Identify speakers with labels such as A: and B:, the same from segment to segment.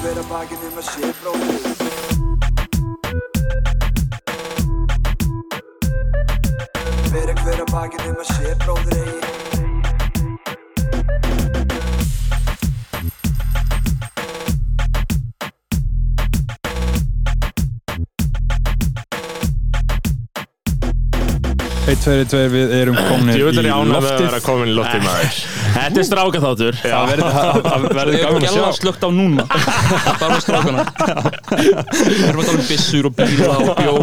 A: hver að baki nema sé bróðir Hver að hver að baki nema sé bróðir eigi
B: Eitt, tveir, eitt, tveir, við erum komin í
C: Ég veit að ég ánægði að
B: loftið
C: vera komin í loftið maður
D: Eh, Þetta er strákaþáttur
B: Það verður- það- það verður
E: Ég hef
B: gaman að
E: gæla
B: sjá
E: slögt á núna Bara með strákana Við erum að tala um byssur og bíla og bjó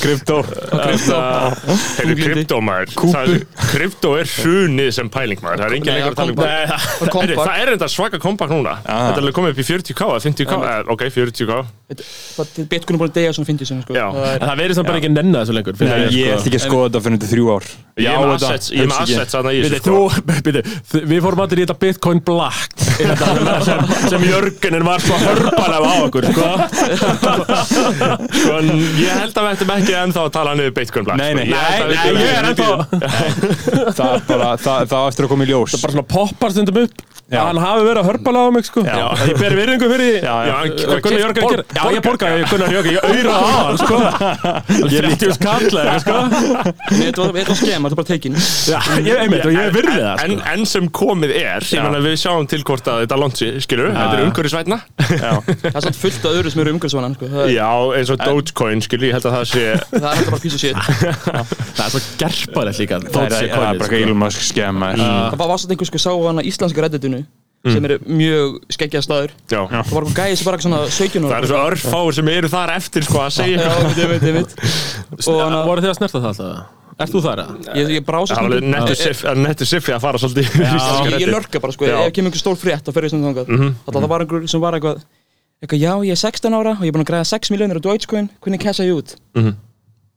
B: Krypto
E: Krypto.
C: Hefur
E: Þunglyndi.
C: kryptó maður Það er- Kryptó er hrunið sem pæling maður Það er engin
E: Nei,
C: lengur að tala um
E: kompakt.
C: Nei,
E: Og kompakt.
C: heyrðu, Það er enda svaka kompakt núna
D: Ah.
C: Þetta er alveg komið upp í 40k eða 50k eh, Ok, 40k
E: Bitcoin er búin að deyja svona 50 sem sko
C: Já.
E: Það er-
D: En það verðist það bara ekki nenni þessu lengur sko.
B: Nei, ég ætti ekki að skoða þetta fyrir þetta þrjú ár
C: Ég
B: á
C: er með
B: þetta,
C: assets Ég er með
B: hugsa ekki.
C: assets þarna í
D: Bíddu,
C: þessu sko
D: þú- bíddu, þ- Við fórum allir í þetta Bitcoin Black er þetta sem, sem Jörgunin var svo hörpan af á okkur sko.
C: Sko, en Ég held að við ættum ekki ennþá að tala niður Bitcoin Black
B: Nei,
C: sko.
B: nei.
C: Ég held að við
D: Nei,
C: gerum
D: ég er
C: það
D: ennþá
C: í tíu.
B: Það er bara, það, það á eftir að koma í ljós
D: bara svona poppar stundum upp
B: Já.
D: að hann hafi verið að hörpala á mig sko.
B: Já.
D: ég ber virðingu fyrir
B: Já,
D: því.
C: Já,
B: já.
C: hann-
D: Hvað Gunnar Jörgen
C: Borg-
D: gerir? Já, ég borgaði Gunnar Jörgen, ég auðraði á hann, sko. 30.000 kall eða, eitthvað, sko.
E: Nei, Þetta var- þetta var skema, þetta var bara tekin
D: Já, ég, einmitt, og ég virði það,
C: en,
D: sko.
C: en sem komið er, ég meina við sjáum til hvort að þetta lonsi, skilur við,
D: Ah.
C: þetta er umhverfisvætna
E: Það er samt fullt af öðru sem eru umhverfisvanan sko. Það er
C: Já, eins og Dogecoin, skilur, ég held að það sé
E: það er alltaf bara písu shit Það
D: Það er svo
B: sko.
D: gerparlegt líka.
B: Það er- það er bara
D: sko.
B: eitthvað Elon Musk skemma
E: var var samt einhver sko sá hana íslenska redditinu sem eru mjög skeggjað staður
C: Já,
E: Það var eitthvað gæði sem bara svona 17
C: það
E: ára
C: eru svo örfáir sem eru þar eftir, sko, að segja
E: Já,
C: eitthvað.
E: ég veit, ég veit, ég veit Og hana,
D: Voru þið að snerta það alltaf? Ert þú þar? eða?
E: ég, ég brása
C: Það er alveg nettu
E: ég,
C: siffi- nettu siffi að fara svolítið yfir íslenska
E: ég, ég
C: reddið.
E: nörga bara sko,
C: Já. Mhm.
E: ef kemur einhver stór frétt þá fer ég svona þangað mm Það var einhver sem var eitthvað eitthvað, já, ég er 16 ára og ég er búin að græða 6 miljónir á Dogecoin, hvernig kessa ég út? Mm
C: Mhm.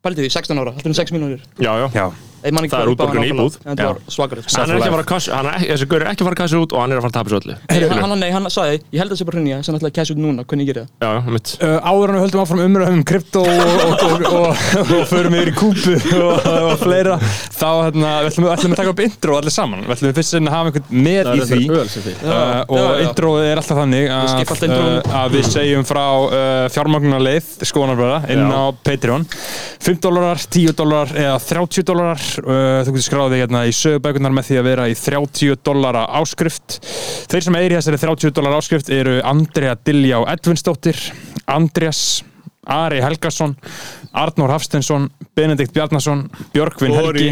E: Pældi því, 16 ára, alltaf um 6 miljónir
C: Já, já
B: Já,
E: Ég man ekki
C: Það er
E: hvað upphæðin
C: útborgun í
E: nákvæmlega,
C: íbúð.
E: en Þetta var svakar
C: Hann er ekki að fara að kassu, hann er, þessi gaur er ekki að fara að kassu út og hann er að fara að tapa svo öllu
E: Nei, hann, nei, hann sagði, ég held að það sé bara hrunja, sem ætlaði að kæsa út núna, hvernig ég geri það
C: Já, já, mitt
B: uh, áður en við höldum áfram umræðum um krypto og, og, og, og, og förum yfir í kúpu og, og fleira þá hérna, við ætlum, við ætlum að taka upp intro allir saman við ætlum við fyrst sinni að hafa einhvern með í því
D: Það er öl sem því.
B: Uh, og
E: Já, já.
B: introið er alltaf þannig
E: skipa
B: að,
E: alltaf intróinu.
B: uh, að við segjum frá uh, fjármagnarleið skoðanarbröða inn
C: Já.
B: á Patreon 5 dólarar, 10 dólarar eða 30 dólarar uh, þú getur skráðið þig hérna í sögubækunar með því að vera í 30 dólara áskrift þeir sem eiri þessari 30 dólara áskrift eru Andrea Diljá Edvinsdóttir Andreas Ari Helgason, Arnór Hafstensson Benedikt Bjarnason, Björgvin Helgi,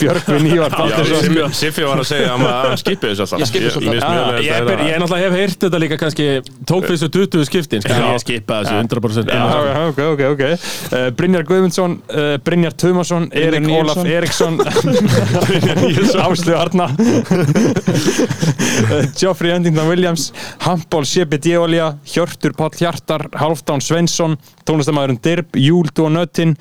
B: Björgvin Ívar Baldursson
C: Siffi, Siffi var að segja um að maður skipi þessu alltaf Ah,
E: Ég skipi þessu
C: mér
E: alltaf.
C: finnst mjög
D: Ég,
C: leiðilegt að
D: ég,
C: heyra
D: ég náttúrulega hef heyrt þetta líka kannski tók fyrstu 20 skiptin sko,
C: Já.
D: ég skipa þessu 100% inn á
B: Já,
D: það.
B: já, ok, ok, ok uh, Brynjar Guðmundsson, uh, Brynjar Tumason Erik
E: Níelsson.
B: Ólaf Eriksson Áslu Arna uh, Geoffrey Endington Williams Hampol Sjepi Díolja Hjörtur Páll Hjartar, Halfdán Svensson tónlistamæðurinn Dirb, Júld og Nöttin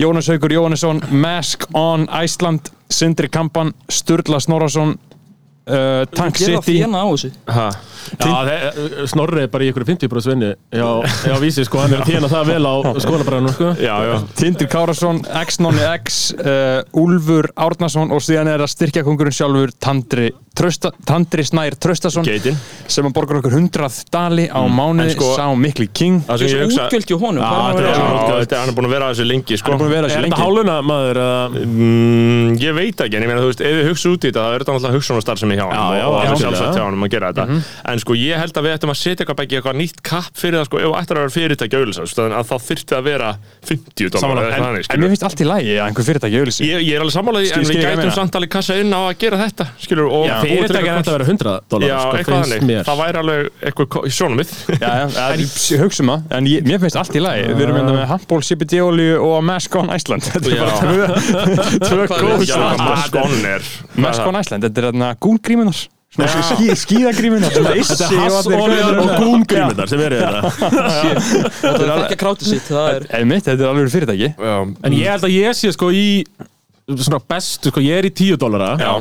B: Jónas Haugur Jóhannesson Mask on Iceland Sindri Kampan, Sturla Snorason uh, Tank
E: Gerið það hérna,
B: City
E: fjena á þessu
C: Ha.
D: Já, þe- Snorri er bara í ykkur 50% vinnu Já, já, vísi sko, hann er að tjena það vel á skonabræðinu sko.
C: Já, já
B: Tindur Kárasson, X-Nonni X, uh, Úlfur Árnason og síðan er það styrkjakongurinn sjálfur Tandri, Trösta, Tandri Snær Tröstason
C: Geitin
B: sem að borgar okkur 100 dali á mánuði,
C: en sko-
B: sá mikli king
C: Það sem
E: Þessu
C: ég hugsa
E: útgjöld hjá honum, hvað er
C: Já,
E: hann að vera
C: já,
E: að þessu?
C: þetta- hann er búin að vera að þessu lengi sko.
B: Hann er búin að vera
D: Er
B: þessu
D: þetta
B: lengi
D: háluna maður? eða-
C: Mm, ég veit ekki, en ég meina þú veist, ef við hugsa út í þetta þá er þetta náttúrulega hugsunarstarfsemi hjá hann
D: Já, já,
C: og það er
D: algjörlega.
C: sjálfsagt hjá hann að gera þetta en sko ég held að við ættum að setja eitthvað bæki eitthvað nýtt kapp fyrir það sko, ef ættir að vera fyrirtæki auðvitað, þannig að þá þyrfti að vera 50 dólar
B: Samanlega, en, en mér finnst allt í lagi að einhver fyrirtæki auðlýsi
C: Ég, ég er alveg sammálaði, en
B: Skil- skil
C: við
B: ég
C: gætum
B: meina.
C: samt alveg kassa inn á að gera þetta, skilur, og
D: Já,
C: og-
D: fyrirtækja er
C: og-
D: þetta að vera 100 dólar
C: Já,
D: sko,
C: eitthvað
D: finnst
C: þannig,
D: mér
C: það væri alveg eitthvað ko- sjónumið
B: Já, já, en ég hugsa maður, en ég, mér finnst allt í lagi Við erum enda með handból, Sipi Díolju og Mask on Iceland Þetta er bara tvö
C: Tvö
E: góð
C: góð
B: svar. Mask on Iceland, þetta er þarna gúngrímunar skí, Skíðagrímunar Þetta
D: Þetta er hassolíðar og gúmgrímyndar sem verið þetta
E: Það er ekki að kráta sitt, það er
B: Einmitt, þetta er alveg fyrirtæki
D: En ég held að ég sé sko í svona bestu, sko, ég er í 10 dólara
C: Já.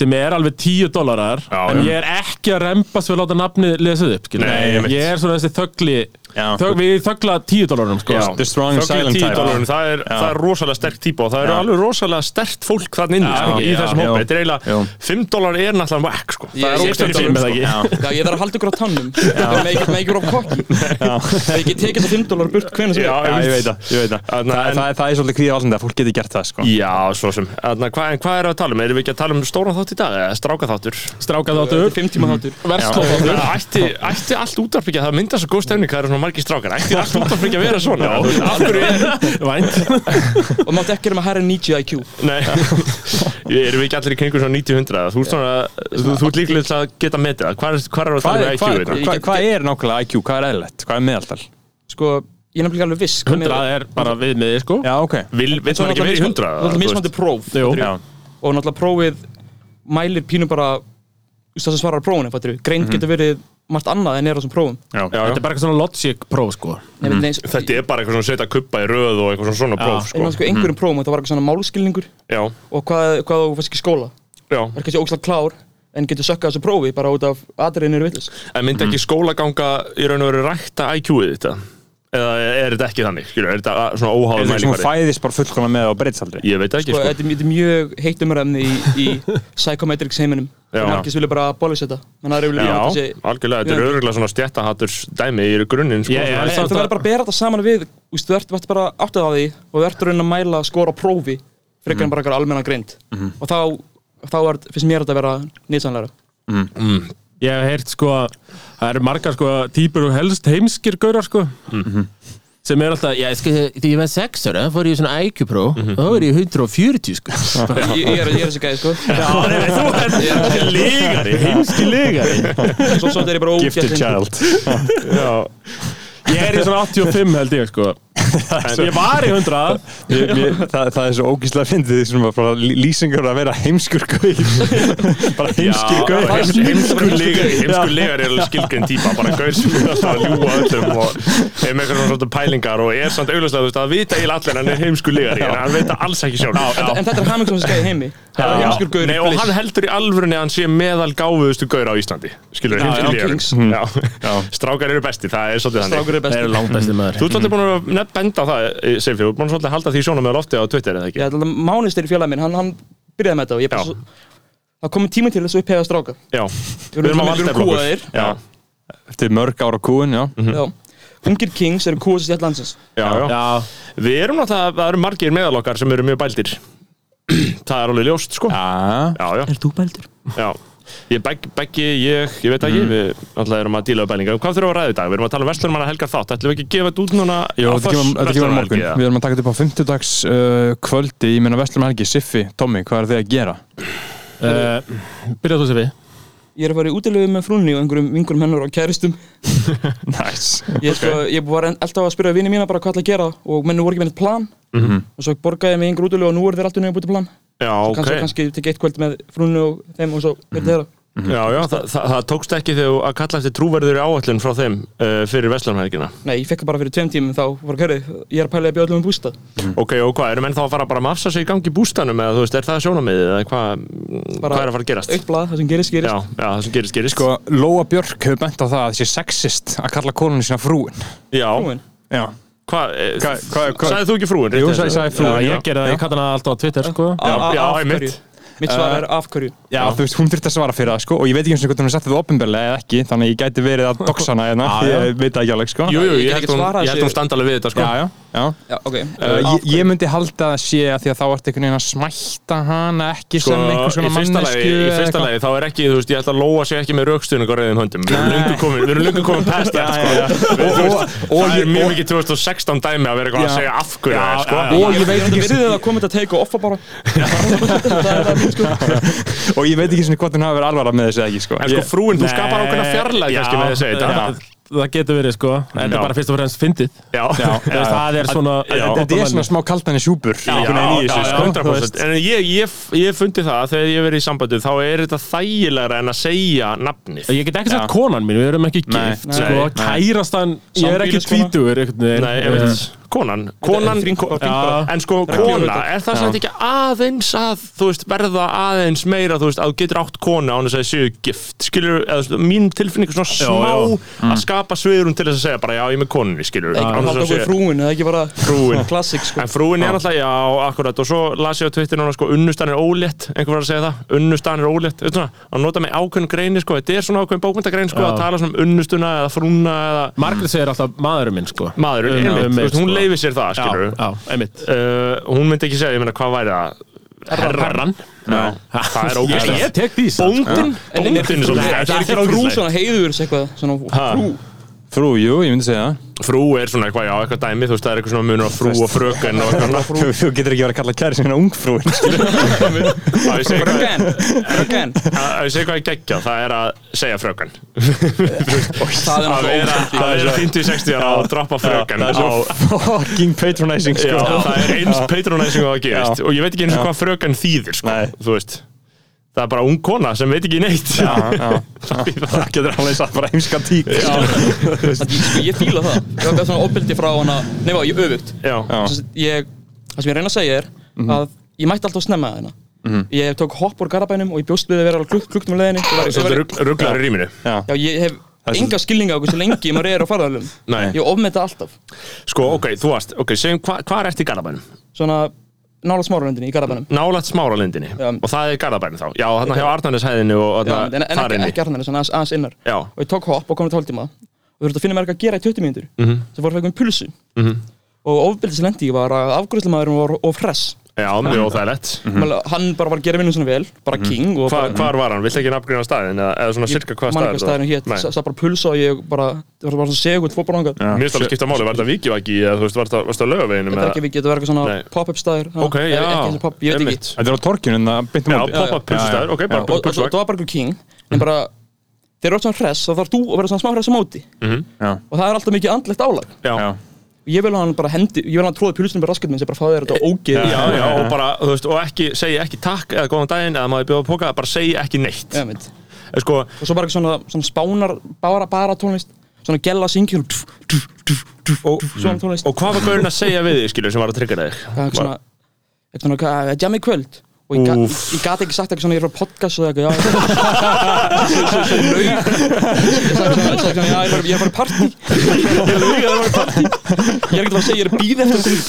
D: sem er alveg 10 dólarar
C: Já,
D: en
C: já.
D: ég er ekki að rempast við að láta nafni lesið upp skilur.
C: Nei, einmitt.
D: ég er svona þessi þögli
B: Já.
D: Þögn- Við þöggla 10 dólarum sko.
B: The strong and silent type.
C: dólarin, það, er, það er rosalega sterk típa og það eru
B: Já.
C: alveg rosalega stert fólk þann inni
B: Já,
C: sko, í
B: já,
C: þessum
B: já.
C: hópi, þetta er
B: Já.
C: eiginlega 5 dólar er náttúrulega whack sko.
E: Ég-
C: það er
E: ég-
C: ógstætt
E: ég-
C: fyrir með það ekki
B: Já.
E: Já, ég þarf að halda ykkur á tannum Make make ykkur á kokki Þegar ég tekið það 5 dólar burt hvernig sem
C: Já,
E: er
B: Já, ég veit það,
C: einmitt.
B: ég veit það.
C: Þarna,
B: Það,
C: en-
B: það, það er svolítið kvíða allan það, fólk getur gert það, sko.
C: Já, svo sem Þarna, hva, En hvað er að tala um? Erum við ekki að tala um stóran þátt í dag? Eða stráka þáttur?
D: Stráka
E: Þetta er
D: þáttur
E: 5 tíma þáttur
D: Versló
C: Ætti, ætti allt útarbyggja það mynda svo góð stefning hvað eru svona margir strákar Ætti allt útarbyggja að vera svona Þú veist, Af hverju er
D: Vænt
E: Og mátt ekki gera með herra 90 IQ
C: Nei, erum við ekki allir í kringu svona 90-100 Þú ert svona, þú, þú ert líklega til að geta metið það Hvað er, hvar er að
B: Hvað
C: tala um
B: er,
C: IQ
B: hva,
C: þetta?
B: hva, hva er nákvæmlega IQ, hvað er eðlilegt, hvað er meðaltal?
E: Sko, ég er nefnilega alveg viss hvað með-
D: 100 er bara viðmiði sko
B: Já, ok.
C: Vil, vil
E: Svo
C: maður ekki verið í 100?
E: náttúrulega
C: þú
E: mismunandi
C: veist?
E: próf
D: Jú.
E: fattirðu?
B: Já,
E: Og náttúrulega prófið mælir pínu bara þú veist, Það sem svarar prófunum, fattur
C: Mhm.
E: Greind getur verið margt annað en er á þessum prófum
B: já.
C: Já,
D: Þetta er
C: já.
D: bara eitthvað svona logic próf sko
E: Nei, nei, nei,
C: Mhm. Þetta er bara eitthvað svona setja kubba í röð og eitthvað svona svona próf
E: En á
C: sko.
E: sko einhverjum prófum, þetta var eitthvað svona málskilningur
C: Já,
E: og hvað, hvað þú fannst ekki í skóla
C: já
E: Það er kannski ógslag klár en getur sökkað þessu prófi bara út af aðriðin eru vitlis
C: En myndi ekki skólaganga í raun og veru rækta IQ-ið þetta? Eða er þetta ekki þannig? Skilur, er þetta uh, svona
B: Er
C: óháð
B: það svona
C: mælikvarði?
B: fæðist bara fullkona með á breytsaldri?
C: Ég veit ekki
E: og
C: sko
E: þetta er- þetta er mjög heitt umræðinni í, í psychometrics heiminum
C: Já.
E: þannig að margis vilja bara abolish þetta þannig að það er
C: Já,
E: yfirlega þessi
C: algjörlega, þetta er örugglega svona stjættahatturs dæmi í grunninn sko.
D: Ég- ég-
E: En
D: Samt
E: þú
D: að-
E: verður bara að bera þetta saman við þú veist, þú ert, þú ert bara áttið á því og þú ert að reyna að mæla skora á prófi frekar
C: Mhm.
E: en bara eitthvað almenna greind og þá, þá er, finnst mér þetta að vera nýðsanlega
D: Ég hef heyrt sko að það eru margar sko típur og helst heimskir gaurar sko sem er alltaf, já,
F: Já, sko, þegar ég var sex ára, fór ég í svona IQ-pró og þá var ég 140, sko.
E: ég, ég er ég er þessi gæði sko
C: Þú ert lígari, heimski lígari
E: svo, svo þetta er ég bara
B: Gifted
E: ógætt
B: child.
C: Já,
D: ég er í svona 85 held ég sko en ég var í 100
B: Mér, mér, það, það er svo ógíslega fyndið, sem að bara lý- lýsingar að vera heimskur gauð. bara heimskur
C: Já,
B: gauð.
C: heims- heimskur legar heimskur legar er alveg skilgrein típa bara gaur sem er alltaf að ljúa öllum og hefur með eitthvað svona pælingar og er samt auglustlega, þú veist, að vita eiginlega allir hann er heimskur legar en hann veit það alls ekki sjálf
E: en þetta er hamingsum þessi gæði heimi það er heimskur gaur
C: Nei, og hann heldur í alvörunni að hann sé meðal gáfuðustu gaur á Íslandi skilur,
E: já,
C: heimskur
E: kings.
C: legar strákar eru besti, það er svolítið þannig
E: strákur er
F: Það
E: besti
F: eru langt besti maður.
C: Þú ert svolítið búin að nefn benda á það, Seifi, þú ert búin að svolítið að halda því sjónum með lofti á Twitter eða ekki?
E: ég ætla að mánist er í fjölaði minn hann, hann byrjaði með þetta og ég bara
C: Já.
E: svo, það komið tími til þess að upphega stráka
C: Já, að
E: við erum við erum
C: valdefla okkur.
E: kúaðir
C: Já,
B: Eftir mörg ára kúin, já.
C: Mhm.
E: Já. ungir kings eru kúast í landsins
C: já, já.
D: já,
C: Við erum náttúrulega, það eru margir meðal okkar sem eru mjög bældir Það er alveg ljóst, sko Já,
B: Já.
C: já,
F: Er þú bældur?
C: já Ég beggi, beggi, ég, ég veit
B: Mm.
C: ekki Við náttúrulega erum að díla við bælinga Hvað þurfum við að ræða í dag? Við erum að tala um verslunum hana helgar þátt Ætlum við ekki að gefa þetta út núna
B: Jó,
C: á
B: þetta kemur- þetta kemur á
C: föstudagsverslunarmannahelgi,
B: morgun.
C: eða?
B: Við erum að taka þetta upp á 50 dags kvöldi, ég meina Vestlum Helgi, Siffi, Tommy, hvað er þið að gera?
D: uh, byrjaðu þú sér við
E: ég er að fara í útilegu með frúnni og einhverjum vingurum hennar og kæristum
B: Nice.
E: ég, sko, ég var en- alltaf að spyrja vini mína bara hvað ætla að gera og menn voru ekki með neitt plan og svo borgaði ég með einhver útilegu og nú eru þeir alltaf nefnir að búti plan
C: Já, Mhm. ok Mhm.
E: kannski, kannski tekið eitt kvöld með frúnni og þeim og svo verður þeirra
C: Já, já, það, það, það tókst ekki þegar þú- að kalla eftir trúverður áallin frá þeim uh, fyrir verslunumhelgina
E: nei, ég fekk það bara fyrir tveim tímum þá var kærið ég er að pæla í að bjóða öllum um bústað
B: Mhm.
C: Ok, og hvað, erum enn þá að fara bara að mafsa sig í gangi í bústanum eða þú veist, er það sjónamiðið eða hvað
E: Bara-
C: hvað er að fara að gerast?
E: eitt blað, það sem gerist, gerist
C: Já, já, það sem gerist, gerist
B: Sko, Lóa Björk hefur bent á það að það sé sexist að kalla konunni sína frúin.
C: Já,
E: Frúin.
B: Já. Hvað-
C: Hvað,
B: hvað- hvað-
C: sagði eh, þú ekki frúin?
B: Jú,
C: rétt?
B: sagði- sagði
D: já,
B: frúin,
D: ég gerði það, ég kalla hana alltaf á Twitter sko
E: A- a-
C: já,
E: af
C: einmitt. Uh,
E: hverju? mitt svar er af hverju
B: Já, þú veist, hún þurfti að svara fyrir það, sko, og ég veit ekki eins og hvernig hún setti það opinberlega eða ekki, þannig að ég gæti verið að doxa hana hérna,
D: Já, já.
B: ég veit það ekki alveg, sko.
C: Jú, jú,
E: Ég
C: ég
E: get
C: held
E: ekki
C: hún,
E: svarað
C: ég held hún
E: sér.
C: standa alveg við þetta sko
B: Já, já, já.
E: já, ok
B: Uh, ég, ég myndi halda að sé að því að þá ert einhvern veginn að smætta hana ekki
C: Sko,
B: sem einhvers
C: í
B: konar
C: fyrsta lagi,
B: mannesku
C: í fyrsta lagi, þá er ekki, þú veist, ég held að Lóa sé ekki með raukstuðning á rauðum höndum Við erum löngu komin, við erum löngu komin past það, sko Við- þú veist, Það er mjög mikið 2016 dæmi að vera eitthvað að
B: Já.
C: segja af hverju það, er, sko
B: og ég veit ekki
E: virði það að koma þetta teika offa bara það er það sko
B: og ég veit ekki svona hvort hún hafi verið alvara með þessu eða ekki sko.
C: En sko,
B: Ég-
C: frúin, þú
D: Nei,
C: skapar ákveðna fjarlæg,
D: já,
C: kannski, með þessi
D: það-
C: þetta
D: það getur verið sko en það
C: Já.
D: er bara fyrst og fremst fyndið
C: Já,
D: Þú veist, það er svona
B: þetta er svona smá kaltani sjúpur einhvern
C: Já,
B: veginn í
C: já,
B: þessu
C: já,
B: sko.
C: 100%. En ég, ég, ég fundi það að þegar ég hef verið í sambandið þá er þetta þægilegra en að segja nafnið
D: ég get ekki sagt konan mín, við erum ekki
B: Nei,
D: gift
B: nei,
D: sko,
C: nei. sko.
D: kærastan, ég er ekki
E: Sambýliskona.
D: tvítugur einhvern veginn.
C: Nei,
D: Eh,
C: einmitt. konan, konan
E: þrír-
C: ko-
D: Já.
C: en sko kona, er það sætt ekki aðeins að, þú veist, verða aðeins meira, þú veist, að þú getur átt kona án þess að það séu gift, skilur, eða þú veist, mín tilfinning er svona smá
D: já.
C: að skapa sviðurum til þess að segja bara, Mm. já, ég er með konunni, skilur
E: Ekki halda okkur frúin, eða ekki bara
C: Frúin.
E: Klassik, sko
C: En frúin er alltaf, já, akkurat Og svo las ég á Twitter núna, sko, unnustan er ólétt Einhver var að segja það, unnustan er ólétt Þú veist að nota með ákveðn greini, sko Þetta er svona ákveðn bókmyndagrein, sko,
D: Já.
C: að tala svona um unnustuna Eða frúna, eða
D: Eh, Margrét segir alltaf maðurinn minn sko
C: maður
D: Um-
C: einmitt,
D: um
C: þú veist,
D: mig,
C: Hún
D: sko.
C: leifir sér það,
D: Já,
C: skilur
D: já, einmitt
C: Eh, Hún myndi ekki segja, ég meina, hvað væri það?
D: Herran
C: Já.
B: eh,
C: Það er
D: Ég,
C: ógæslega
D: ég tek því sko.
C: Bóndin,
E: En er-
C: bóndin
E: Nei,
C: er
E: Það er ekki
C: svona
E: frú svona heiður eitthvað Svona frú
B: Frú, jú, ég myndi segja
C: Frú er svona eitthvað, já, eitthvað dæmi Þú veist, það er eitthvað svona munur á frú og fröken og eitthvað
B: það Þú þú getur ekki verið að kalla sko. kæri sinna ungfrúin
C: svona. Að ég segi eitthvað-
E: Fröken Fröken
C: að- að ég segi hvað ég geggja, það er að segja fröken
E: Það er
C: að vera, að vera 50-60 ára og droppa frökan á,
B: Fucking patronizing
C: já,
B: sko
C: það er eins patronizing og það gerist og ég veit ekki eins og hvað frökan þýðir sko,
B: Nei.
C: þú veist það er bara ung kona sem veit ekki neitt já,
B: Það getur alveg satt bara heimska tík
E: Sko, ég fíla það Ég var svona opildi frá hana Nei, vá, ég öfugt
C: já, Mhm.
B: Já.
E: Svo sem ég, það sem ég reyna að segja er að ég mætti alltaf snemma að hérna ég tók hopp úr garabænum og ég bjóst við að vera alveg klukk, klukknum á leiðinni Ég var, ég
C: svolítið
E: var,
C: rugg- rugglar í rýminu
E: já, ég hef
B: er svo-
E: enga skilninga á hversu lengi maður er á farðalum
C: Nei.
E: ég ofmeta alltaf
C: sko, ok, þú varst, ok, segjum hva, hvað er eftir Garðabænum?
E: svona nála smáralöndinni í garabænum
C: nálægt smáralindinni
E: Já.
C: og það er Garðabænum þá, já, þarna hjá Arnarneshæðinu og
E: Já, en,
C: þarna
E: en
C: þar
E: ekki,
C: inni
E: ekki harnir, svona aðeins, aðeins innar
C: Já.
E: og ég tók hopp og komið til hálftíma og þurfti að finna mér eitthvað að gera í 20 mínútur
C: Mhm.
E: svo fór að fækja um pulsu mm og ofbeldis lendi ég var að afgröðslamaðurinn var of hress
C: já, mjög óþægilegt
E: Mál- hann bara var að gera vinnum svona vel bara king og bara,
C: Hva, hvar var hann, vilt ekki nafngrina staðin eða, eða svona Mhm. sirka hvað
E: man ekki
C: staðin
E: hvað staðurinn hét,
C: Nei.
E: Sa- sá bara pulsa og ég bara, það var bara svona segult fótbólanga
C: mér finnst alveg skipta máli, var þetta Víkivæki eða þú veist, var þetta- varstu á laugaveginum
E: þetta er ekki við getum verið eitthvað
C: Nei.
E: svona pop-up staður
C: Ok,
E: eða
C: já,
E: ekki eins og pop, ég veit
C: einmitt.
E: ekki
B: Þetta er á torkjun en það beintum
C: Já, poppa pulsstæður, ok, bara
E: og og- og
C: pulsstæður
E: það var bara einhver king en bara, þegar þú ert svona hress þá þarf þú að vera svona smá hress á móti
C: Mhm.
B: Já.
E: og það er alltaf mikið andlegt álag
C: Já,
E: ég vil að hann bara hendi, ég vil að hann tróði pulsunum bara raskat minn sem bara fáði þér þetta ógeð
C: já, já, og bara, þú veist, og ekki, segja ekki takk eða góðan daginn eða maður bjóða póka, bara segja ekki neitt
E: Já, mitt.
C: En sko,
E: og svo bara eitthvað svona, svona spánar bara, bara tónlist svona gella syngjur og svona tónlist
C: og hvað var gaurinn að segja við þig, skilur, sem var að tryggja þig?
E: Það er eitthvað svona, eitthvað svona, hvað, jammi í kvöld og ég, gat,
C: Úff.
E: ég gat ekki sagt eitthvað svona, ég er á podcast og eitthvað, já, já Svo- svo- svo laug ég sagði svona, sagði svona, já, ég er bara- ég er bara í partí ég laug að það var í partí ég er ekki að segja, ég er býð eftir að koma í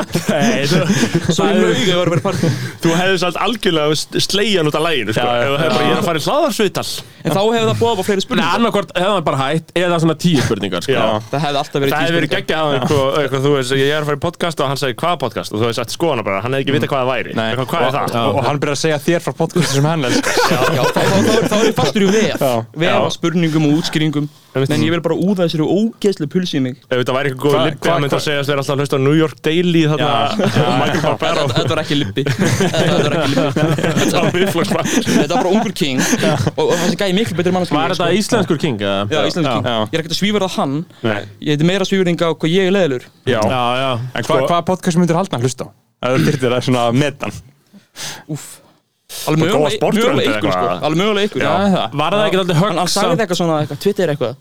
E: podcast svo ég laug að ég var að vera í partí
C: Þú hefði samt algjörlega slegjan út af læginu, sko,
D: Já, já.
C: ef þú hefði bara, ég er að fara í hlaðarsvital
E: en þá hefði það búið upp á fleiri
D: Nei,
E: spurningar
D: annarkort hefði hann bara hætt eða svona tíu spurningar sko.
C: Já.
E: það hefði alltaf verið
C: Það hefði verið geggjað að eitthvað, eitthvað, þú veist, ég er að fara í podcast og hann segi hvað podcast og þú hefði sagt sko hana bara, hann hefði ekki vitað hvað það væri
B: Nei.
C: eitthvað, hvað er það?
B: Og, og hann byrjar að segja þér frá podcastin sem hann elskar
E: Já, þá, þá, þá, þá er ég fastur í vef vef af spurningum og útskýringum en ég vil bara úða þessari ógeðslu pulsi í mig
C: Ef þetta væri eitthvað góð
B: Hva-
C: lippi,
B: hva-
C: hann myndi að
B: hva-
C: segja að þeir alltaf að hlusta á New York Daily þarna, Michael Barbero
E: þetta þetta var ekki lippi þetta var ekki lippi
C: á Miðflokksmann.
E: Þetta var bara ungur king og, og þessi gæði miklu betri mannskjöld
D: Var þetta íslenskur king? eða?
E: sko. Já, íslensk king
B: Já.
E: Ég er ekkert að svífara hann
C: Nei.
E: Ég heiti meira svífringa á hvað ég er leðilur
B: Já,
D: Já, já
B: En hvað hva podcast myndir halda að hlusta á? Það er byrtið það svona metan
E: Úff Alveg
C: góða
E: mögulega
C: sportrönd
E: mögulega
C: eða
E: ykkur sko
C: eitthvað.
E: Alveg mögulega ykkur
B: Það er það
D: Var það ekki alltaf högg
E: Hann, hann sagði
D: samt?
E: þetta eitthvað svona eitthvað Twitter eitthvað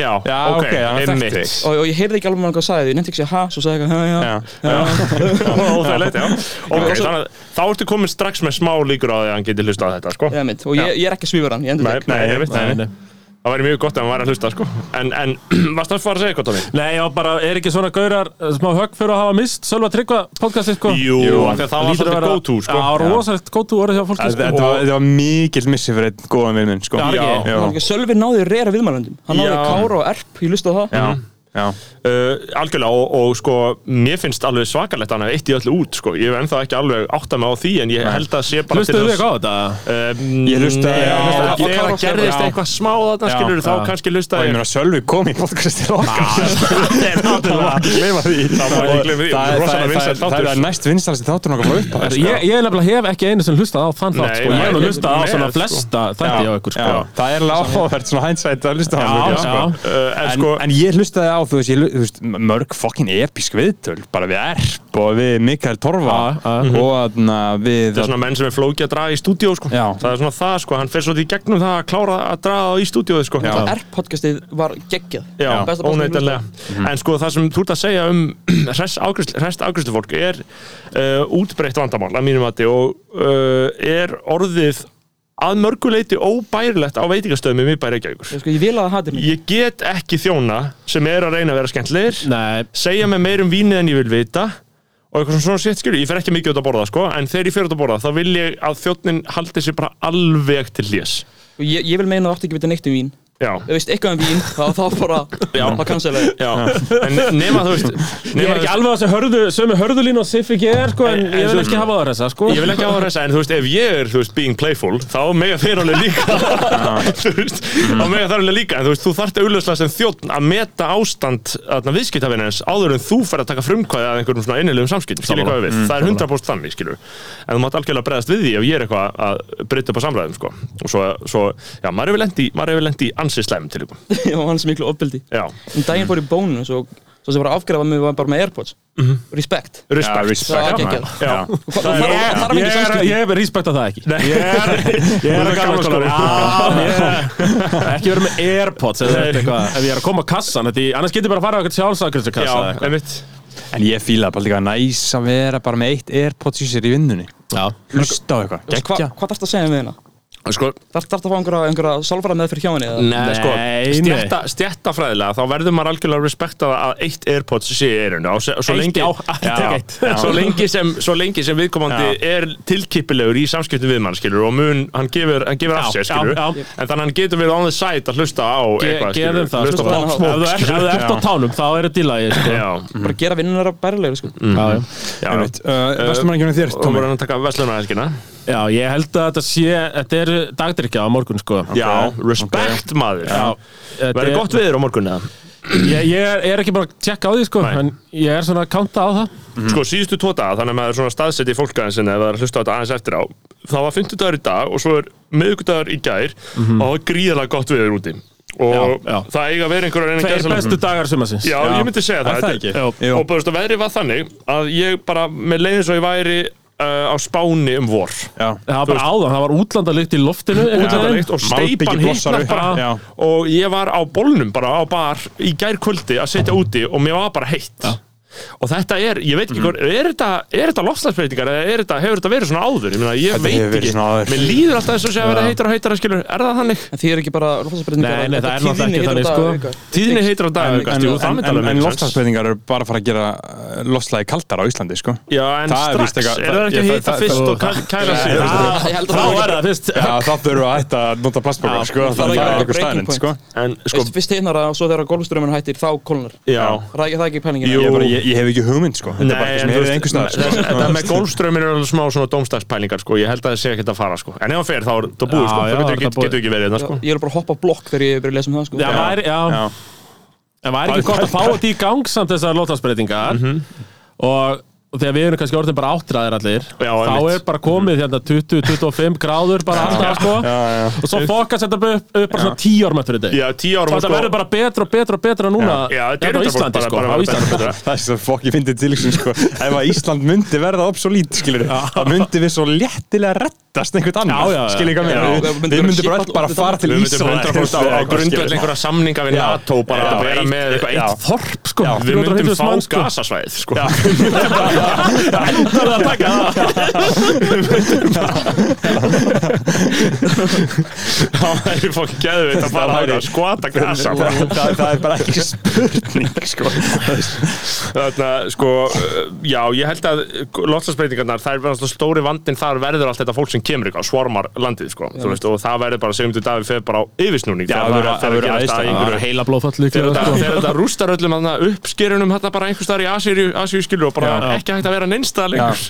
C: Já,
B: Já,
C: ok,
B: ok, hann er
C: einmitt.
B: þekktur.
E: og, og ég heyrði ekki alveg hvað hann sagði Ég nefndi ekki að segja ha Svo sagði eitthvað ha,
B: Já.
C: Óþægilegt, já Ok, þannig að þá ertu komin strax með smá líkur á því að hann geti hlustað á þetta, sko
E: já Já mitt Og ég, ég er ekki að svífara hann Ég endur
C: Nei,
E: tek
C: nei, ég veit,
D: Nei,
C: nei,
D: nei.
C: Það væri mjög gott ef hann væri að hlusta, sko En, en, varst það að fara að segja eitthvað, Tómi?
D: Nei, já, bara er ekki svona gaurar eh, smá högg fyrir að hafa mist Sölva Tryggva podcastið, sko
C: Jú, af því að það
D: Lítur
C: var
D: að
C: svolítið
D: vera-
C: go-to, sko.
D: Já, rosalegt go-to orðið hjá fólki, sko.
B: Þetta þetta var, þetta var mikill missi fyrir einn góðan vinn minn sko.
D: Já, ekki?
B: já,
E: Hann- Sölvi náði reyra viðmælendum Hann náði
C: Já.
E: Kára og Erp Ég lustaði á það
B: já, já.
C: Uh, algjörlega og, og sko mér finnst alveg svakalegt að hann hef eitt í öllu út sko. ég hef ennþá ekki alveg átta mig á því en ég held að sé bara
D: Hlustuðu
C: til
D: við
C: þess
D: eitthvað á þetta?
C: Um,
B: Ég hlustaði-
C: já,
B: ég hlustaði-
C: og þegar það
E: Já.
C: gerðist eitthvað smá þarna
B: Já.
C: skilur þá
D: Já.
C: kannski
B: Og
C: lustaði
B: ég meina Sölvi kom í podcastin okkar
C: það
B: Gleima því Það
C: má ekki gleyma því.
B: það er-
C: Rosalega
B: það er-
C: vinsæll
B: það er- það er
C: þáttur.
B: næst vinstalsti þáttur nokkar frá sko. upp
D: Ég, ég nefnilega hef ekki einu sem hlustað á þann
C: Sko. Nei,
D: þátt, sko Ég hef nú
C: nei,
D: hlustað á
C: nei,
D: svona
C: sko.
D: flesta þætti á ykkur, sko
B: Það er alveg áhugavert svona hæntsætt að hlusta á hann
D: Já,
B: líka, sko.
D: já.
C: en
B: En,
C: sko
B: en ég hlustaði á þú veist, ég, lu- þú veist mörg fokkin episk viðtöl, bara við Erp og við Mikael Torfa
D: Ah,
B: og þarna við
C: Það er svona menn sem er flókið að draga í stúdíó sko.
B: Já.
C: Það er svona það sko, hann fer svolítið í gegnum það að klára að draga það í stúdíóið sko.
B: Já.
E: R-podcastið var geggjað
C: Já,
E: Besta podcast sem ég
C: óneitanlega En sko það sem þú ert að segja um rest afgjörslu fólk er uh, útbreytt vandamál að mínum mati og uh, er orðið að mörguleiti óbærilegt á veitingastöðum í miðbæri Reykjavíkur
E: Ég, sko, ég vil að það hatið mig
C: Ég get ekki þjóna sem er að reyna að vera skemmtlegir
D: Nei,
C: segja mig meir um vínið en ég vil vita og eitthvað svona sétt skilur, ég fer ekki mikið út að borða sko, en þegar ég fer út að borða þá vil ég að þjónnin haldi sér bara alveg til hlés
E: Og ég, ég vil meina að það átti ekki að vita neitt um vín
C: Já,
E: Ef þú veist eitthvað um vín, þá, þá bara Það cancela ég
C: já, en nema þú veist nema,
D: ég er
C: þú veist-
D: ekki alveg á þessu hörðu, sömu hörðulínu og Siffi GR, sko, en
C: En- en
D: ég
C: svo-
D: vil ekki hafa það þessa, sko.
C: Ég vil ekki áhverja þessa, en þú veist, ef ég er, þú veist, being playful, þá mega þeir alveg líka, þú veist, þá mega þeir alveg líka, en þú veist, þú þarft auðvitað sem þjóttn að meta ástand þarna viðskiptafinnins áður en þú fer að taka frumkvæði að einhverjum svona innilegum samskiptum, skilur hvað ég við, það er 100% þannig, skilur, en þú mátt algjörlega bregðast við því ef ég er eitthvað að breyta upp á samræðum, sko, og svo, svo já, maður hefur lendi, maður hefur lendi ansið slæm til ykkur,
E: Og hans miklu ofbeldi
C: já,
E: En daginn fór í bónus og svo sem var að afgrafa mig var bara með Airpods Respect
B: Já,
C: respekt,
E: Það var
B: respect.
E: geggjað
C: já,
E: Og það-
C: er-
E: og það-
D: Ég
E: þarf engin
D: er,
E: samskipti.
D: ég er respekta það ekki.
C: Ég er, ég
D: er
C: er sko.
D: að gamla skólanum.
C: skólanum.
D: Ekki vera með Airpods eða
C: Ah, Nei.
D: eitthvað. Ef ég er að koma á kassan, þetta í- annars getur ég bara að fara á eitthvað sjálfsakristu
C: Já,
D: kassa eða eitthvað.
C: einmitt.
B: En ég fíla bara líka næs að vera bara með eitt Airpods í sér í vinnunni
F: Já.
B: Hlusta á eitthvað,
E: Hva-
B: geggja
E: Hvað þarfst að segja með hérna?
C: Sko,
E: Þarf þarf að fá einhverja, einhverja sálfara með fyrir hjá henni? eða?
C: Nei,
D: Nei,
C: sko,
D: nei.
C: stjætta, stjættafræðilega þá verður maður algjörlega að respekta það að eitt Airpods sé í eirinu og se- og svo
D: Eitt,
C: lengi,
D: já, eitt, eitt.
C: Svo, lengi sem, svo lengi sem viðkomandi er tilkipilegur í samskiptum við mann skilur og mun, hann gefur, hann gefur af
D: Já,
C: sér skilur
D: já, já.
C: en þannig hann getur verið on the side að hlusta á
D: Ge-
C: eitthvað
D: Gerum það,
C: hlusta
D: sko.
C: á
E: Hlusta á
C: pop
E: hana.
D: Ef þú
C: smoke
D: ert- ef þú ert á tánum, þá er þetta í lagi, sko.
C: Já,
E: Bara gera vinnun þeirra bærilegri sko
D: Já,
C: Mm.
D: já.
C: já, já.
B: Einmitt, uh, Vestum maður ekki með þér,
C: Og
B: Tómi
C: voru hann að taka veslunarhelgina
D: Já, ég held að þetta sé, þetta er dagdrykja á morgun, sko.
C: Já, respect maður
D: Já. Þetta
C: Verður
D: er-
C: gott viður á morgun eða?
D: Ég, ég er ekki bara að tjekka á því, sko,
C: Nei.
D: en ég er svona að kanta á það.
C: Sko síðustu tvo daga, þannig að maður svona staðseti fólk aðeins en ef það er að hlusta á þetta aðeins eftir á Það var 50 dagur í dag og svo er miðvikudagur í gær og það var gríðarlega gott viður úti og
D: Já, já.
C: það eiga að vera einhverjar einu
D: Tveir bestu dagar sumarsins.
C: Já, ég myndi segja
B: Er
C: það,
B: það
C: Þetta
B: ekki?
C: er-
B: Jú.
C: Og bara, þú veist, að veðrið var þannig að ég bara, með leiðin svo ég væri uh, á spáni um vor
B: Já,
D: Það var bara áðan, það var útlandalykt í loftinu. einhvern veginn.
C: Útlandalykt og steipan
B: Malbiki blossar upp.
C: hýtnar bara
B: Já.
C: og ég var á bólnum bara á bar í gær kvöldi að setja úti og mér var bara heitt og þetta er, ég veit
B: Mhm.
C: ekki mm. er þetta, er þetta loftslagsbreytingar eða er þetta, hefur þetta verið svona áður ég, meina, ég
B: Þetta hefur
C: veit
B: verið
C: ekki,
B: svona áður.
C: mér líður alltaf þess að sé að vera heitar og heitar að skilur, er það þannig?
E: En því er ekki bara loftslagsbreytingar
D: Nei, nei, það
E: þetta
D: er náttúrulega
E: tíðni
D: ekki þannig, sko.
E: heitar dagar auka.
C: Tíðinni heitar á dag,
B: En,
C: jú, það
B: en,
C: myndi
B: en, en
C: alveg make sense.
B: lofslagsbreytingar eru bara að fara að gera eh, loftslagið kaldara á Íslandi, sko
C: Já, en
B: Það er víst
C: strax, er,
B: eitthvað-
C: það ekki
B: ég- það-
C: að hita
B: það-
C: fyrst
B: það-
C: og kæ-
B: Nei,
C: kæla sig?
B: ég veist
C: Ah,
E: Ég held að
D: Þá
E: það
D: er
E: er
D: það fyrst.
B: Já, það þurfum að hætta að nota plastbókar, sko Það
E: það
B: er
E: er ekki
B: eitthvað
E: breaking
B: staðnind,
E: point.
B: sko
C: En sko,
E: Veist, Fyrst einara og svo þegar golfströmmin hættir þá kólnar
C: já
E: Það er ekki, það er ekki pælingin
C: Jú.
B: Ég, bara, ég, ég hef ekki hugmynd, sko Þetta er bara eitthvað sem
C: en
B: ég hefði
C: þú veist,
B: einhvers staðar,
C: þess-
B: sko
C: Þetta með golfströmmin er alveg smá svona dómstagspælingar sko, ég held að það sé ekkert að fara sko En ef hann fer þá er þetta búið
D: Já, já,
C: sko, það
D: þetta
C: getur ekki-
D: búið.
C: getur ekki verið hérna sko
E: Ég er bara að hoppa á blokk þegar ég byrja að lesa um það sko
D: Já, væri, já.
B: Já.
D: En væri ekki gott að fá þetta í gang samt þessar lótlandsbreytingar
C: Mhm.
D: og, og þegar við erum kannski orðin bara áttræðir allir
C: Já,
D: þá
C: einmitt.
D: er bara komið hérna 20-25 gráður bara alltaf sko
B: já.
D: og svo fokast þetta bara upp, upp bara svona 10 árum eftir þetta
C: Já, tíu árum sko.
D: Þetta verður bara betra og betra og betra núna
C: Já, þetta er
D: Hérna á
C: þetta
D: Íslandi
C: bara-
D: sko á
C: bara- bara-
D: Íslandi
C: bara-
B: Það er svo fokk ég fyndið til ykkur sko Ef að Ísland myndi verða obsolít skilur þá myndi við svo léttilega rettast einhvern
D: Já, já,
B: annar
D: já.
B: skilur hvað mér
C: Já.
E: Við
B: Við
E: myndum
B: við myndum bara
E: bara
B: öll
E: skipta
B: bara
E: út
B: fara til
C: Við myndum
B: Ísland
C: 100% á, á grundvöld einhverja samninga við
B: Já.
C: NATO bara
B: Já.
C: að vera með eitthvað
B: Já.
C: eitt
D: Þorp sko
B: Já,
C: Við myndum
D: 350.000
C: fá
D: manns, sko.
C: gasasvæðið sko Við
D: Það er að taka það
C: Það væri fokk geðveit að fara að skvata gasa bara.
B: það, það er bara ekki spurning sko
C: Þarna, sko, uh, já, ég held að loftslagsbreytingarnar, það er verið svona stóri vandinn þar verður allt þetta fólk sem kemur ykkur svormar landið, sko, þú veist, og það verður bara segjum til Davíð fer bara á yfirsnúning
B: það verður- það verður æðislegt.
C: að
D: Það er
C: einhverju
D: heila blóðfall
C: Þegar
D: líklega
C: þetta-
D: sko
C: þegar þetta rústar öllum þarna uppskerunum þetta bara einhvers staðar í Asíu, Asíu skilur og bara
D: Já.
C: ekki hægt að vera neinsta lengur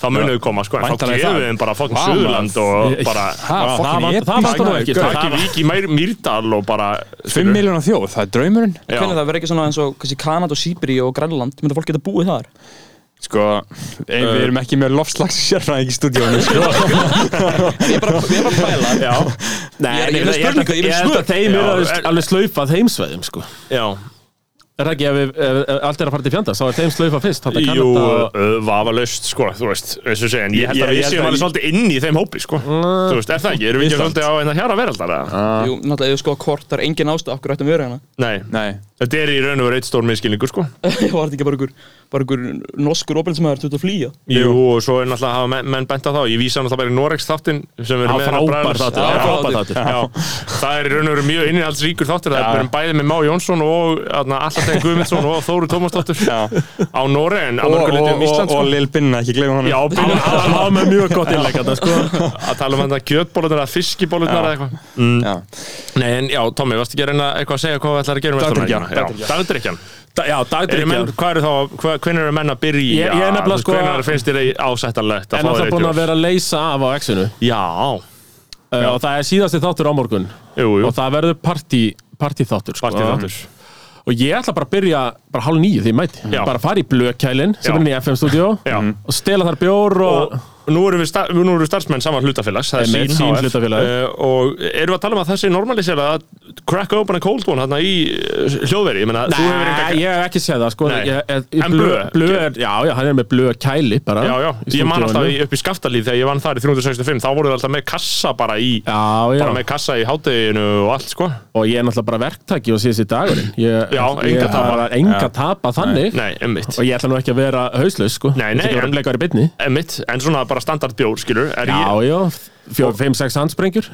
C: þá munum við koma sko, en þá
B: Væntanlega
C: gefum
B: það.
C: við þeim bara fokkin
B: Vá,
C: Suðurland og
D: maður.
C: bara
B: Ha,
D: Já,
B: fucking
D: það var-
B: epic,
D: það var stór
B: sko.
D: ekki, það-
C: Takki Vík í Mær- Mýrdal og bara
B: 5 miljónar þjóð, það er draumurinn
C: Já.
E: Hvernig það verður ekki svona eins og kannski Kanad og Sýbri og Grænland Myndi fólk geta búið þar
B: sko, ein, við erum ekki með lofslags sérfræðing í stúdíónu sko.
E: Ég er bara, ég er bara að pæla
C: Já,
D: Nei,
E: Ég er-
D: en
E: ég er með
D: held að-
E: spurningu, ég er með
D: held að
E: svör.
D: þeim
C: Já,
D: eru
C: en-
D: alveg slaufað heimsveðum sko
C: já
D: Er það ekki ef, við- ef, ef allt er að fara til fjandast, þá er þeim slaufa fyrst Þetta
C: Jú,
D: Kanada og-
C: uh, vafalaust, sko, þú veist, eins og segja, en ég held
B: Ég- ég
C: að við
B: held að
C: séum alveg
B: ég-
C: svolítið inn í þeim hópi, sko. Þú veist, er það ekki? Erum við ekki svolítið á einna hjara veraldar, eða?
E: Jú, náttúrulega ef við sko hvort það er engin ástæð okkur ættum við að vera hérna
C: Nei,
B: Nei,
C: þetta er í raun og veru eitt stór miskilningur, sko.
E: Var þetta ekki bara ykkur, bara ykkur norskur opilsmaður til að flýja?
C: Jú, og svo er náttúrulega að hafa menn, menn bent á þá. Ég vísa náttúrulega bara í Norex þáttinn sem við
D: Það
C: erum með
D: er
C: hérna
D: frábær
C: bræðurnar.
D: þáttur,
C: Já,
D: það er
C: já.
D: frábær þáttur.
C: Já, það er í raun og veru mjög innihaldsríkur þáttir það er við erum bæði með Má Jónsson og Allategn Guðmundsson og Þóru Tómasdóttur á Nóri en að
B: og,
C: mörgur
B: og,
C: liti um Ísland
B: og, og
C: sko.
B: Lil Binna, ekki glemum hann
C: Já,
D: Hann
C: byrja
D: hann var með mjög gott innlegg þarna, sko.
C: að tala um þetta kjötbólurnar eða fiskibólurnar eða eitthvað mm. Nei, en já, Tommi, varstu ekki að reyna eitthvað að segja hvað við ætlar að gera um
B: Dagdrykkjan,
C: Dagdrykkjan Dagdrykkjan
D: Da- Já,
C: Eru menn-
D: dagdryggjan
C: Hvað eru þá, hvernig eru menn að
D: Ég-
C: byrja
D: ég er nefnilega, sko,
C: Hvernig finnst þér ásættanlegt
D: En
C: að fá
D: alltaf
C: þér
D: búin að
C: eitt
D: vera að leysa af á X-inu
C: ljós? Já,
D: uh, Og það er síðasti þáttur á morgun
C: jú, jú
D: Og það verður partí, partíþáttur sko.
C: Partíþáttur.
D: Og ég ætla bara að byrja bara hálf nýju því ég mæti
C: Já.
D: Bara fara í blökælin sem
C: Já.
D: er inn í FM-stúdíó
C: Já.
D: Mhm. Og stela þar bjór og,
C: og nú erum við, star nú erum við starfsmenn saman hlutafélags það er
D: Einmitt,
C: sín,
D: Sýn
C: HF.
D: hlutafélag.
C: Eh, og erum við að tala um að þessi normalisera að crack open a cold one hérna í eh, hljóðveri ég meina, þú hefur enga
D: Nei, ég hef ekki séð það sko
C: Nei.
D: ég, ég, ég,
C: En blöð?
D: blöð er, Já, já, hann er með blökæli bara
C: Já, já,
D: í
C: ég man
D: stúdíóinu.
C: alltaf í- upp í skaftalíð þegar ég vann þar í 365 þá voru það alltaf með kassa bara í
D: Já, já,
C: bara með kassa í hátteginu og allt sko
D: og ég er náttúrulega bara verktaki og síðast í dagurinn ég,
C: Já,
D: ég
C: enga
D: er
C: tapa.
D: bara enga tapa þannig
C: Nei, emmitt
D: og ég ætla nú ekki að vera hauslaus sko
C: Nei,
D: Ég ætla ekki að
C: nei,
D: vera
C: en-
D: umleikar í bytni
C: Emmitt, en svona bara standard bjór, skilur er
D: Já,
C: ég,
D: já, fjó, fimm, sex handsprengjur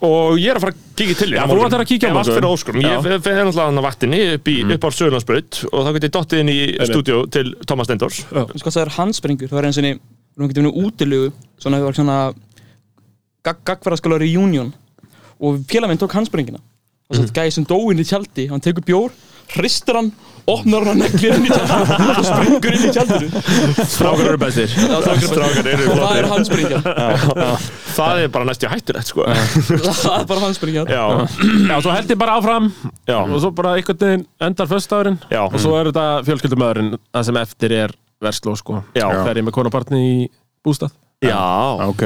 C: og ég er að fara að kíkja til
D: Já,
C: þér á
D: þú
C: morgun.
D: ætlar að kíkja á
C: Ef allt
D: morgun.
C: fyrir óskum, ég
D: Já. Mm.
C: fe- fer náttúrulega hann að vatni upp, í, upp á Söðurlandsbraut og þá get ég dottið inn í stúdíó til Thomas Stendors
E: Þú veist hvað sko, það er handsprengur, það var eins og við erum ekkert vinnu útilugu, svona það var svona gag gagverðaskala reunion og félagminn tók handsprengina og
D: Mhm.
E: svo gæði sem dóinn í tjaldi, hann tekur bjór hristur hann, opnar hann að neglir inn í tjaldinu og springur inn í tjaldinu
D: Strákur eru bestir
E: Já, það var-
C: Strákar eru
E: og það
C: flottir.
E: er handsprengja
C: það er bara næstu hættulegt sko
E: það er bara handsprengja
C: já,
D: Já, svo held ég bara áfram
C: já,
D: og svo bara einhvern veginn endar föstudagurinn
C: Já.
D: og svo er þetta fjölskyldumöðurinn það sem eftir er versló sko
C: Já.
D: fer ég með konabarni í bústað
C: já,
B: Ok.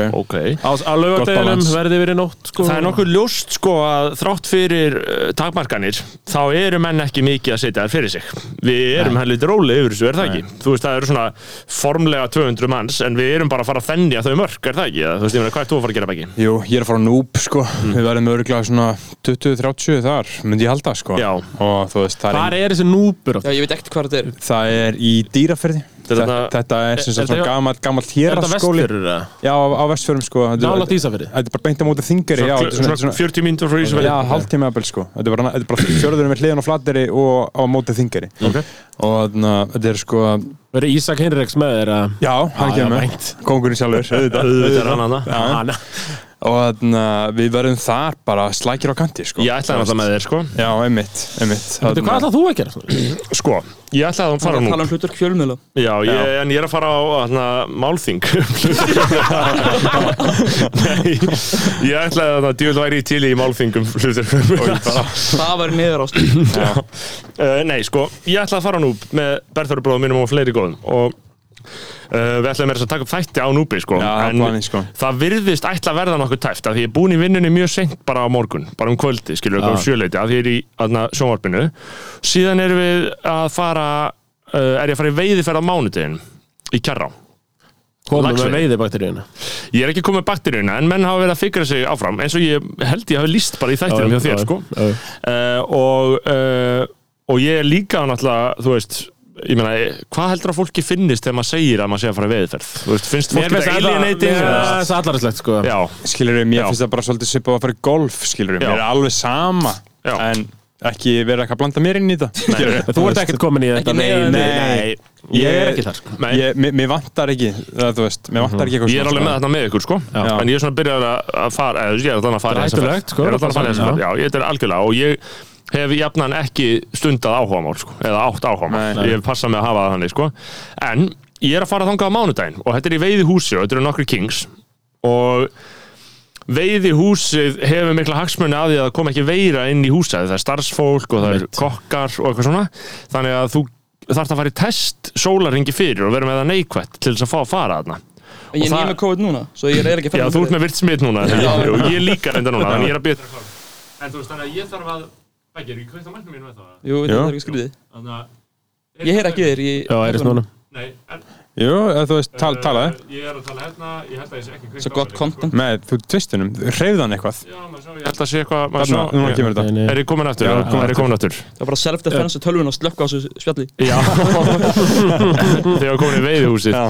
D: á, á lögadeginum
B: balance.
D: verði verið nótt sko
C: það er nokkuð ljóst sko að þrátt fyrir uh, takmarkanir þá eru menn ekki mikið að setja þær fyrir sig við erum helviti róli yfir þessu, er það ekki? þú veist, það eru svona formlega 200 manns en við erum bara að fara að þennja þau mörg, er það ekki? Eða, þú veist, ég meina, hvað ert þú að fara að gera bæki?
B: Jú, ég er að fara á Noob sko
D: Mm.
B: Við verðum örgulega svona 20-30 þar myndi ég halda sko
C: Já.
B: og þú veist, það
D: Hvar
B: er,
D: er þessi núpur?
E: já, ég veit ekkert hvað þetta er
B: það er í dýraferði
C: Þetta er
B: þetta,
C: þarna-
B: þetta er sem
D: Er
B: sagt
D: þetta
B: svona
D: hjá-
B: gamall, gamall
D: Er þetta
B: héraskóli
D: vestfjörur? eða?
B: Já, á, á vestfjörum sko Þetta er-
D: Nálægt Ísafirði?
B: Þetta er bara beint á móti þingari Já, þetta er svona-
C: svona
B: svona
C: 40 mínútur frá Ísafjörði
B: Já, hálftíma eppel sko Þetta er bara, þetta er bara fjörðurinn með hliðan og flatteri og á móti þingari
D: Ok.
B: og þarna, þetta er sko
D: Verður Ísak Henriks með þér að
B: Já, hann
D: já,
B: kemur
D: vænt.
B: Kongurinn sjálfur, auðvitað
C: Auðvitað er hann þarna.
D: hana?
B: og þarna, við verðum þar bara slækir á kanti sko.
C: Ég ætlaði alltaf með þér, sko.
B: Já, einmitt, einmitt
D: Hvað
B: Þarna-
D: ætlað þú að gera?
C: Sko, ég ætlaði að
E: það
C: fara
E: er að
C: nú.
E: tala um hlutur fjölmiðla
C: Já, ég, en ég er að fara á hana, málþing Nei, ég ætlaði að það djúl væri ég til í málþingum hlutur
E: það var neður ást
C: uh, Nei, sko, ég ætlaði að fara á núb með Berþóru bróðum mínum og fleiri góðum og uh, við ætlaðum að taka upp þætti á núbi sko.
B: Já, það er
C: en
B: planið, sko.
C: það virðist ætla að verða nokkuð tæft af því ég er búin í vinnunni mjög seint bara á morgun bara um kvöldi, skilur við, um sjöleiti af því ég er í aðna, sjónvarpinu síðan erum við að fara uh, er ég að fara í veiðiferð á mánudegin í kjarrá
D: Komum
C: Laxveiði.
D: með veiðibakteríuna
C: Ég er ekki komið bakteríuna en menn hafa verið að fikra sig áfram eins og ég held ég hafi líst bara í þættinum hjá þér sko uh, og, uh, og ég er líka náttúrulega, þú veist ég meina, hvað heldur að fólki finnist þegar maður segir að maður sé að fara í veiðferð þú veist, finnst
D: Mér
C: fólki
D: finnst
C: þetta
D: alla- mér
C: alienating
D: finnst
C: eða-
D: það allarislegt sko
C: Já,
B: skilur við, mér
C: Já.
B: finnst það bara svolítið svipað að fara í golf, skilur við,
C: Já.
B: mér er alveg sama
C: Já.
B: en ekki vera eitthvað að blanda mér inn í þetta skilurðu.
D: En Þú ert ekkert komin í þetta
E: Nei,
B: nei,
D: Nei, nei.
B: Ég-
D: Ég er ekki þar sko
C: nei, Mhm.
B: Ég- mér- mér vantar ekki, það, þú veist mér vantar ekki eitthvað
C: ég er
B: svona,
C: alveg
B: sko.
C: með þarna með ykkur sko
B: Já.
C: en ég er svona byrjar að að fara eða, þú veist, ég er allan að fara í þessa
D: Hættulegt,
C: ferð.
D: sko.
C: ég er allan að fara í þessa
D: Já.
C: ferð, já, ég þetta er algjörlega og ég hef jafnan ekki stundað áhugamál sko, eða átt
B: Nei,
C: áhugamál,
B: nei.
C: ég hef passað með að hafa það þannig sko. en ég er að fara þangað á mánudaginn og þetta er í veiðihúsi og þetta eru nokkri kings og veiðihúsið hefur mikla hagsmunni að því að það kom ekki veira inn í húsæði það er starfsfólk og það er kokkar og eitthvað svona þannig að þú þarft að fara í test sólarringi fyrir og vera með það neikvætt til þess að fá að fara þarna
E: ég er
C: það-
E: nýjum með COVID núna svo ég er ekki að
C: Já,
E: fara
C: þú ert með virt smitt núna,
E: Já.
C: ég, ég líka reynda núna, en ég er að byrja En þú veist, þannig að ég þarf að
D: Ekki, er ekki kveikt á mæknum mínu með það?
E: Jú,
B: Jú.
E: þetta er ekki skrýðið
D: Þannig að...
E: Ég heyr ekki þér ég...
D: Já, er það núna?
G: Nei, en,
B: Jú, eða þú veist, tal,
G: eh,
B: talaði.
G: Ég er að tala hérna, ég held að ég sé ekki kveikt
E: Svo
G: á
E: gott
G: henni,
E: content
B: Nei, þú tvistunum, reyðan eitthvað.
G: sko. Já, maður sá, ég
C: Ég held að sé eitthvað maður
B: Þarna,
C: sá-
B: núna
C: Já.
B: kemur þetta.
C: Er ég komin aftur?
B: Já, komin
C: er ég komin aftur?
E: Það var bara self-defense og tölvun að slökka á þessu spjalli
C: Já Þegar ég komin í veiðihúsið
B: Já.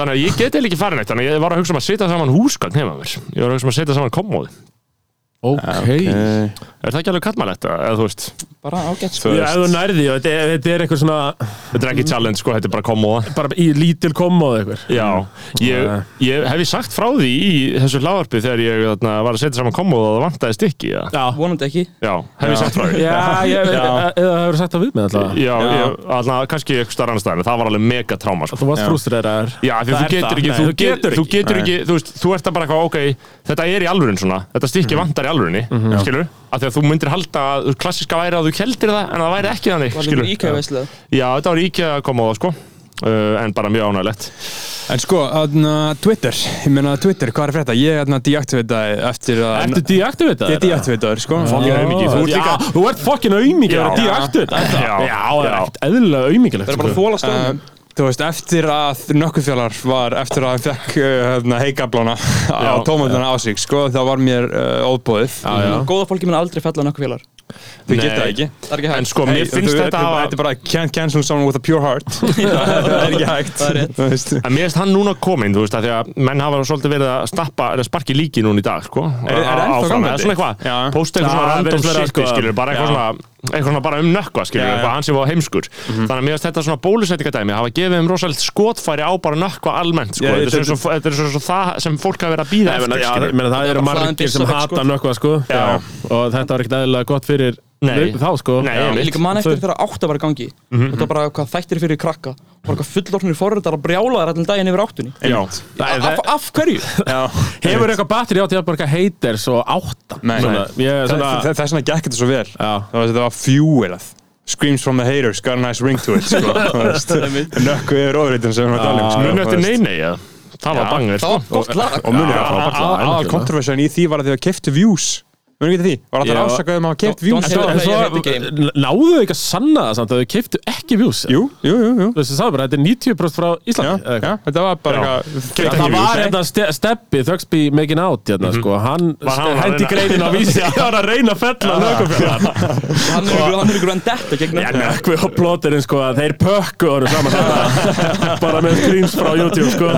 C: Þannig að ég geti ekki farin eitt Þannig að ég var að hugsa um að setja saman húsgagn heima mér Ég var að hugsa um að setja saman kommóð
D: Ok.
B: Eh.
C: Er það ekki alveg kallmælegt? Eða þú veist
E: Bara ágætt sko
B: Þú
D: Já, ef þú nærði, já, þetta er- þetta er einhver svona,
C: Þetta er ekki challenge sko, þetta er bara kommóða
D: bara í lítil kommóð eitthvað.
C: Já, ég, ég hef ég sagt frá því í þessu hláðarpi þegar ég þarna, var að setja saman kommóð og það vantaði stykki Já,
D: Já.
E: Vonandi ekki
C: já hef ég sagt frá því
D: Já, ég, eða eða það hefur sagt það við með alltaf.
C: Já, ég, allan, kannski eitthvað starra annar staðar en það var alveg mega tráma sko.
D: Þú varst frústræðar.
C: Já, því
D: Það er
C: þú
D: það.
C: getur ekki,
D: Nei,
C: þú
D: þú getur
C: getur, þú
D: ekki.
C: getur ekki, þú veist, þú ert að bara eitthvað, ok, þetta er í alvörun svona, þetta
D: Mhm.
C: stykki vantar í alvörunni, mm -hmm. skilur, af því að þú myndir halda að þú- klassiska væri að þú keldir það, en það væri ekki þannig,
E: Var
C: skilur.
E: líka íkæðu veislega
C: Já, þetta var íkja að koma á það, sko, uh, en bara mjög ánægilegt.
B: En sko, aðna, Twitter, ég meina Twitter, hvað er að frétta? Ég aðna deaktivitaði eftir að...
D: Ertu deaktivitaður?
B: Ég deaktivitaður, sko.
C: Fucking aumingi, þú ert líka-
D: Þú ert fokkin aumingi að
C: Já.
D: vera deaktivitaður.
C: Já.
D: Já, það er ekkert eðlilega sko. aumingilegt.
E: Það er bara að þóla
B: Um,
E: stöðum
B: Þú veist, eftir að nökkufjallar var, eftir að hann fekk uh, hérna, heikablána á tómatuna á sig, sko, þá var mér uh, óbóðið.
E: Góða fólki mun aldrei fella nokkuð félagar
B: Þau
C: Nei.
B: geta það ekki.
E: Það er ekki
C: En
E: hægt
C: sko, mér
B: Þú-
C: finnst
B: þú-
C: þetta
B: er bara-
C: að,
B: Þetta er bara can't cancel someone with a pure heart. það er ekki hægt.
E: Það er rétt.
B: Þú veist.
C: en mér finnst hann núna kominn, þú veist, af því að menn hafa svolítið verið að stappa, er að sparki líki núna í dag, sko.
B: Er- er ennþá
C: Áfram, eða
B: gangandi?
C: Svona eitthvað,
B: Já.
C: posta
D: Já,
C: eitthvað svona
D: hann
C: random
D: verið
C: shit,
D: eitthvað-
C: skilur, bara eitthvað
B: Já.
C: svona, eitthvað svona bara um nökkva, skilur,
B: Já, já.
C: eitthvað hann sem var heimskur. Þannig að mér finnst þetta svona bólusettingadæmi, hafa gefið þeim rosalegt skotfæri á bara nökkva almennt, sko.
B: Já,
C: Þetta er
B: þetta-
C: svo, þetta er svo, svo það sem fólk hafa verið að býða
D: Ég meina,
C: eftir,
D: já, ég
C: skilur.
D: meina, það eru
E: bara hlaðin
D: margir
E: byssa
D: sem
E: fólk,
D: hata
E: sko.
D: nökkva sko.
C: Já.
D: og þetta var ekkert eðlilega gott fyrir
C: Nei.
D: þá sko
C: Nei,
D: Já.
E: Ég líka man eftir þegar átta var í gangi og það var bara hvað þættir fyrir krakka og bara hvað fullornir forritar að brjála þær allan daginn yfir áttunni
C: Já,
D: Það er-
E: Af, af hverju?
D: Hefur eitthvað batteri á til að borga haters og átta
B: Nei.
D: Svona,
B: Nei.
D: ég er
B: Þa-
D: svona-
B: þa- Þess vegna gekk þetta svo vel.
D: Já.
B: Það var þetta var fjúilað. Screams from the haters, got a nice ring to it, sko. Þú veist. Nökku yfir ofriðin sem við erum að tala um. sko.
C: munu
B: Þú
C: eftir
B: veist.
C: nei-nei, eða? Það var bangir,
E: Það
C: sko.
E: var gott lag
B: og munir að
D: Já, já, já,
B: aðal
D: já.
B: kontroversan í því var að þau keftu views munir ekki því, var alltaf
D: Já.
B: ásakað um að hafa keft
E: Don't-
B: views
E: don't
B: Svo-
E: hate-
D: En svo
E: Ég veit ekki.
D: n- náðu þau ekki að sanna það samt að þau keiftu ekki views
B: jú, jú, jú, jú.
D: Þú veist, það er bara, þetta er 90% frá
B: Já,
D: Íslandi eða
B: já,
D: eitthvað.
B: þetta var bara eitthvað
C: Já.
D: Það
C: Ekki
D: var
C: views,
D: þetta ste steppi, Thugsby making out hérna, sko. Hann
C: Var hann að
D: hendi
C: reyna-
D: greinin á vísi Hann var að reyna að fella nökkufjörðar
E: Hann er ykkur- hann er ykkur vendetta gegn
D: Já,
E: öllum.
D: nökkvi og plóterinn, sko, að þeir pökku honum saman þetta. Bara með screens frá YouTube, sko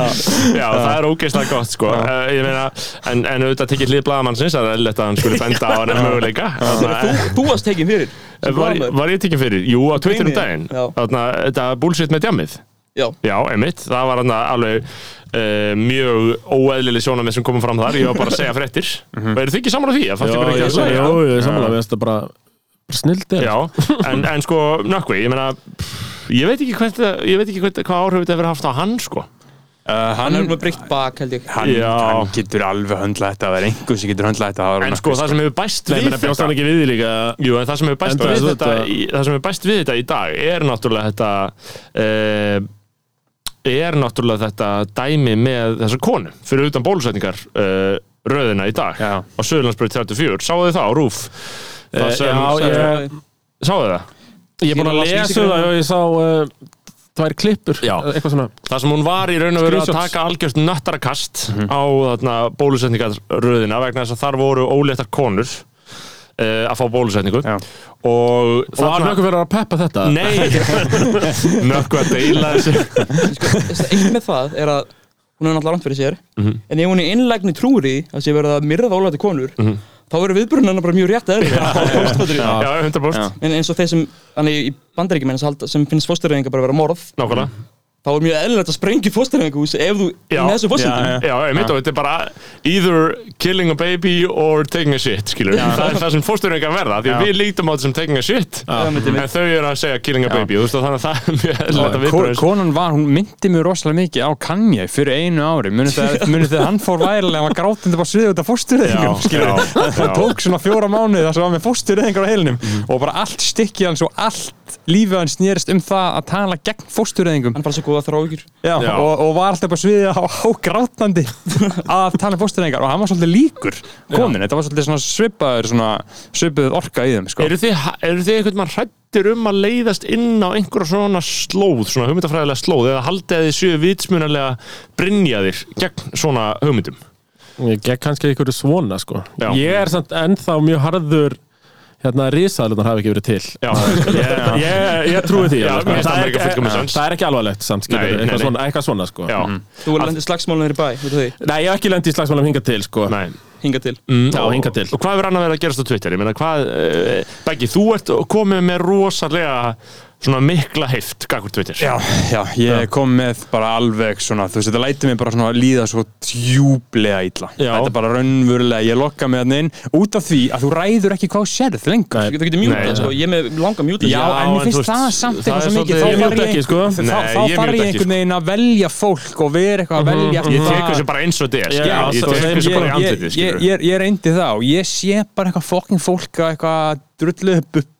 C: Já, það er ógeðslega gott sko uh, Ég meina, en, en auðvitað tekið hlið blaðamannsins Það er eðlilegt að hann skulle benda á hann en möguleika
E: Þegar
C: Þarna, eh,
E: Þú, þú varst tekinn fyrir sem
C: Var,
E: blaðamaður.
C: var ég tekinn fyrir? Jú, á Twitter um
E: greinir.
C: daginn
E: Já.
C: Þarna, Þetta bullshit með djammið
E: Já,
C: Já, einmitt, það var hann alveg uh, mjög óeðlileg sjónamið sem komum fram þar Ég var bara að segja fréttir Og eru þið ekki saman á því? Ég
D: Já,
C: fannst ég bara ekki
D: ég
C: að
D: sagði,
C: segja
D: já, ég samanlega, við þetta bara bara snillt er.
C: Já, en, en sko, nökkvi, ég meina pff, Ég veit ekki, hvert, ég veit ekki hvert, hvað áhrif þetta hefur haft á hann sko
E: hann er með breytt bak held ég
B: hann,
C: Já.
B: hann getur alveg höndla þetta það er einhver sem getur höndla þetta það var
C: En
B: hann
C: sko, það sem hefur bæst
D: Nei,
C: við
D: menn að bjóst hann ekki við því líka
C: Jú, en það sem er bæst,
D: Enda
C: við
D: þessu
C: þetta,
D: þetta-
C: í, það sem er bæst við þetta í dag er náttúrulega þetta uh, er náttúrulega þetta dæmi með þessa konu fyrir utan bólusetningar uh, röðina í dag
B: Já.
C: á Söðurlandsbyrð 34, sáðu þið það á Rúf
D: Eh,
C: það sem,
D: já, ég-
C: sáðu það
D: Ég er búin að
E: Skýra
D: lesa það og ég sá uh, tvær klippur,
C: Já.
D: eitthvað svona
C: það sem hún var í raun og veru að
D: Screenshots. Mhm.
C: taka algjörst nöttarakast á þarna, bólusetningarröðina vegna þess að þar voru óléttar konur uh, að fá bólusetningu
B: Já.
C: og,
D: Og hann okkur verið að peppa
C: Mm.
D: þetta
C: Nei, nökku að deila þessu
E: Sko, Eitt með það er að hún er náttúrulega rangt fyrir sér en ef hún er innlegni trúri að sé verið að myrða ólæti konur þá verður viðbrunna hennar bara mjög rétt eðri
C: Já, 100%
E: en eins og þeir sem þannig í bandaríkjumenn sem finnst fóstureyðinga bara vera morð
C: Nákvæmlega
E: þá er mjög eðlilegt að sprengja fóstureyðingahús ef þú
C: Já.
E: með þessu fóstureyðingum
B: Já,
C: Já, einmitt og þetta er bara either killing a baby or taking a shit, skilur Það er það sem fórstöðningar verða, því að
B: Já.
C: við lítum á þetta sem taking a shit En þau eru að segja killing a baby, þú veist, og þannig að það er mjög eðlilegt að
B: Ko-
C: viðbröðis
B: konan var, hún myndi mjög rosalega mikið á Kanye fyrir einu ári munið þegar munið þegar hann fór værilega hann var grátandi bara sviðið út af fóstureyðingum
C: Já,
B: skilurðu.
C: já, Mhm. já.
B: það tók svona fjóra mánuði þar sem hann var með fóstureyðingar á heilinum og bara allt stikkið hans og allt allt lífið hans snýrist um það að tala gegn fóstureyðingum
E: Hann er bara svo góða þrávíkjur
B: Já,
C: Já.
B: Og, og var alltaf bara sviðið á hágrátandi að tala um fóstureyðingar og hann var svolítið líkur konin, þetta var svolítið svona svipaður svona svipuð orka í þeim sko.
C: Eru þið, eru þið einhvern mann hrættir um að leiðast inn á einhverja svona slóð, svona hugmyndafræðilega slóð eða haldið að þið séu vitsmunalega brinjaðir gegn svona hugmyndum?
D: Ég gekk kannski einhverju svona sko
C: Já.
D: Ég er samt ennþá mjög harður hérna risaðlunar hafi ekki verið til
C: Já, ég,
D: Ég, ég trúi því
C: Já,
D: alveg, sko.
C: mér finnst það
D: það,
C: make a fullkominn
D: er,
C: sense.
D: það er ekki alvarlegt samt skilur,
C: Nei,
D: nei,
C: nei,
D: eitthvað,
C: nei.
D: svona, eitthvað svona sko
C: já,
E: Þú er lendið slagsmálunir í bæ, veitu því
D: Nei, ég hef ekki lendið í slagsmálum hingað til sko
C: nei.
E: Hinga til
D: Já, hingað til.
C: Og hvað er annað verið að gerast á Twitter? Ég meina, hvað, uh, Beggi, þú ert komið með rosalega svona mikla heift gagvart Twitter.
B: Já, já, ég kom með bara alveg svona, þú veist, þetta læti mig bara svona líða svo djúblega illa
D: Já.
B: Þetta er bara raunverulega, ég lokka mig hann inn út af því að þú ræður ekki hvað þú sérð lengur
E: Þú getur mjútað,
C: Nei.
E: sko, ég er með langa mjútað
B: Já, en
C: en
B: mér finnst
C: þú veist,
B: það samt
C: það
B: eitthvað
C: er
B: svo mikið
C: svolítið-
B: þá
C: Ég
B: þarf
D: mjúta ekki, sko.
B: þá-
C: Nei,
B: Þá
C: ég
B: þarf
C: mjúta
B: ég
C: ekki,
B: einhvern veginn að velja fólk og vera eitthvað að velja
C: Ég tek
B: það-
C: þessu bara eins og þetta er,
D: Já,
C: skilur.
D: svo
C: Ég tek
D: sem
C: þessu
B: ég,
C: bara í
B: ég,
C: andlitið,
B: ég,
C: skilur.
B: ég, ég reyndi það og ég sé bara eitthvað fokkin fólk að eitthvað drulluð buppa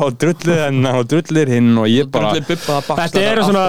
B: og drulluð hennar og drulluð hinn og ég bara
E: Drullu bubba að baksta
D: Þetta eru svona,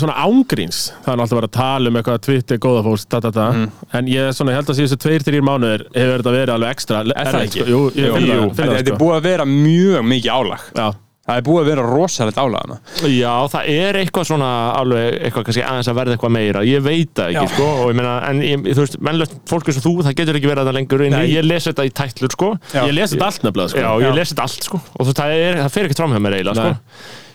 D: svona ángríns Það er nú alltaf verið að tala um eitthvað Twitter, góða fólks, da, da, da.
C: Mm.
D: En ég er svona, ég held að síðustu tveir, þrýr mánuðir hefur þetta verið alveg ekstra Er
B: ekki?
D: Jú, ég
B: Jú,
D: finn það, finn
B: þetta
D: það
B: þetta er
D: sko.
B: búið að vera mjög mikið álag
D: Já,
B: Það er búið að vera rosalegt álæðana
C: Já, það er eitthvað svona alveg eitthvað kannski aðeins að verða eitthvað meira ég veit það ekki,
B: Já.
C: sko, og ég meina en ég, þú veist, mennlögt fólk eins og þú, það getur ekki verið þetta lengur en
B: Nei.
C: ég les þetta í tætlur, sko Já,
D: ég lesi þetta allt nefnilega sko.
C: ég les þetta allt, sko og þú veist, það, er, það fer ekkert fram hjá mér eiginlega,
D: Nei.
C: sko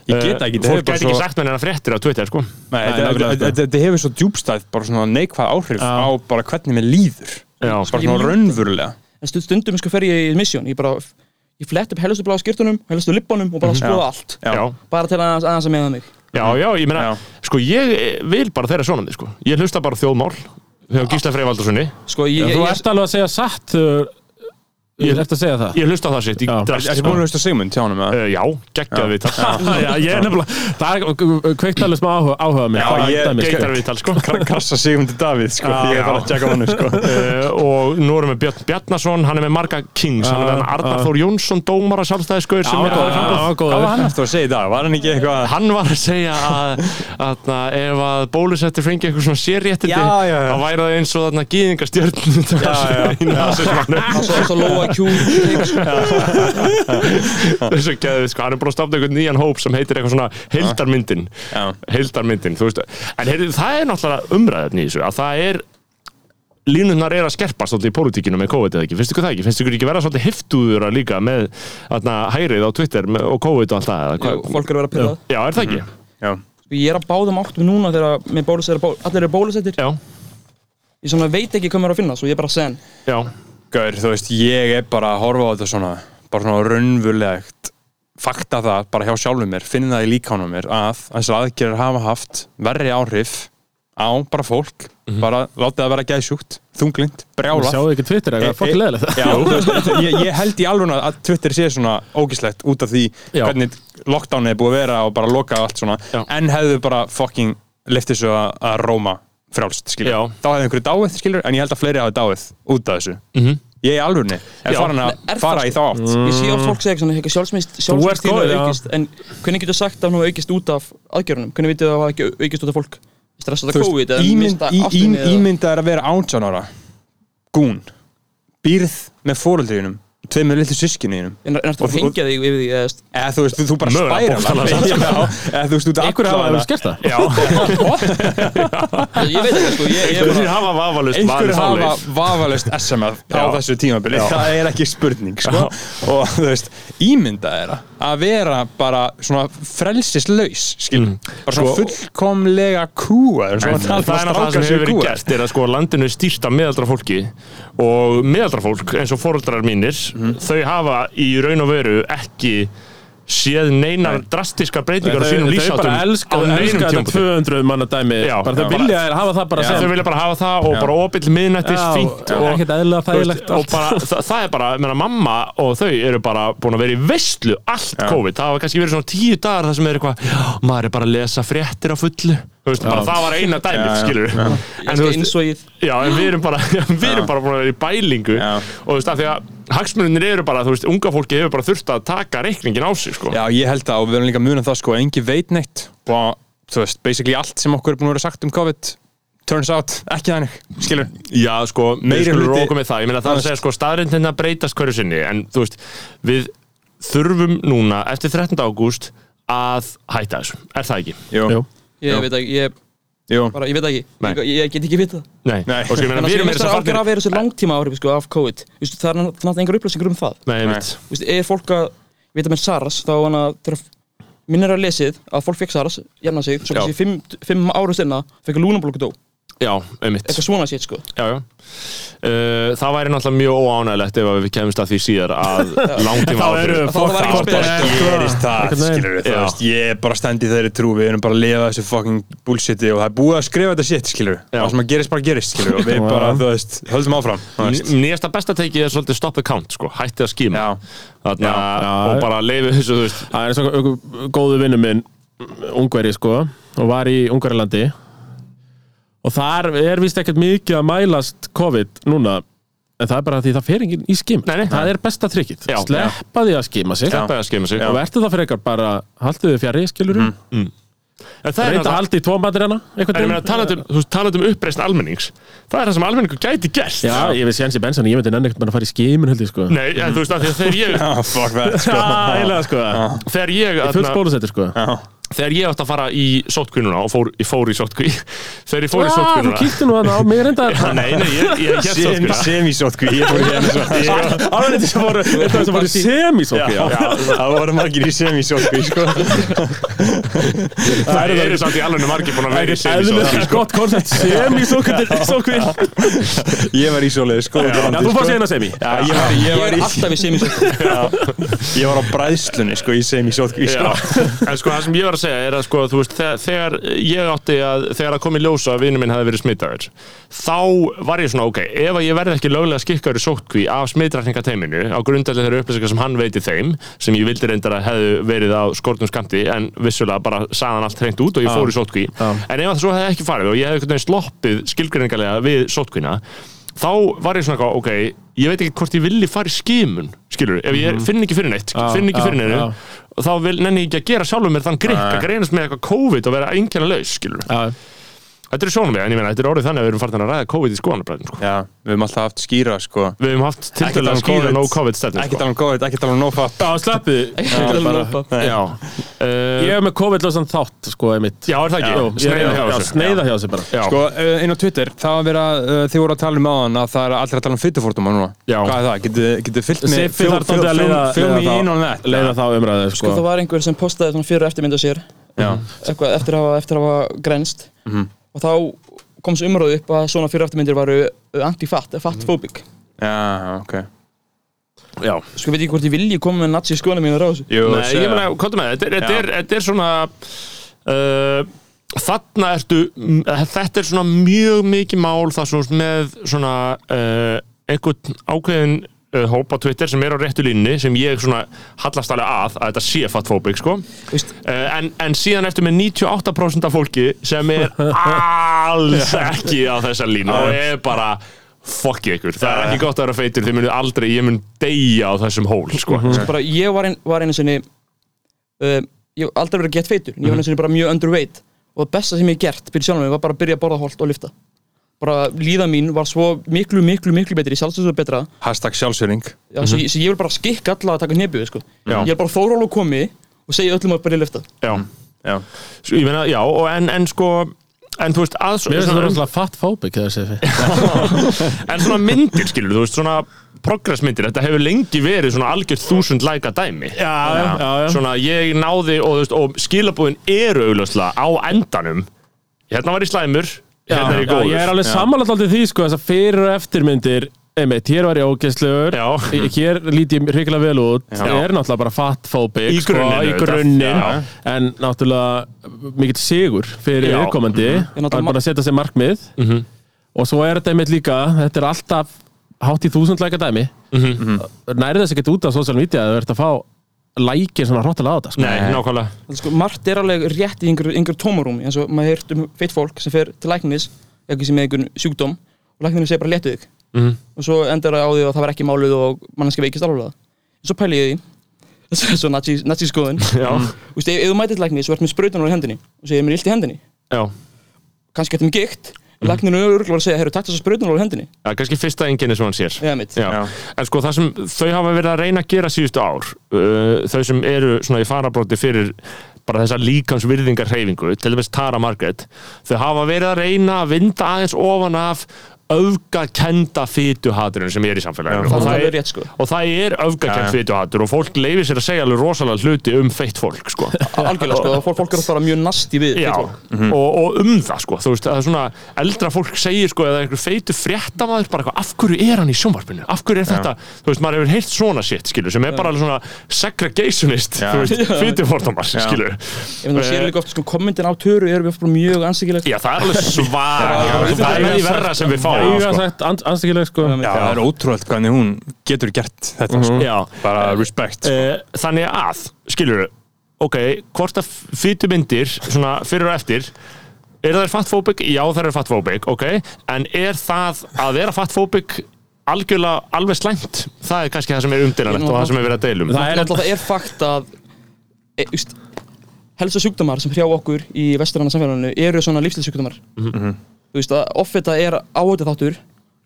B: Ég get það ekki,
C: Eh,
B: þetta
C: Fólk
B: er bara
C: gæti ekki
B: svo-
C: sagt mér hennar fréttir á Twitter, sko
B: Nei,
D: Nei,
B: þetta-
D: nákvæmlega,
B: þetta
D: sko.
B: þetta- þetta hefur svo djúbstæð bara svona neikvæð áhrif
D: Já.
B: á bara hvernig mér líður
C: Já,
B: bara svona raunverulega
E: En stund- stundum sko fer ég í misjón Ég bara, ég flett upp helstu blá skýrtunum Helstu lippunum og bara skoða allt
C: já,
E: Bara til aðeins aðeins að meða mig
C: já, já, ég meina
B: Mhm. Já.
C: sko, ég eh, vil bara þeirra svonandi, sko ég hlusta bara á þjóðmál hjá Gísla Freyvaldarssoni
E: Sko, ég,
D: Þú
E: ég,
D: ert alveg að segja satt uh, Ég ert að segja það
C: ég hlusta á það sitt, ég
D: Já.
C: drast,
B: Þetta er búin að hlusta Sigmund hjá honum eða?
C: Eh, Já, geggjað við
D: Já, ég er nefnilega, það kveikt alveg smá áhuga, áhuga mig
C: Já, ég geitar við sko
B: Krassa Sigmund Davíð sko
C: Já.
B: Ég er bara að tjekka honum sko
C: uh, og nú erum við Björn Bjarnason hann er með marga kings, hann er með hann Arnar Þór Jónsson dómara sjálfstæðisgauður sem er góður framboð.
B: Hvað var
D: góður
B: hann eftir að segja í dag? Var hann ekki eitthvað
C: hann var að segja að, að, að ef að bólusettir fengi eitthvað svona sérréttindi
B: Já, já, já.
C: þá væri það eins og þarna gýðingastjörn þessu
E: Það svo, svo low IQ sko.
C: geðið sko, hann er búin að stafna einhvern nýjan hóp sem heitir eitthvað svona heildarmyndin
B: Já.
C: heildarmyndin, þú veist en heyrðu, það er náttúrulega umræðefni í þessu að það er línunar er að skerpa svolítið í pólitíkinu með COVID eða ekki, finnst ykkur það ekki? Finnst ykkur ekki vera svolítið heftuður að líka með atna, hærið á Twitter með, og COVID og allt það? eða hvað?
E: Fólk er að vera pyrrað
C: Já, er það ekki?
B: Já
E: sko, Ég er að báðum áttum núna þegar með bólusett, er bó- allir eru bólusettir
C: Já,
E: Ég svona veit ekki hvað mér er að finna Svo ég er bara sen
C: já,
B: Gaur, þú veist, ég er bara að horfa á þetta svona bara svona raunvulegt fakta það bara hjá sjálfum mér, finna það í líkánum mér að þessar aðgerðir hafa haft verri áhrif á bara fólk bara látið að vera gæðsjúkt þunglind, brjálað
D: Sjáðu ekki Twitter,
C: E-
D: það er fokk leðilegt
B: Eh, Já, þú veist, ég, ég held í alveg að Twitter sé svona ógislegt út af því
D: Já.
B: hvernig lockdownið er búið að vera og bara loka allt svona
C: Já.
B: en hefðu bara fucking liftið svo að, að róma frjálst, skilur
C: Já.
B: þá hefðu einhverju dáið, skilur, en ég held að fleiri hafi dáið út af þessu,
C: Mhm.
B: ég er alveg en
C: Já. Mm.
B: farin
E: Er það
B: að fara í þá átt
E: Ég sé að fólk segja eitthvað svona, eitthvað sjálfsmynd Sjálfsmynd þín
D: góð,
E: hefur
D: já.
E: aukist En hvernig getur sagt að hún hefur aukist út af aðgjörunum? Hvernig vitið það að hafa ekki aukist út af fólk? Stressa
B: Þú
E: þetta COVID eða
B: ímynd,
E: mista
B: í, í,
E: ástinni eða-
B: ímynda er að vera 18 ára gún, býrð með fóreldriðinum, tveimur litlu sískinniðinum
E: En er þetta að
B: Og- og-
E: hengja þig yfir því eða, þú veist,
B: eða þú veist, þú, þú bara
C: Mögulega
B: spæra
C: bókstaflega sagt.
B: eða þú veist, þú ert
D: Ekkur hafa hefur skert það
C: já.
E: Ég veit ekki sko ég, ég
C: Einhverjir hafa vafalust
B: einhverjur
C: valið þá
B: hafa
C: leið.
B: vafalust SMF á
C: Já.
B: þessu tímabili, það er ekki spurning sko. og þú veist, ímynda þeirra að vera bara svona frelsislaus skil, bara svona fullkomlega kúa
C: En
B: svona,
C: Mm. Sko- Það er náttúrulega það sem hefur verið gert er að sko landinu er stýrt af meðaldra fólki og meðaldra fólk eins og fóreldrar mínir
D: Mhm.
C: þau hafa í raun og veru ekki séð neinar drastiskar breytingar á sínum
D: Þau bara
C: lýsáttum
D: elska, elska þetta 200 manna dæmi
C: Já,
D: bara Þau
C: já.
D: vilja þeir hafa það bara
C: Já,
D: sem
C: þau vilja bara hafa það og bara opill miðnættis
D: Já,
C: fínt
D: já,
C: og,
D: ekkert eðlilega
C: þú veist,
D: þægilegt
C: og
D: allt.
C: bara, það, það er bara, menna, mamma og þau eru bara búin að vera í veistlu allt COVID, það hafa kannski verið svona tíu dagar þar sem er eitthvað, já, maður er bara að lesa fréttir á fullu Þú Þú veist, bara það var eina dæmið, skilur En þú
E: Elskar
C: veist,
E: innsvogið
C: já, en við erum bara Við erum bara búin að vera í bælingu
H: Já.
C: Og þú veist, af því að hagsmunir eru bara Þú veist, unga fólki hefur bara þurft að taka reikningin á sig, sko
B: Já, ég held það og við erum líka munið það sko að engi veit neitt og þú veist, basically allt sem okkur er búin að vera sagt um COVID turns out ekki þannig, skilur
C: Já, sko,
B: meiri
C: meiri hluti
B: hluti-
C: Rókum við það, ég meina það
B: Það
C: er að segja, sko, staðrindin að breytast hverju sinni En, þú veist, við þurfum núna Eftir 13. ágúst að hætta þessu, er það ekki?
B: Jú,
D: Jú.
E: Ég veit ekki, ég
B: jú,
E: bara, ég veit ekki
C: Nei.
E: Ég, ég get ekki vitað
C: Nei,
B: Nei.
C: og sko, ég meina,
E: Þannig
C: við
E: að
C: erum
E: mest að ágjör
C: farnir-
E: að vera þessu langtíma áhrif sko, af COVID Vistu, Það er náttúrulega engar upplýsingur um það
C: Nei, einmitt.
E: Vistu, Er fólk að, ég veit að með SARS þá hann að þegar minnir að lesið að fólk fekk SARS, hérna sig svo
C: Já.
E: kannski fimm, fimm ára sinna fekk lúnablokku dó
C: Já, einmitt
E: eitthvað svona sétt sko
C: já, já. Uh, það væri náttúrulega mjög óánægilegt ef að við kemumst að því síðar að langtíma
D: Þá eru
E: Þá var ekki
B: Hvort
E: spes
B: það gerist það,
D: Einhvern veginn.
B: skilur við, þú
C: Já.
B: veist, ég er bara stendi þeirri trú, við erum bara að lifa þessu fucking bullshiti og það er búið að skrifa þetta shit, skilur við,
C: Já.
B: það sem að gerist bara gerist, skilur við, og við bara, þú veist, höldum áfram, þú veist.
C: Nýjasta besta tekið er svolítið stoppa count sko. hættið að skíma
B: Já.
C: Þarna,
D: Já, já.
C: og bara leiði þessu þú veist.
D: Það er eins og einhver góðu vinnu minn Ungveri sko og var í Ungarlandi og þar er vist ekkert mikið að mælast COVID núna en það er bara því það fer enginn í skim
C: Nei, nei.
D: það er besta trikkið,
C: Já.
D: sleppa því að skima sig
C: Sleppa því að skima sig.
D: og verður það fyrir eitthvað bara haldið þið fjari skilur mm.
C: En Mhm. það er
D: reynda að
C: náttúrulega-
D: halda í tómatir hana
C: En ég meina, talandi um, þú veist, talandi um uppreist almennings það er það sem almenningur gæti gert
D: já, ég veist Jensi Benson, ég myndi nenni ekkert bara að fara í skimin held ég sko
C: Nei, en þú veist að þegar ég
B: Ah, fuck that, sko.
D: Já, eiginlega sko Í
C: þegar ég,
D: fullt
C: þarna,
D: bólusettir sko Já,
C: þegar ég átti að fara í sótkvinnuna og fór, ég fór í sótkví þegar ég fór í
D: þú
C: sótkvinnuna
D: kýttu nú hann á mig reyndar
C: Nei, nei, ég, ég, ég, ég,
B: Sem- Semisótkví, ég fór í hérna svo.
D: alveg þetta sem voru þetta sem voru semisókja
B: Já, það voru margir í semisótkví, sko.
C: það eru samt í alveg margir búin að vera í semisótkví
D: Eðlilega sko. gott koncept Semisókvil Sókvil
B: Ég var í svoleið, sko. út á landi,
D: Já, þú
B: sko.
D: fórst í eina semi
B: Já, ég var, ég
E: Ég
B: var,
E: er
B: í,
E: alltaf í semi sko.
B: ég var á bræðslunni sko, í semisótkví sko.
C: Já, en sko það sem ég var að segja er að sko, þú veist, þegar, þegar ég átti að þegar að komi ljósa að vinnu minn hefði verið smittaður þá var ég svona, ok, ef að ég verði ekki löglega skikkaður í sótkví af smittrækningateiminu á grundalli þeirra upplýsingar sem hann veiti þeim sem ég vildi reyndar að hefðu verið á skortum skamti en vissulega bara saðan allt hreint út og ég fór í sótkví en ef að svo hefði ekki farið og ég hefði einhvern veginn sloppið skilgreiningarlega við sótkvína þá var ég svona eitthvað, ok, ég veit ekki hvort ég villi fara í skimun, skilur, ef ég finn ekki fyrir neitt, finn ekki
D: já,
C: fyrir neitt,
D: já.
C: og þá vil, nenni ég ekki að gera sjálfur mér þann grikk að greinast með eitthvað COVID og vera einkenna laus, skilur Þetta er sjónum við, en ég meina, þetta er orðið þannig að við erum farin að ræða COVID í skoðanabræðin, sko
B: Já, við höfum alltaf haft skýra sko.
C: Við hefum haft til
B: tala
C: dæla
B: um
C: að skýra
B: COVID.
C: no COVID sko. stefnum,
B: Ekki tala um COVID, ekki tala um nofap
D: Já, sleppið
C: sko Já,
D: Ég
C: uh,
D: hef með COVID-lausan þátt sko einmitt
C: já er það
D: Jú, ég-
C: ekki? Sneiða hjá
D: já,
C: þessu
D: Sneiða hjá þessu bara
C: Já,
B: Sko, eh, inn á Twitter, það var verið að vera þið voru að tala um áðan að það er allir að tala um fytufórtuma núna
C: Já.
B: Hvað er það? Getið getið fyllt með
D: Siffi þarf dálítið að leiða-
B: Fjómi í
D: leiða þá-
B: inn og net
D: Leiða þá umræðu
E: sko
D: sko
E: það var einhver sem postaði svona fyrir eftirmynda sér
B: Já.
E: eitthvað eftir að hafa, eftir að hafa grænst
C: Mhm.
E: og þá kom þessu umröðu upp að svona fyrir eftirmyndir varu anti-fat, fatphobic
B: Já, ok
C: já
E: sko ég veit ekki hvort ég vilji koma með nazi skoðanum mínu ráðs
B: Jú,
C: Nei,
B: segja.
C: ég meina, komdu með, þetta er- þetta er, þetta er svona uh, Þarna ertu, m- eh, þetta er svona mjög mikið mál það svona með svona uh, einhvern ákveðin uh, hóp á Twitter sem er á réttu línni sem ég svona hallast alveg að að þetta sé fatfóbik sko
E: Veist-
C: uh, en, en síðan ertu með 98% af fólki sem er alls ekki á þessa línu og er bara fokkið ykkur, það er ekki gott að vera feitur þið munið aldrei, ég mun deyja á þessum hól
B: Mhm.
C: sko.
E: bara ég var, ein, var einu sinni uh, ég hef aldrei verið gett feitur en ég var einu sinni bara mjög underweight og það besta sem ég hef gert fyrir sjálfum mig var bara að byrja að borða holt og lyfta bara líðan mín var svo miklu, miklu, miklu betri, sjálfsögstu betra
B: Hashtag sjálfsöring
E: Já, svo, ég- svo ég vil bara skikka alla að taka nefið sko.
C: Já.
E: ég er bara þóról og komi og segja öllum að byrja að lyfta
C: Já,
B: Já
C: S- ég meina, já, og en, en sko En þú veist, að,
D: Mér finnst það
C: svona,
D: rosalega fatfóbik þegar Siffi
C: en svona myndir skilur, þú veist, svona progressmyndir, þetta hefur lengi verið svona algjörð þúsund læka dæmi já,
D: já, já.
C: Svona ég náði og, þú veist, og skilabúðin eru augljóslega á endanum Hérna var ég slæmur, hérna er ég góður
D: Ég er alveg samanlægt aldrei því sko þessar fyrir og eftirmyndir Einmitt, hér var ég ógeðslegur
C: Já.
D: Ég- Hér líti ég hrikalega vel út Ég er náttúrulega bara fatfóbik
C: Í grunninn,
D: sko, í
C: auðvitað.
D: grunnin
C: Já.
D: En náttúrulega mikill sigur fyrir
C: Já. Mhm.
D: viðkomandi
E: En
D: Það
E: náttúrulega
D: er bara að setja sér markmið Og svo er þetta einmitt líka Þetta er
C: Mhm.
D: Mhm. alltaf hátt í þúsund læka dæmi mm -hmm. Nærið þess ekki út af social media að þú ert að fá lækir svona hróttalega á þetta sko.
C: Nei, nákvæmlega
E: sko, margt er alveg rétt í einhver, einhver tómarúmi eins og maður heyrt um feitt fólk sem fer til læknis eitthvað sem með einhvern sjúkdóm og læknirinn segir bara letu þig
C: Mhm.
E: og svo endar það á því að það var ekki máluð og mannski veikist alveg svo pæli ég í því svo nazi- nazískoðun
C: Já,
D: Mm.
E: Þú veist, ef, ef þú mætir til læknis og ert með sprautunar í hendinni og segir mér er illt í hendinni
C: já
E: kannski eftir mig gikt
C: Mhm.
E: læknirinn er örgulega að segja herru takt þessar sprautunar í hendinni
C: Já, kannski fyrsta enginni sem hann sér
E: eða mitt
C: Já. En sko það sem þau hafa verið að reyna að gera síðustu ár uh, þau sem eru svona í farabróti fyrir bara þessa líkans virðingar hreyfingu til dæmis Tara Margaret þau hafa verið að reyna að vinda aðeins ofan af öfgakenda fytuhaturinn sem er í samfélaginu
E: það er
C: það
E: alveg
C: er,
E: rétt sko
C: og það er öfgakend fytuhatur og fólk leifir sér að segja alveg rosalega hluti um feitt fólk sko.
E: algjörlega sko, og fólk- fólk er oft bara mjög nasti við
C: Já,
E: feitt fólk.
C: og, og um það sko þú veist, það er svona eldra fólk segir sko eða einhver feitu fréttamaður bara eitthvað af hverju er hann í sjónvarpinu, af hverju er þetta þú veist, maður hefur heyrt svona shit, skilur sem er bara alveg svona segregationist
H: Já.
C: þú veist, feitu fórtumars, skilur
E: Ef þú sér líka oft sko, kommentin á töru eru við oft bara mjög sko. ansækilegt
C: Já, það er alveg svag það er með í verra sem við fáum
D: Ég hef
C: sko.
D: sagt ans- anstíkileg sko
B: það er ótrúlega hvernig hún getur gert þetta sko.
C: Já,
B: bara respect sko.
C: Eh, þannig að, skilur ok, hvort að fytu myndir svona fyrir og eftir er það fatfóbik? Já, það er fatfóbik ok, en er það að vera fatfóbik algjörlega alveg slæmt? Það er kannski það sem er umdýranlegt og það sem er verið að um. deilum
D: Það er
E: Náttúrulega það er fakt að e, just, helsta sjúkdómar sem hrjá okkur í vesturanna samfélaginu eru svona lífstilsjúkdómar mm þú veist að offita er áhættu þáttur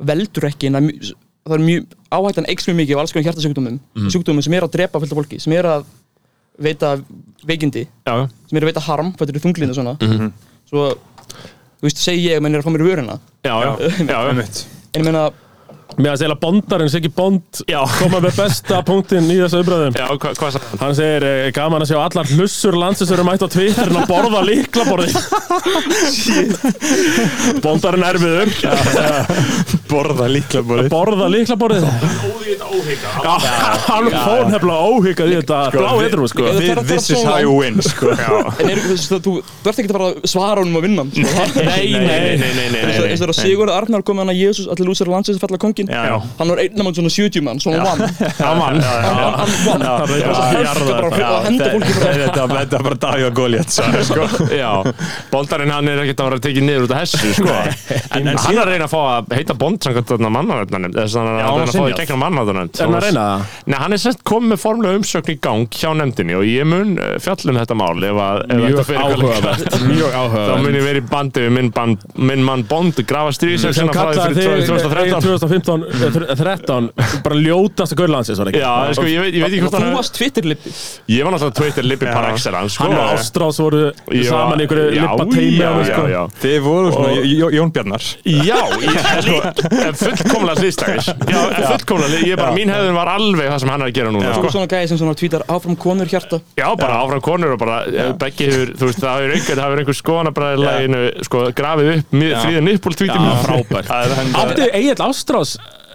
E: veldur ekki en það er mjög- það er mjög áhættan eikst mjög mikið af alls konar hjartasjúkdómum sjúkdómum sem er að drepa fullt af fólki sem er að veita veikindi
C: Já,
E: sem er að veita harm fættur í þunglinu og svona svo þú veist segi ég menn er að fá mér í vörina
C: já, já, já, já.
E: en ég meina
D: Mér að segja bondarinn Siggi Bond
C: Já.
D: koma með besta punktinn í þessu umræðum
C: Já, hva, hvað sagði hann?
D: Hann segir eh, gaman að sjá allar hlussur landsins eru mætt á Twitter en að borða líklaborði Bondarinn erfiður
C: Borða líkla
D: að borða líklaborðið Já, hann fór nefnilega óhyggjað í þetta blá hitrum sko
E: Eða
H: Thi-
E: fara-
H: This
E: fara
H: is
E: svona
H: how you
E: langt.
H: win sko.
E: en er, þú, veist, þú, þú, þú ert ekki að fara að svara honum og vinna hann, sko.
C: Nei, nei, nei, nei, nei, nei,
E: eins og-
C: nei.
E: eins og þegar Sigurður Arnar kom með hann að Jésús allir lúsar landsins að falla kongin
C: já.
E: hann var einn mann svona 70 mann svona vann
C: Það mann
E: Hann- hann vann
H: Já,
E: Það er
H: já, já, já,
E: bara að helga bara fyrir að henda
H: þe-
E: fólki
H: þe- Þetta þetta er bara Davíð og Góliat sko.
C: Já, bondarinn hann er ekkert að vera að tekið niður út af hessu sko. en, en hann er að reyna að fá að heita bond samkvæmt þarna mannanöfnanefnd þess að hann er að reyna að fá í gegnum mannanöfnanefnd
D: Er hann að reyna það?
C: Nei, hann er sett komið með formlega umsökn í gang hjá nefndinni og ég mun eh, fjalla um þetta mál ef, að, ef þetta fer eitthvað lengra.
D: Mjög
C: Þá
D: áhugavert
C: mun ég verið bandið við minn, band, minn mann Bond grafa stríðsef
D: sem
C: sinna frá því
D: kallaði
C: fyrir
D: þig
C: 2013
D: 2015 eh, þre- 13 bara ljótast að gaurlandsins var ekki
C: Já, en sko, ég veit, ég veit ekki hvort
E: þú
C: hann
E: varst Twitter-lippi
C: Ég var náttúrulega Twitter lippi par excellence sko.
D: Hann og Ástrás voru
C: Ég var-
D: saman í einhverju
C: Já,
D: lippa teimi
C: já,
D: alveg,
C: já,
D: sko.
C: já.
B: Eh, þið voru svona J- J- Jón Bjarnar
C: Já, ég er fullkomlega slýstakis Já, en fullkomlega, hliðstæðis. ég bara, mín hefðin var alveg það sem hann er að gera núna
E: þú
C: sko.
E: er svona gæði sem svona tvítar áfram konur hjarta
C: Já, bara áfram konur og bara eh, Beggi hefur, þú veist, það hefur einhver, það hefur einhver skoðanabræðileginu sko, grafið upp fríðan uppból tvítið mér
D: frábært.
C: Það er hann-
D: Átti Egil Ástrás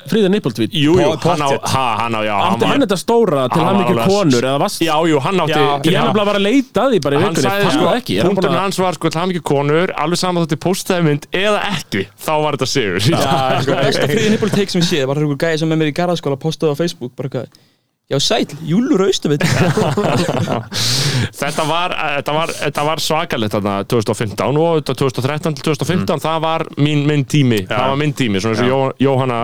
D: fríða nippultvít
C: Jú, jú, hann á, ha, hann á, já
D: Átti
C: var-
D: hann þetta stóra til
C: hann
D: hann
C: var
D: mikið
C: alveg-
D: konur eða vast
C: Já, jú, hann átti
D: Ég hef nefnilega bara að leita að því bara í
C: Hann
D: vikunni
C: sagði
D: fann
C: sko,
D: það ekki Er hann búinn
C: punkturinn
D: að-
C: hans var sko, hann ekki konur alveg saman þótti postaði mynd eða ekki þá var þetta sigur Já,
E: sko, besta friði nippul take sem ég séð var einhver gæði sem með mér í garðaskóla postaði á Facebook bara eitthvað já sæl, Júlur Austuvitt
C: þetta var, eh, þetta var, þetta var svakalegt þarna 2015 og þetta 2013 til 2015 það var minn, minn tími það var minn tími, svona eins og Jó, Jóhanna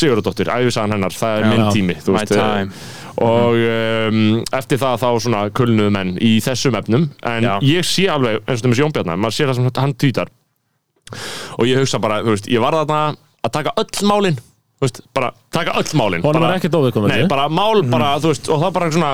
C: Sigurðardóttir, æfisagan hennar, það er minn tími þú eh,
H: My time. Mhm.
C: og um, eftir það þá svona kulnuðu menn í þessum efnum en
H: Já.
C: ég sé alveg, eins og þess Jón Bjarnar maður sér það sem hann týtar og ég hugsa bara, þú veist, ég var þarna að taka öll málin þú veist, bara taka öll málin
D: Honum
C: bara-
D: var ekkert óviðkomandi.
C: Nei, bara mál,
B: Mhm.
C: bara, þú veist, og það bara svona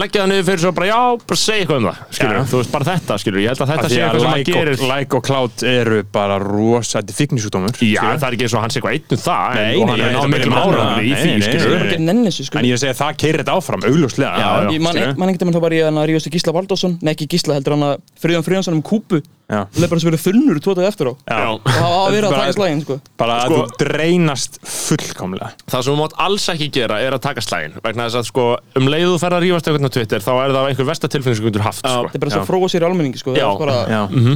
C: leggja það niður fyrir svo bara já, bara segja eitthvað um það skilur, þú veist, bara þetta, skilur, ég held að þetta
B: Af því
C: sé
B: að
C: eitthvað sem hann
B: like og,
C: gerir
B: like og cloud eru bara rosa þetta er fíknisjúkdómur
C: Já, það er ekki eins og hann sé eitthvað einn um það
B: Nei,
C: en, og
B: nei,
C: hann
B: ég veit
C: er náðu
B: að
C: miklum
B: byrja með það.
C: árangri í
B: Nei,
C: því,
B: nei,
C: skilur
B: nei,
E: ekki nenni þessu sko
B: en ég segi að það keirir þetta áfram augljóslega
C: Já,
E: Ég man
B: skilur.
E: man ekkert að mann þá bara í hann að ríðast Gísla Valdarsson Nei ekki Gísla heldur hann að Friðan Friðansson um kúpu
B: Já.
E: Það er bara sem verið þunnur tvo dag eftir á Og
C: Já.
E: það var að vera að
B: Bara-
E: taka slægin sko
B: bara að
C: Sko-
B: þú dreinast fullkomlega
C: Það sem þú mátt alls ekki gera er að taka slægin vegna þess að sko, um leiðu þú ferð að rífast eitthvað á Twitter, þá er það einhver vestatilfinning sem þú getur haft, sko.
E: Þetta er bara svo að fróa sér í almenningi sko Það
C: Já.
E: er bara
B: já.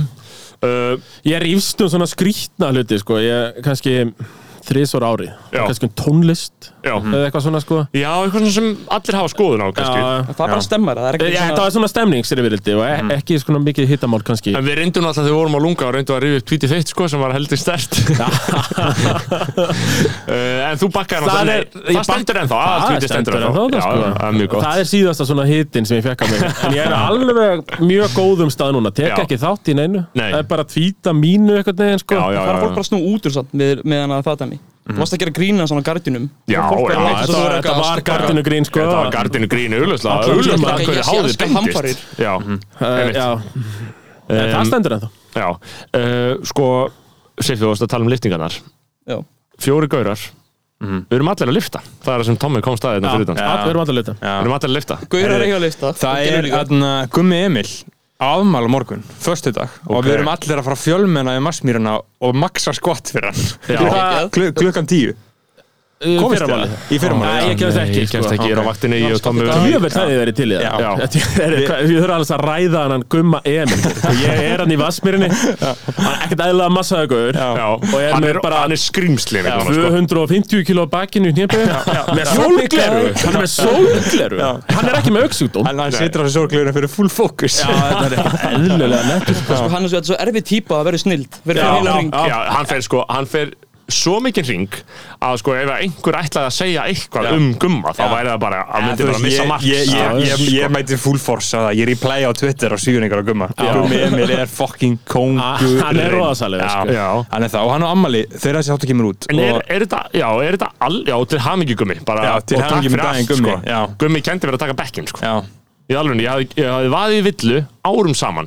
C: Uh,
D: Ég rífst um svona skrýtna hluti sko. Ég kannski þrísvar ári
C: Já.
D: kannski um tónlist
C: Já.
D: eða eitthvað svona sko
C: Já, eitthvað svona sem allir hafa skoðun á kannski
D: Já.
E: Það er bara stemmar, það er
D: Já,
E: ekkert
D: þetta var svona stemningsrifirildi og e- ekki svona mikið hittamál kannski
C: Mm. En við reyndum alltaf þegar við vorum á lunga og reyndum að rifja upp tweetið þitt sko sem var heldur stert Eh, En þú bakkaði
D: Það
C: hann
D: er- ég
C: Það
D: bak-
C: stendur ennþá,
D: Það
C: að tweetið stendur ennþá
D: ennþá,
C: Já,
D: sko.
C: já, það er mjög gott
D: Það er síðasta svona hitin sem ég fekk af mig En ég er alveg mjög góðum stað núna Tek
C: Já.
D: ekki þátt í neinu
C: Nei.
D: Það er bara að tvíta mínu eitthvað neginn sko
C: Já, já, Mhm.
E: Það er fólk bara að snú út úr samt með, með hann að fatta mig Þú varst að gera grína svona á gardinum
C: Já,
E: fólk
C: já,
E: bara mætti
C: þetta
E: svo
C: var-
E: vera
D: Þetta
E: eitthvað
D: var
E: að-
D: gardinu grín sko
C: Þetta var gardinu grínu, auðvitað
D: Allan tímann.
C: Auðvitað
E: Ég
C: hverju
E: sé
C: háðið
E: elska hamfarir.
C: bendist Já,
D: Uh,
C: einmitt.
D: já,
C: Um,
D: en það stendur ennþá
C: já Eh, Sko, Siffi, þú varst að tala um liftingarnar
E: Já.
C: Fjóri gaurar
E: Mhm.
C: Við erum allir að lifta Það er það sem Tommi kom staðið
D: Já,
C: fyrir utan
D: all- Við erum alltaf lita
C: Við erum allir að lifta
E: Gaurar eiga að lista
B: Það er aðna Gummi Emil afmæl á morgun, förstu dag og
C: Ok.
B: við erum allir að fara að fjölmenna í massmýruna og maksa skott fyrir hann
E: Já.
B: Klu, klukkan tíu Komist þið að? Í fyrramáli
D: Nei,
B: já.
D: ég kemst ekki,
C: Ég kemst
D: sko.
C: ekki, ég er á vaktinni, ég og Tommi um
D: Mjög vel það þið verið til í
B: Já.
D: það Þetta er- hvað- Við þurfum alveg að ræða hann Gumma Emil sko. Ég er hann í Vassmýrinni Hann er ekkert eðlilega massaðu gauður
C: Já, sko.
D: Og er
C: hann
D: með
C: er,
D: bara-
C: hann er skrýmslið
D: 250 kilo bakinu í hnjöpu Með sólgleru Hann er með sólgleru Hann er ekki með auksugdóm
B: En hann situr á þessu sorglegur fyrir full fókus
D: Eðlilega nettur sko.
E: Hann er svo- þetta er svo erfið típa að vera snild Verið fyrir heila hring
C: já, já, hann fer sko, hann fer svo mikið ring að sko ef að einhver ætlaði að segja eitthvað um gumma þá væri það bara að myndi bara að missa marks
B: ég, ég,
C: Já, sko.
B: ég, ég mæti full force að það, ég er í play á Twitter á síðuningar á Gumma Gummi Emil er fucking
C: Ah,
B: kongur
D: Hann er roðasalegur,
B: Já,
D: sko.
B: já. hann er það og hann á ammali þegar þessi þáttu kemur út
C: En er,
B: og,
C: er þetta, já, er þetta all, já, til hamingi gummi bara,
B: Já, til
C: og takk
B: hamingju með
C: fyrir
B: daginn,
C: allt,
B: Gummi,
C: sko.
B: já.
C: Gummi kendi verið að taka bekkinn, sko
B: já,
C: Í alveg, ég hafði, ég hafði vaðið í villu árum saman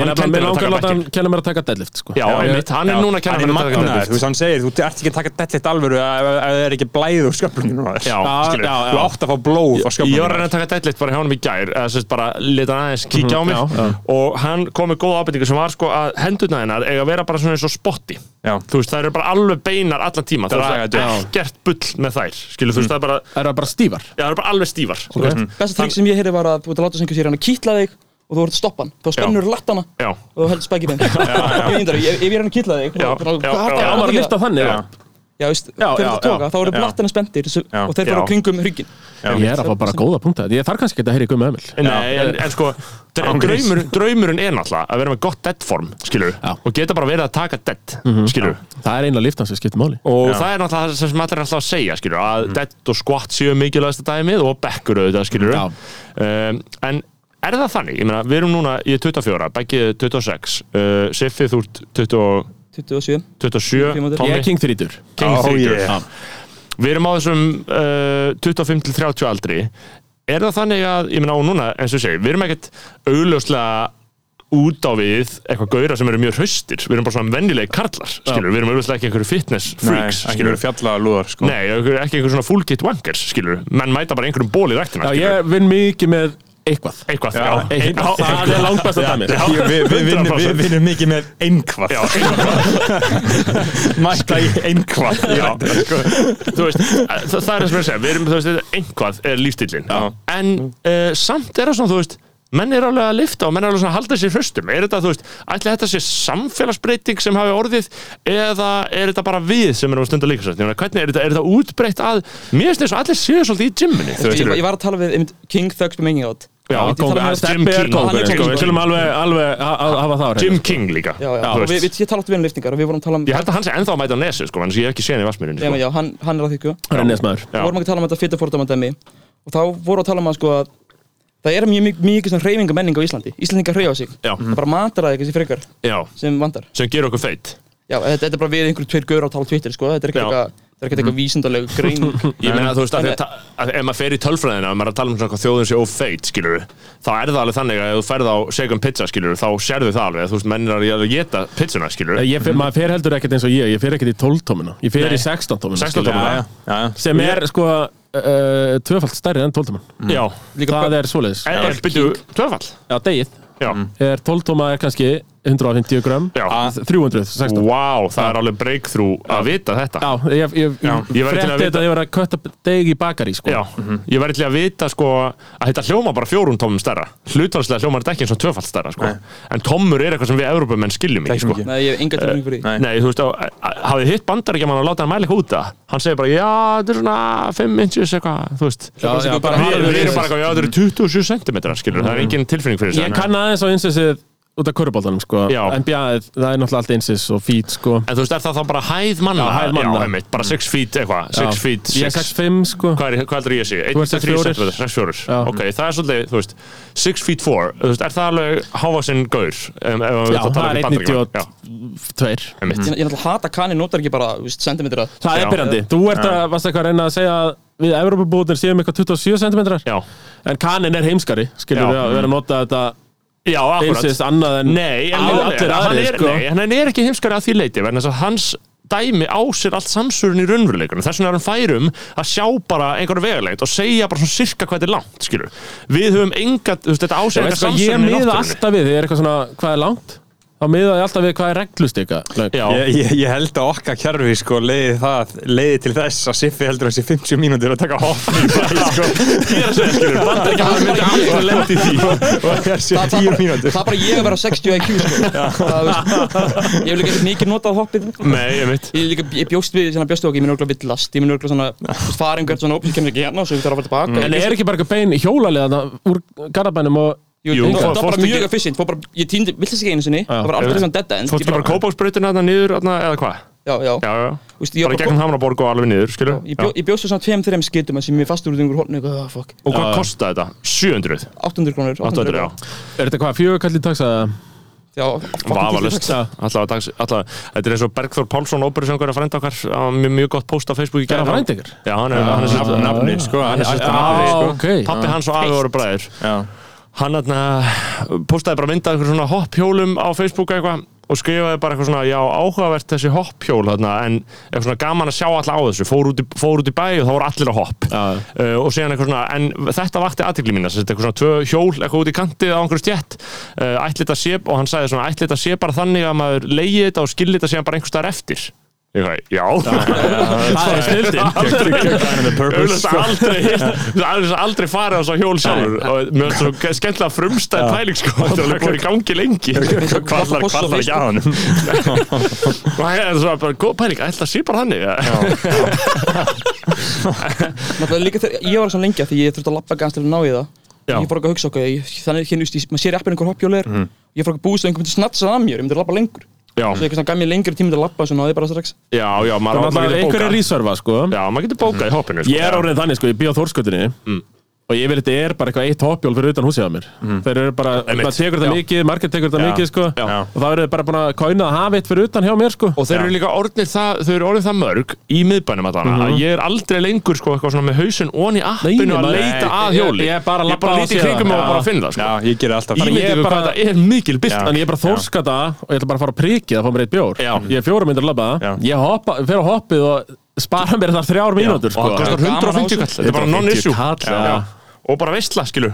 D: Ég er
C: hann
D: nefnilega með
C: kendi mér að
D: langar að
C: taka
D: láta hann
C: bekkinn
D: kenna mér að taka deadlift sko.
C: Já, einmitt, hann er núna að kenna
B: hann er
C: mér að taka
B: magnaður, þú
C: bekkinn
B: veist hann segir þú ert ekki að taka deadlift alvöru ef ef það er ekki blæð úr sköflunum á þér.
C: Já, skilur.
B: já, já. þú átt að fá blóð á
C: Ég var að
B: sköflunum
C: reyna að taka deadlift bara hjá honum í gær eða sérst bara leta hann aðeins kíkja á mig
D: Mhm, já, já.
C: og hann kom með góða ábendingu sem var sko að hendurna hennar eiga að vera bara svona eins og spotti
B: Já.
C: þú veist það eru bara alveg beinar allan tíma það
B: Dálflega,
C: er
B: já.
C: ekkert bull með þær
D: Mhm.
C: skilur þú veist það er bara,
D: Er það bara stífar?
C: já, það er bara alveg stífar okay.
E: Besta trikk sem ég heyrði var að þú ert að láta sem einhver sér hann að kýtla þig og þú ert að stoppa hann, þá spennur lattana
C: Já.
D: Mhm.
E: og þú heldur spæk í þeim Ég veit ekki, ef ef ég er hann að kýtla þig
C: Já,
E: þá-
C: já,
E: hvað-
C: já.
E: hvað-
D: Já, maður lifta þannig já.
E: Já, veist, þegar
D: já,
E: þetta tóka, þá eru
B: já.
E: lattana spendir svo- og þeir fara
C: Já.
E: á kringum hringin
D: Ég er að fá bara góða punkta Ég þarf kannski ekki að heyra í Gummi Emil
C: Nei, en, en sko dra- draumur, draumurinn er náttúrulega að vera með gott dead form skilur
D: Já. Mhm.
C: og geta bara verið að taka dead skilur
D: Það er einlega liftan sem skiptir máli
C: og það er náttúrulega það sem allir er alltaf að segja skilur, að
B: Mm.
C: dead og squat séu mikilvægasta dæmið og bekkur auðvitað skilur
D: Já.
C: um, en er það þannig, ég meina við erum núna í 24, Beggi 26 uh, Siffi þú ert 20
E: 27
C: 27,
E: Fimmtán.
D: Ég er
C: Tommy
D: King 30
C: King
B: Ó,
C: 30
B: yeah.
C: við erum á þessum uh, 25 til 30 aldri er það þannig að, ég meina og núna eins og ég segi, við erum ekkert augljóslega út á við eitthvað gauðra sem eru mjög hraustir, við erum bara svona venjulegi karlar, skilur, við erum augljóslega ekki einhverju fitness freaks,
B: Nei, ekki
C: skilur
B: verið fjallalúðar sko.
C: Nei, einhver, ekki einhver svona full kit wankers, skilur Menn mæta bara einhverjum ból í
D: Já,
C: ræktina, skilur
D: ég vinn mikið með eitthvað
C: Eitthvað, já, já, ein, á,
D: Það er langt besta dæmi
C: já,
B: Ég- Við við vinnum við
C: 100%.
B: vinnum mikið með einhvað
C: já, ein,
B: Mæta í einhvað
C: já, sko, Þú veist, það, það er það sem ég að segja Við erum, þú veist, þetta- einhvað er lífstillin En uh, samt er það svona, þú veist Menn er alveg að lifta og menn er alveg svona að halda sér hraustum Er þetta, þú veist, ætli þetta sé samfélagsbreyting sem hafi orðið Eða er þetta bara við sem erum að stunda líka sér Hvernig er þetta, er þetta útbreytt að Mér finnst þess að allir séu svolítið í gymminni þú
E: Ég
C: veist,
E: ég var að tala við einmitt, King Thugs be making out
C: Já,
E: Ég tala
C: kóngur,
E: með-
C: hann um Jim
D: Steppi er
C: King, hann er
D: kókur
C: kóngur.
D: Við skulum alveg, alveg ha- ha- hafa það á hreinu.
C: Jim King líka
E: Já, já,
C: Þú
E: og við,
C: veist.
E: við, ég tala alltaf við hann liftingar og við vorum að tala um
C: Ég held að hann sé ennþá að mæta á nesu sko, en ég hef ekki séð hann í Vassmýrinni
E: Já,
C: sko.
E: já, hann, hann er að þykju
D: Hann er nesmaður
E: Við vorum ekki að tala um þetta fyrir fordómadæmi og þá voru að tala um að sko að það er mjög mik- mikið svona reyfinga menning á Íslandi Íslandingar reyfa sig
C: Já.
D: Mm.
E: Það er bara mataraði eitthvað sem frekar
C: Já,
E: sem vandar
C: sem gerur okkur feitt
E: Já, þetta, þetta er bara við einhverjum tveir gaur að tala á Twitter sko Þetta er
C: Já. Mhm.
E: ekkert eitthvað þetta er ekkert eitthvað vísindaleg greining
C: Ég meina þú veist að,
E: En-
C: að, ta- að ef maður fer í tölfræðina ef maður er að tala um svona hvað þjóðin sé ófeitt skilur þá er það alveg þannig að ef þú ferð á segum pizza skilur þá sérðu það alveg þú veist mennir að að geta pizzuna skilur
D: Eh, Ég fer- Maður fer heldur ekkert eins og ég Ég fer ekkert í 12 tómina Ég fer
C: Nei.
D: í 16 tómina
C: 16 tómina.
B: Já, já, já.
D: Sem er sko uh, tvöfalt stærri enn 12 tómina
C: Já,
E: Líka
D: Mm. Það er Mm. svoleiðis
C: er byrju tvöfall
D: Já, degið
C: Já,
D: er 12 tóma er kannski 150 gram
C: Já.
D: 316
C: Vá, það er alveg breakthrough að vita þetta
D: Ah, Já, ég, ég,
C: Já,
D: ég
C: ég verði til
D: frétti
C: að
D: þetta
C: vita.
D: að ég var að kötta deg í bakari sko.
C: Já, mhm. ég væri til að vita sko að þetta hljóma bara fjórum tómum stærra hlutvarslega hljómar þetta ekki eins og tvöfald stærra sko. en tómur er eitthvað sem við Evrópumenn skiljum ekki sko.
E: Nei, ég hef enga tilfinning fyrir því.
C: Nei. þú veist, á- hafið hitt bandaríkjaman að láta hann mæla eitthvað út það hann segir bara, já, þetta er svona 5 inches eitthvað, þú veist
D: Já, já, bara
C: Við,
D: harður
C: við erum
D: inches.
C: bara, eitthvað, já, þetta eru 27 cm skilur, það er engin tilfinning fyrir þessu
D: Mhm. Ég kann aðeins á einsessið út af körubóltanum sko.
C: Já.
D: NBA, það er náttúrulega allt einsess og fít sko.
C: En þú veist, er það þá bara hæð manna?
D: Já, hæð manna.
C: Já, einmitt, bara 6 feet eitthvað,
D: Já.
C: 6 feet,
D: Ég er
C: 6
D: 6'5 sko.
C: Hvað er, hvað heldur ég að
D: Þú
C: sé?
D: ert
C: 1,3
D: 6'4.
C: cm, 6 fjórir.
D: Já.
C: Ok, það er svolítið, þú veist, 6 feet 4, þú veist, er það alveg hávaksinn gaur? Um,
D: Já, það er 192
C: Já, einmitt.
E: Ég ég náttúrulega hata kanni notar ekki bara, þú veist, sentimetra
D: Það
C: Já.
D: er byrjandi Þú ert að, varst eitthvað að reyna að segja að við Evrópubúðnir séum eitthvað 27 cm
C: Já,
D: en kanin er heimskari skilur
C: Já.
D: við að vera að nota þetta
C: já, akkurat.
D: einsess annað en
C: Nei,
D: allir,
C: en hann,
D: allir
C: hann,
D: aðrir
C: er,
D: sko.
C: nei, hann er ekki heimskari að því leiti vegna þess að hans dæmi á sér allt samsörun í raunveruleikunum þess vegna er hann færum að sjá bara einhverja vegalegt og segja bara svona sirka hvað þetta er langt skilur. við höfum enga, þú veist, þetta á
D: Ég
C: sér
D: veit
C: enga
D: sko, ég
C: samsörun í
D: miða
C: náttúrunni
D: alltaf við, þegar ég er eitthvað svona, hvað er langt? Þá miða ég alltaf við hvað er reglustika.
C: Já,
B: Ég, ég, ég held að okkar kjærfi sko leiði það, leiði til þess að Siffi heldur að þessi 50 mínútur að taka hopp í bæ sko
C: ég er að segja skilur Bandaríkjaman myndi alltaf lendi í því
B: og að þessi
E: Það- það
B: 10
E: bara-
B: mínútur.
E: Það er bara ég að vera 60 IQ sko. Það, veist, Ég hef líka ekkert mikið notað hoppið
C: Nei, ég veit
E: Ég, líka, ég bjóst við, svona bjóst við okkur, ég minn örgulega villast Ég minn örgulega svona, þú veist, farin hvert svona ópins kemur ekki hérna og svo ég þarf að fara tilbaka
C: Mm.
D: En er ekki bara eitthvað bein hjólalega þarna úr garabænum og...
E: Jú,
C: Jú,
E: það
C: fó-
E: var bara
C: fórstu
E: mjög
C: ekki-
E: efficient fór bara, Ég týndi villast ekki einu sinni Það var
C: Ég
E: aldrei
C: veit.
E: svona dead end
C: Fórstu
E: Ég
C: bara kópáksbrautina þarna niður þarna, eða hvað?
E: Já, já,
C: Já, já,
E: Þú veist, ég
C: bara
E: var bara-
C: gegnum Hamraborg og alveg niður, skilur
E: Ég, bjó, ég bjóst við svona tveim, þreim skitum sem ég fastur út einhver horn eitthvað, ah, fuck,
C: Og hvað kostaði þetta? 700?
E: 800 krónur
C: 800, já
D: Er þetta hvað, fjögur kallið taksaða?
E: já
C: Vafalust
E: já,
C: Alltaf dags Alltaf Þetta er eins og Bergþór Pálsson Óperusöngur að frænda okkar Hann var Mjög mjög gott post á Facebook í
D: Er
C: gær.
D: hann frændi ykkar?
C: Já, hann er hann er
B: Nafn- Nafni sko, hann er sérst
D: Já,
B: nafni sko.
D: ok.
C: Pappi hans og afi voru bræðir
B: Já.
C: Hann hann postaði bara myndað einhver svona hopphjólum á Facebook eitthvað og skrifaði bara eitthvað svona, já, áhugavert þessi hopphjól þarna, en eitthvað svona gaman að sjá alla á þessu, fór út í, fór út í bæ og þá voru allir að hopp
D: Já.
C: uh, og síðan eitthvað svona, en þetta vakti aðtikli mína, þessi eitthvað svona tvö hjól eitthvað út í kantið á einhverju stjætt uh, ætli þetta sé, og hann sagði svona, ætli þetta sé bara þannig að maður leiði þetta og skilji þetta síðan bara einhver staðar eftir Ég hvað, já,
D: Það er snildin.
B: sko.
C: auðvitað aldrei auðvitað aldrei farið á svo hjól sjálfur og mér finnst svo skemmtilega frumstæð pæling sko, þetta er alveg búin í gangi lengi
B: Hvað ætlar hvað ætlar ekki að honum?
C: og það er svo bara góð pæling, ætla að sé bara þannig já,
E: Náttúrulega líka þegar ég var svona lengi af því ég þurfti að lappa gans til að ná í það
C: Já. Mhm.
E: Ég fór ekki að hugsa okkur, ég, þannig hérna, þú veist, maður sér í appinu einhver hoppjólir mm. Ég fór ekki að búist að einhver myndi snatsa það að mér, ég myndi að lappa lengur
C: já,
E: Svo eitthvað svona gaf mér lengri tími til að lappa og svo náði ég bara strax
C: já, já maður, maður
D: Einhver er
C: getur bókað
D: rísörfa, sko.
C: já, maður getur bókað í hoppinu sko.
D: Ég er orðin þannig, sko, ég býð á Þórskötunni
C: Mm.
D: og ég verið þetta er bara eitthvað eitt hoppjól fyrir utan húsið á mér. Þeir eru bara,
C: Mm. Einmitt.
D: maður tekur þetta
C: Já.
D: mikið, margir tekur þetta mikið, sko.
C: Já.
D: Og það verður bara búin að kóina að hafa eitt fyrir utan hjá mér, sko.
C: og þeir eru líka orðnir það, þau eru orðin það mörg í miðbænum allan, að ég er aldrei lengur sko eitthvað svona með hausinn onni appinu
D: Nei,
C: að
D: maður-
C: leita
D: Nei,
C: að
D: ég-
C: hjóli
D: ég er bara að
C: ég
D: labba
C: bara
D: og
C: líti
D: sé
C: kringum
D: það.
C: mig og bara finn það sko.
B: Já, ég ger alltaf
D: Bara ég er
C: ímyndið við
D: bara-
C: hvað þetta er mikil byrta
D: Þannig ég er bara þórskata og ég ætla bara að fara að prikið að fá mér eitt bjór
C: Já.
D: Ég er fjóra myndir að labba
B: Já.
D: Ég hoppa, fer á hoppið og spara mér þar þrjár mínútur
C: og
D: sko.
C: það kostar 150 kall þetta er bara
D: 150
C: non-issue
D: kall,
C: Já,
D: já.
C: já. og bara veistla, skilur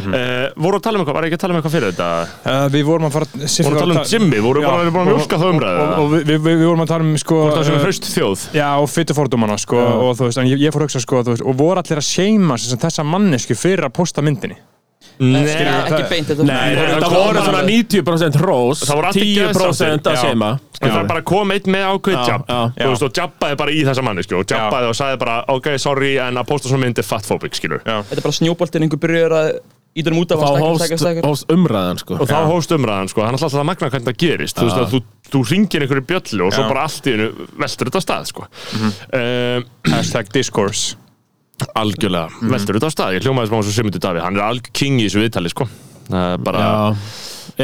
C: mm voru að tala um eitthvað, var ég ekki að tala um eitthvað fyrir þetta
B: Uh, Við vorum að fara Siffi
C: voru að
B: var
C: tala um Jimmy, voru
B: Já.
C: bara, við búin að mjólka þá umræðu
B: og,
C: eða?
B: og við, við, við vorum að tala um sko
C: það sem er
B: uh,
C: hraust þjóð
B: Já, og fytufordumana sko, og þú veist, en ég, ég fór að hugsa sko, þú veist, og voru allir að seima sem sagt þessa mannesku fyrir að posta myndinni.
E: Skilur,
C: Nei,
E: Ekki beint þetta
D: Nei,
C: Nei,
D: þetta
C: það
D: voru
C: kom
D: svona
C: alveg-
D: 90% rós
C: Það voru allir
D: 10% að
C: geðsáttir, já.
D: seima
C: það var bara að koma einn með ákveð
D: Já,
C: jabb
D: já.
C: þú veist, og jabbaði bara í þessa manni, skilur og jabbaði og sagði bara, ok, sorry, en að posta svona mynd er fatphobic, skilur
B: Já.
E: Þetta er bara snjóboltinn, einhver byrjar að íta um út af
D: Þá
E: hann, stækkar,
D: hófst,
E: stækkar, stækkar.
D: hófst umræðan sko.
C: og þá hófst umræðan, sko, hann ætla alltaf að magna hvernig það gerist, þú veist, að þú, þú ringir einhverju bjöllu og svo bara allt í hennu veltur þetta af stað, sko um,
B: Hashtag discourse.
C: Algjörlega, veltur þetta af stað, ég hljómaði smá svo Simundur Davíð, hann er algjör king í þessu viðtali sko. Það er bara,
D: Já.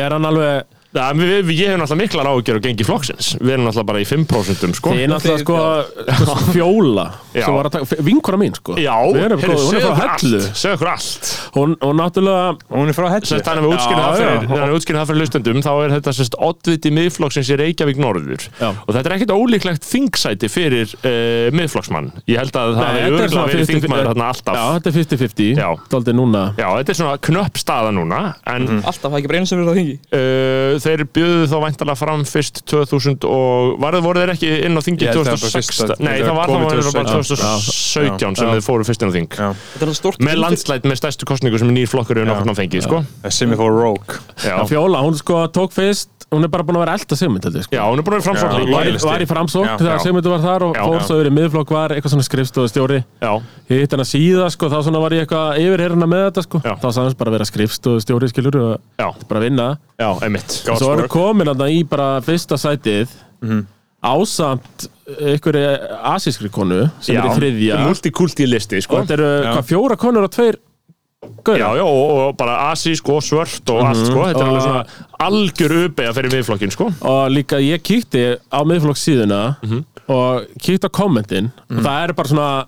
D: Er hann alveg
C: ja, við, við, ég hef náttúrulega miklar ágjör á gengi flokksins, við erum náttúrulega bara í 5% sko.
D: Þið er náttúrulega sko sko, Fjóla
C: Já.
D: sem var að taka- Vinkona mín sko
C: Já,
D: Við erum góð,
C: heyrðu,
D: Hún er
C: segðu
D: frá
C: okkur
D: hellu
C: allt, segðu okkur allt
D: Hún hún náttúrulega
B: Hún er frá Hellu.
C: Sest, þannig að við útskýrðum
D: Já,
C: það
D: já.
C: fyrir, þannig að við útskýrðum það fyrir hlustendum þá er þetta sérst oddviti miðflokksins í Reykjavík norður
D: Já.
C: og þetta er ekkert ólíklegt þingsæti fyrir uh, miðflokksmann ég held að það
D: Nei,
C: hefur
D: þetta er
C: örgulega
D: svona
C: verið
D: 50
C: þingmaður þarna
D: Já,
C: alltaf já.
D: þetta er 50-50
C: Já.
D: Daldið núna
C: þetta er svona knöpp staða núna en
D: Mhm.
E: Alltaf, það er ekki bara einu sem verið á þingi
C: uh, þeir bjöðu þá væntalega fram fyrst 2000 og var, voru þeir ekki inn á þingi
B: Ég held það var
C: 2006?
B: fyrsta-
C: Nei, það var
B: komið
C: það var bara
B: 2017.
C: 2017
B: Já.
C: sem þeir fóru fyrst inn á þing.
B: Já.
E: Þetta er það stort
C: Með landslæt með stærstu kostningu sem nýr flokkur eru nokkurn á fengið, sko.
B: Simi fór rogue
C: Já.
D: Já, Fjóla, hún sko tók fyrst hún er bara búin að vera elda Sigmund held ég, sko.
C: Já, hún er búin að vera
B: Já.
C: framsókn
D: var,
C: líka.
B: Loyalisti.
D: var í framsókn
B: Já,
D: þegar
B: já.
D: Sigmund var þar og
C: Já,
D: fór
C: já.
D: svo yfir í miðflokk var eitthvað svona skrifstofustjóri
C: Já,
D: ég hitt hana síða sko, þá svona var ég eitthvað yfirherrna með þetta sko,
C: Já.
D: þá sagðist bara að vera skrifstofustjóri skilur og
C: já,
D: bara vinna
C: já, einmitt.
D: og svo var hún komin að í bara fyrsta sætið
C: Mhm.
D: ásamt einhverju asískri konu sem er í þriðja
C: Multikulti listi,
D: og
C: sko.
D: þetta eru hvað fjóra konur og tveir
C: Já,
D: gauðar
C: já, og, og bara asísk og svört og
B: Mhm.
C: allt, sko. Þetta er alveg svona algjör uppeyja fyrir miðflokkin, sko.
D: og líka ég kíkti á miðflokkssíðuna
C: Mhm.
D: og kíkti á kommentin og það er bara svona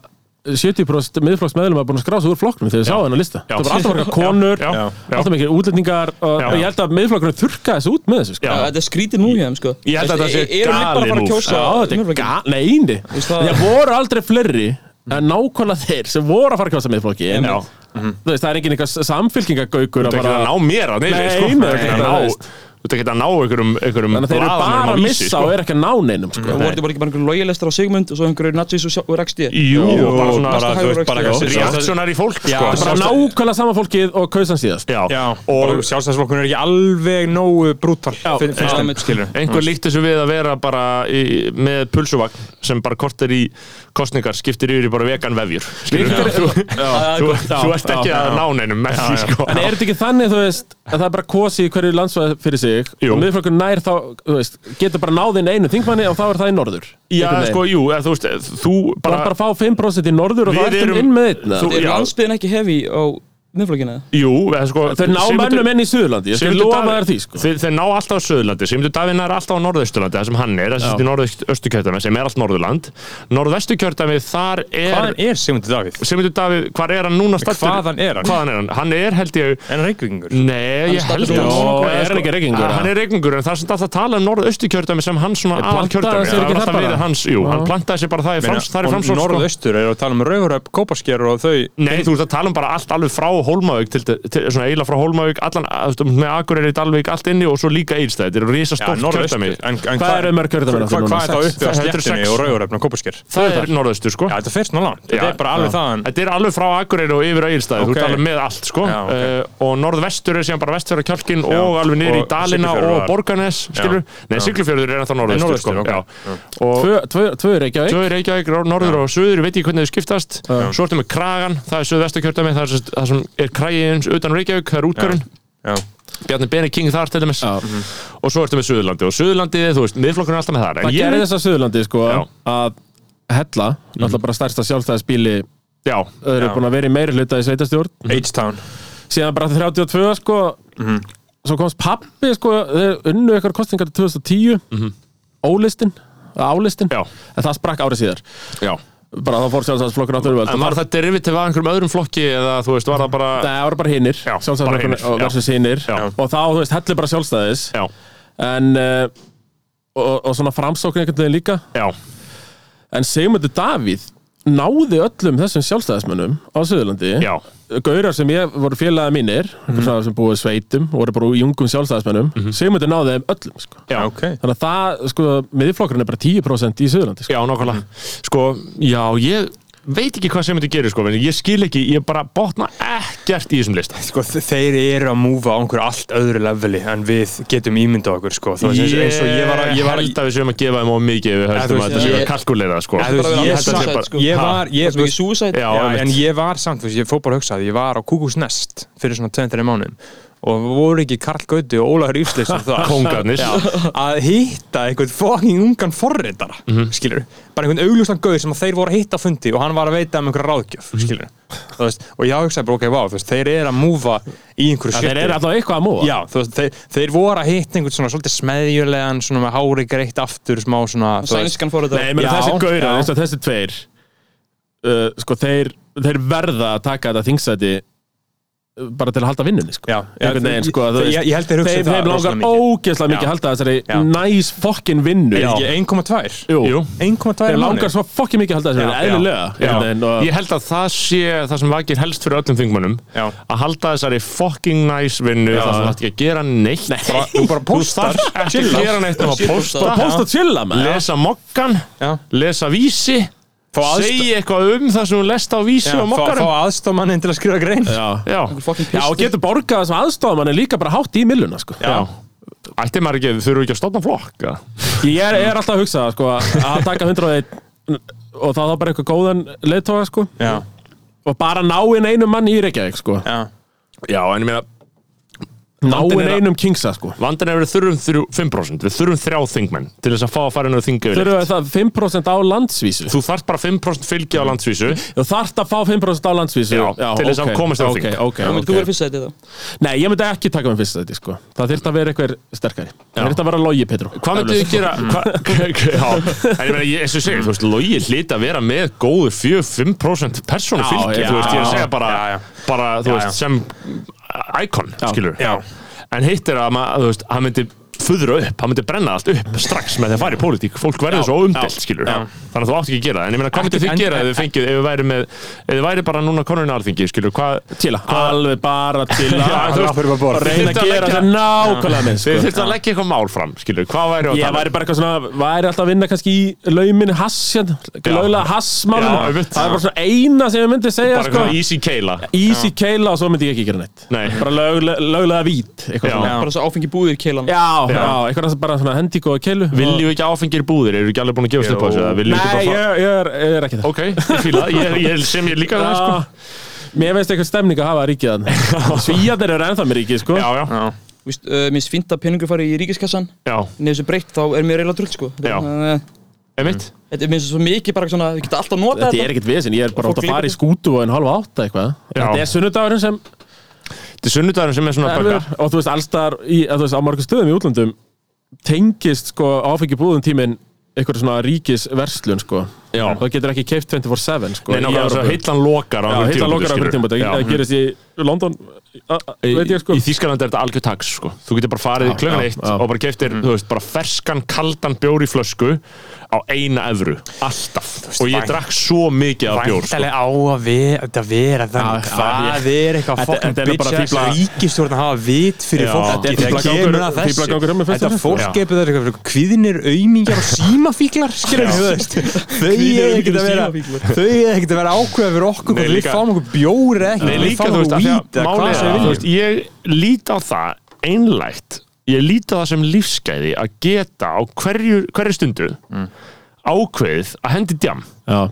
D: 70% miðflokksmeðlum að búin að skrá sig úr flokknum þegar þið sá hennar lista
C: Já.
D: það var alltaf margar konur,
C: Já, já, já.
D: alltaf mikið útlendingar og
C: Já.
D: og ég held að miðflokkurinn þurrka þessu út með þessu sko.
C: Já.
E: Þetta er skrítið nú hjá þeim sko
C: Ég held að þetta sé
E: Erum við bara að
C: galið
E: fara að
C: move.
E: kjósa
D: Já, þetta er
E: Miðflokkinn?
D: gæt, neini
E: veist það-
D: Það voru aldrei fleiri en nákvæmlega þeir sem voru að fara að kjósa miðflokki en
C: Já.
D: þú veist, það er engin eitthvað samfylkingagaukur
C: Þú ert ekki að ná mér að neili,
D: Nei,
C: sko.
D: nei,
C: Þú ert ekki að
D: nei,
C: ná-
D: þú veist.
C: Þú ert ekki að ná einhverjum, einhverjum
D: þannig að þeir eru bara
C: blaðamönnum
D: að
C: á
D: missa
C: vísi,
D: og
C: sko.
D: eru ekki að ná neinum sko.
E: Það voru þetta bara ekki bara einhverjum lojalistar á Sigmund og svo einhverjum nazis og, sjá- og reksti
C: Jú,
B: Jú,
C: og bara svona
B: bara, þú veist, bara
E: Reaksjónar-
C: reaktionari fólk, sko.
D: Þetta er bara nákvæmlega sama fólkið og kausan síðast
C: Já,
B: Já,
C: og
B: og sjálfstæðsflokkun er ekki alveg nógu brútal finn- finnst þeim,
E: einmitt.
B: skilur
C: einhver líkt þessu við að vera bara í, með pulsuvagn sem bara kortir í kostningar, skiptir yfir í bara vegan vefjur skilur við.
D: Líkar-
C: þú,
D: Já.
C: þú,
D: Já,
C: þú ert ekki
D: já,
C: að
D: já.
C: ná neinum með því sko
D: En er þetta ekki þannig, þú veist, að það er bara kosi í hverju landsvæð fyrir sig
C: Jú.
D: og miðflokkur nær þá, þú veist, getur bara náðin einu þingmanni og þá er það í norður.
C: Já,
D: Einhvern veginn.
C: sko, jú, eða, þú veist, þú
D: Þú
C: bara,
D: þarf bara að fá 5% í norður og
C: Við
D: þá ertum
C: erum-
D: inn með einna.
C: þú-
E: Er
C: já.
E: landsbyðin ekki hefi á miðflokkina?
C: jú, eða, sko
D: Þau ná
C: Sigmundur-
D: mönnum enn í Suðurlandi, ég skal
C: Sigmundur
D: lofa
C: Davíð-
D: þér því, sko.
C: Þeir, þeir ná alltaf á Suðurlandi, sem þú Davíð nær alltaf á Norðausturlandi, það sem hann er, það sem er í Norðausturkjördæmi, sem er allt Norðurland. Norðvesturkjördæmi, þar er,
B: Hvaðan er Sigmundur Davíð?
C: sem þú Davíð, hvar er hann núna stættur?
B: Hvaðan er hann?
C: Hvaðan er hann? Hann er, held ég,
B: En reykvingur?
C: Nei, ég held
E: staddur í
D: Mónakó. Er
C: Eða,
D: hann
C: sko,
D: ekki reykingur,
C: að
D: eða?
C: Hann er reykingur, en það er sem alltaf að tala um norðausturkjördæmi sem hann svona aðal
D: plantaði
C: kjördæmi
D: sér
C: Það
D: ekki
C: var
D: það
C: alltaf
D: bara?
C: verið hans, jú, hann plantaði sér bara það í frams, það er framsókn sko.
B: Norðaustur, er að tala um Rauðuröp, Kópasker og þau
C: Nei, þú ert að tala um bara allt alveg frá Hólmavík til, til svona eiginlega frá Hólmavík, allan, að- þú veist, með Akureyri, Dalvík, allt inni og svo líka Eilstæði, þetta er risa stórt kjördæmi
B: En, en
D: Hvað eru mörg kjördæmin á því
B: Hvað
D: núna?
B: hvað er það
D: Sex.
B: uppi á
C: Það- þetta eru
B: sléttinni
C: sex.
B: og Rauðuröp og Kópasker?
C: Það er norðaustur, sko
B: Já, þetta fer svona langt, þetta
C: Já,
B: er bara alveg þaðan
C: Þetta er alveg frá Akureyri og yfir á Egilstaði, þú
B: Ok.
C: ert alveg með allt sko
B: Já, ok.
C: uh, og norðvestur er síðan bara vestfjörður kjálkin og alveg niður í
B: og
C: Dalina
B: Siglufjörður
C: og
B: var-
C: Borgarnes, skilur Nei, Siglufjörður er ennþá norðvestur sko
B: norðvestur, ok.
C: Já. Og
D: Tvö- tvö- Tvö er ekki á einn.
C: Tvö Reykjavík, norður og suður, ég veit ekki hvernig þau skiptast Svo ertu með Kragan, það er suðvestakjördæmi Það er sem- það sem er kræðins utan Reykjavík, það er útgörun
B: Já.
C: Bjarni Beni King þar til dæmis Og svo ertu með Suðurlandi Og Suðurlandi, þú veist, miðflokkurinn er alltaf með þar En
D: Það
C: ég
D: gerði
C: veit,
D: þess að Suðurlandi, sko,
C: Já. Mhm.
D: að Hella, náttúrulega bara stærsta sjálfstæðisbíli,
C: já,
D: þau eru búin að vera í meiri hluta í sveitastjórn,
B: H-Town
D: síðan bara 32 sko
C: Mhm.
D: svo komst pappi sko þeir unnu eitthvað kostingar til 2010 ólistin, álistin
C: Mhm. Já.
D: en það sprakk árið síðar
C: já
D: bara þá fór sjálfstæðsflokkur náttúrulega
C: En var það derivative af einhverjum öðrum flokki Eða þú veist, var það bara
D: það voru bara hinnir,
C: Já, bara
D: sjálfstæðsflokkur
C: hinir, já.
D: versus hinnir
C: Já.
D: og þá, þú veist, hellir bara sjálfstæðis
C: Já,
D: en uh, og, og svona framsókn einhvern veginn líka
C: já,
D: en Sigmundur Davíð náði öllum þessum sjálfstæðismönnum á Suðurlandi
C: já
D: gaurar sem ég voru félagið mínir mm -hmm. sem búið í sveitum og voru bara úr jungum sjálfstæðismennum Sigmundur náði þeim öllum sko.
C: Já,
B: Ok
D: þannig að það, sko, miðflokkurinn er bara 10% í Suðurlandi sko.
C: já nákvæmlega Sko, já, ég veit ekki hvað sem þetta gerir sko, en ég skil ekki, ég bara botna ekkert í þessum lista
B: Sko, þe- þeir eru að múfa á einhverju allt öðru leveli en við getum ímynda okkur sko. Þú veist, eins, eins og ég var að, ég var að
C: held að við séum að gefa þeim á mikið við
B: þú
C: höldum að
B: veist,
C: þetta séu að
B: ég-
C: kalkulera sko.
B: Ja, þú veist,
E: Bara
B: ég
E: vera
B: samt-
E: suicide, sko.
B: ég var, ég,
E: Það er mikið suicide
C: Já,
B: já, en
C: einmitt.
B: ég var samt, þú veist, ég fór bara að hugsa að ég var á Kúkusnest fyrir svona 2-3 mánuðum og voru ekki Karl Gauti og Ólafur Ífsleis
C: Kongarnir.
B: að hitta einhvern fucking ungan forreitara skilur, bara einhvern augljústan gauð sem að þeir voru að hitta á fundi og hann var að veita um einhverja ráðgjöf, skilur veist, og ég hugsaði bara, ok, vá, þú veist, þeir eru að múfa í einhverju
D: þeir
B: shiti.
D: eru alltaf eitthvað að móa
B: Já, þú veist, þeir, þeir voru að hitta einhvern svona svolítið smeðjulegan, svona með hári greitt aftur, smá svona, þú veist
E: Sænskan fór
D: Nei,
E: þetta
D: ég meina
B: Já,
D: þessi gaurar,
B: já.
D: eins og þessi tveir uh, sko, þeir, þeir verða að taka þetta þingsæti bara til að halda vinnunni sko.
B: Já, já,
D: Einhvern veginn, sko, þú
B: ég-
D: veist,
B: ég- ég held þeir hugsi
D: þeim,
B: það
D: þeim
B: rosalega
D: langar
B: mikið.
D: ógeðslega mikið
B: Já.
D: að halda þessari
B: Já.
D: næs fokkin vinnu
B: Er ekki 1,2?
D: Jú.
B: 1,2 í
D: þeim
B: mánuði?
D: langar svo fokkin mikið að halda þessari vinnu,
C: Já.
D: eðlilega Einhvern veginn, og-
C: Ég held að það sé það sem vakir helst fyrir öllum þingmönnum
B: Já.
C: að halda þessari fucking nice vinnu þar sem þú ætti ekki að gera neitt Nei. þú bara
B: póstar,
C: þarft ekki að gera neitt nema að
E: Pósta.
C: posta,
D: bara posta og chilla maður
C: lesa mokkan,
B: Já.
C: lesa vísi
B: aðst-
C: segja eitthvað um það sem þú lest á vísi
B: Já,
C: og
B: fá, fá
C: mokkarum
B: aðstofmannin til að skrifa grein
D: já.
C: Já.
E: Fucking
D: já, og
E: pissed.
D: getur borgað þessum aðstofum hann er líka bara hátt í milluna sko.
C: Já. Ætti maður ekki, þurfu ekki að stofna flokk eða?
D: ég er, er alltaf að hugsa sko, að taka 101 og það er bara eitthvað góðan leiðtóga sko.
B: Já,
D: og bara náinn einum mann í Reykjavík sko.
B: já,
C: Já, en ég meina
D: náinn
C: er að-
D: einum kingsa sko.
C: Vandinn er við þurfum þrjú, 5% Við þurfum þrjá þingmenn til þess að fá að fara inn á þingi
D: þurfa það 5% á landsvísu
C: Þú þarft bara 5% fylgi á landsvísu
D: Þú þarft að fá 5% á landsvísu
C: Já, til þess að
D: ok,
C: hann komist á
D: ok,
C: þing.
D: ok,
E: Þú
D: ok.
E: verður fyrst að þetta
D: Nei, ég myndi ekki taka með fyrst þetta sko. Það þyrfti að vera eitthvað sterkari Það þyrfti að vera logi, Petru
C: Hvað myndu þið gera? Hva, já, en ég meina, ég, eins og segir, þú veist, logi hlýt að vera með góðu 4-5% persónu fylgi,
D: já,
C: þú veist, ég er að segja bara,
B: já, já.
C: bara þú
B: Já,
C: veist, sem íkon, skilur.
B: já.
C: En hitt er að, maður, þú veist, hann myndi fuðra upp, hann myndi brenna allt upp strax með því að fara í pólitík, fólk verður svo umdelt, skilur. Þannig að þú átt ekki að gera það, en ég meina, hvað myndu þið
B: en-
C: gera ef þið fengið, ef þið væri með, ef þið væri bara núna konurinn alþingi, skilur, hvað,
D: Tila, alveg bara tila
C: Já, þú veist,
D: Og reyna
C: þyrfti
D: að
C: að
D: gera
C: leggja-
D: þetta nákvæmlega minn
C: þið
D: sko.
C: þurftu að leggja eitthvað mál fram, skilur, hvað væri að
D: Ég
C: tala um?
D: væri bara eitthvað svona, væri alltaf að vinna kannski í lauminu hass hérna, lögulega hassmálinu
C: Já, einmitt.
D: Það er bara svona eina sem ég myndi segja
C: bara
D: sko,
C: eitthvað easy keila.
D: Easy keila og svo myndi ég ekki gera neitt
C: Nei.
D: Bara löglega, löglega vít Eitthvað
C: Já.
D: svona
E: Bara þess að áfengi búðir keilan
D: Já, já, eitthvað sem bara svona hendi góða keilu
C: Viljum við ekki áfengir búðir? Eru ekki alveg búin að gefa stöpa þessu? eða viljum við
D: Nei,
C: ekki
D: ég,
C: bara fara-
D: ég, er, ég er ekki það
C: Ok, ég fíla það, ég, ég sem ég líka það sko.
D: Já, Mér veist eitthvað stemning að hafa ríkið hann Svíjarnir eru ennþá með ríkið sko
C: Já, já,
E: Vist, uh, Mér finnst fínt að peningur fari í ríkiskassan
C: já,
E: En ef þessu breytt þá er mér reyla drull sko
C: Já.
E: Þannig að
C: emitt
E: Þetta er minnst svo mikið bara svona Við getum alltaf notað
D: Þetta er ekkert vesen, ég er bara átt að fara í skútu og en halva átta eitthvað
C: Já.
D: Þetta er sunnudagurinn sem
C: Þetta er sunnudagurinn sem er svona bögga
D: erfur og þú veist allstar í, að þú veist á margum stöðum í útlöndum tengist sko áfengi búðum tíminn eitthvað svona ríkisverslun sko
C: Já.
D: það getur ekki keift 24-7 sko
C: Nei, nákvæmlega þess að heillan lokar á
D: Já,
C: einhverjum
D: heitla
C: tímapunkti,
D: lokar á hverjum
C: skilur.
D: tímabóta
C: Já.
D: það gerist í London a- a- veit ég sko
C: Í Þískaland er þetta algjör tax sko. Þú getur bara farið
D: Já,
C: klögan
D: já,
C: eitt
D: já.
C: og bara keftir, þú veist, bara ferskan kaldan bjór í flösku á eina evru Alltaf Og ég
B: vænt-
C: drakk svo mikið af bjór sko.
B: Væntalega á að vera, þetta vera þannig
D: Já,
B: Hvað er eitthvað
D: Þetta-
B: fokkin
D: þetta er nú bara
B: bitch ass
D: fíbla-
B: ríkistjórn að hafa vit fyrir
C: Já.
B: fólki
C: Þetta
D: er
B: Þegar
D: fíblagangur-
B: kemur að þessu.
D: fíblagangur um með fyrsta
B: Þetta
D: fyrsta.
B: fólk
C: Já.
B: gefur það eitthvað kvíðinir, aumingar og símafíklar skilur við, þú veist Þau
E: Kvíðinir,
B: er ekkert að
E: aumingar
B: vera
E: og
B: þau er ekkert að vera ákveða fyrir okkur
C: Nei,
B: hvort við
C: líka-
B: fáum okkur bjóri ekki
C: Nei,
B: hvort
C: líka,
B: við fáum
C: þú veist, af því
B: okkur
C: að
B: víta hvað
C: málið er,
B: sem við
C: þú
B: viljum
C: veist, ég lít á það einlægt, ég lít á það sem lífsgæði að geta á hverju, hverju stundu
B: Mm.
C: ákveðið að hendi djam
D: já,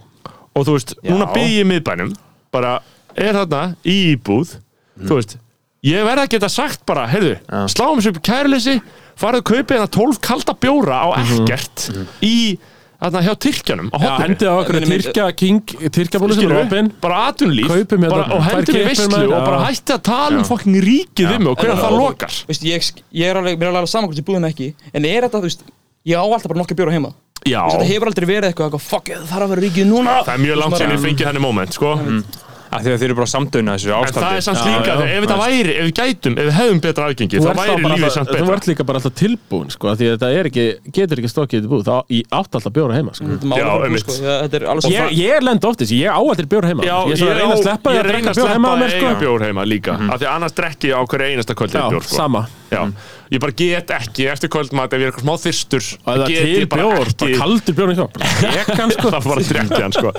C: og þú veist, núna bygg ég í miðbænum bara, er þarna í íbúð
B: Mm.
C: þú veist, ég verð að geta sagt bara, heyrðu, sláum þessu upp kærleysi farið að kaupa hérna 12 kalda bjóra á
B: Mhm.
C: ekkert í þarna hjá Tyrkjanum á
D: já
C: hotninu
D: hendið á okkur
E: Nei, nei,
D: Tyrkja King Tyrkjabólu sem er
C: Skilurðu?
D: opinn
C: bara atunlíf
D: Kaupum hérna
C: bara, og
D: tvær
C: hendum í
D: kippur
C: veistlu
D: með-
C: og bara
D: Já.
C: hætti að tala um fokkin ríkið um og hvernig það lokar
E: Vist, ég, ég er alveg, mér er alveg saman hvort ég búðin ekki En er þetta, þú veist, ég á alltaf bara nokkuð bjóra heima
C: já,
E: Vist, Þetta hefur aldrei verið eitthvað, eitthvað fuck, það þarf að vera ríkið núna
C: það er mjög langt sem ég fengið henni moment sko. en
B: Af því að þeir eru bara að samdöna þessu ástandi
C: það er samt líka,
D: Mm, já,
C: ef þetta væri ef við gætum, ef við hefum betra afgengi
D: Þú
C: þá
D: ert þá
C: væri
D: bara
C: lífið
D: alltaf-
C: samt
D: þú
C: betra
D: ert líka bara alltaf tilbúin sko, af því að þetta er ekki, getur ekki stokkið þetta búið, þá í átt alltaf bjóra heima
C: Mm.
D: sko.
E: Þetta er málið
C: Já,
E: bara búið,
C: einmitt.
E: sko. Já, Þetta er alveg
D: ég, ég lend oft þessi, ég á aldrei bjóra heima
C: Já,
D: ég er svona að reyna að
C: á-
D: sleppa því
C: ég
D: að drekka
C: reyna að
D: bjór heima
C: sleppa
D: með, sko.
C: eiga bjór heima líka af því annars drekki ég á hverju einasta kvöldi
D: Já,
C: bjór sko.
D: sama. Mhm.
C: Já. ég bara get ekki eftir kvöldmat ef ég er eitthvað smá þyrstur
D: Og ef það
C: get
D: er til
C: ég bara
D: bjór, bara
C: ekki-
D: kaldur bjór í hjálp
C: drekan sko Það var að drekja hann sko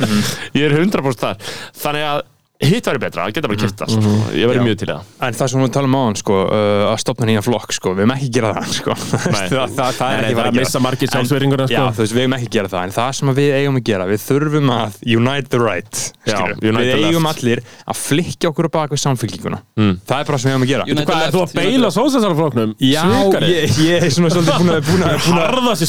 C: Ég er 100% þar Þannig að hitt væri betra, það geta bara kipta sko. Ég væri mjög til í það
B: En það sem við talum á hann sko, uh, að stopna nýja flokk sko, við hefum ekki gera það sko. það, það, það er ekki
D: Nei, það
B: fara
D: er
B: að
D: að
B: gera
D: missa margir
B: En-
D: sjálfsveringuna
B: Já,
D: sko.
B: þú veist, við hefum ekki gera það en það sem við eigum að gera, við þurfum að unite the right skilurðu.
C: unite
B: við
C: the left.
B: eigum allir að flikja okkur á bak við samfélkinguna
D: Mm.
B: það er bara sem við eigum að gera
E: Unite-
D: Hvað, er þú að beila sósæsarflóknum?
B: Já, ég, ég er svona svolítið búin að, búin að, búin að
D: Harða þessi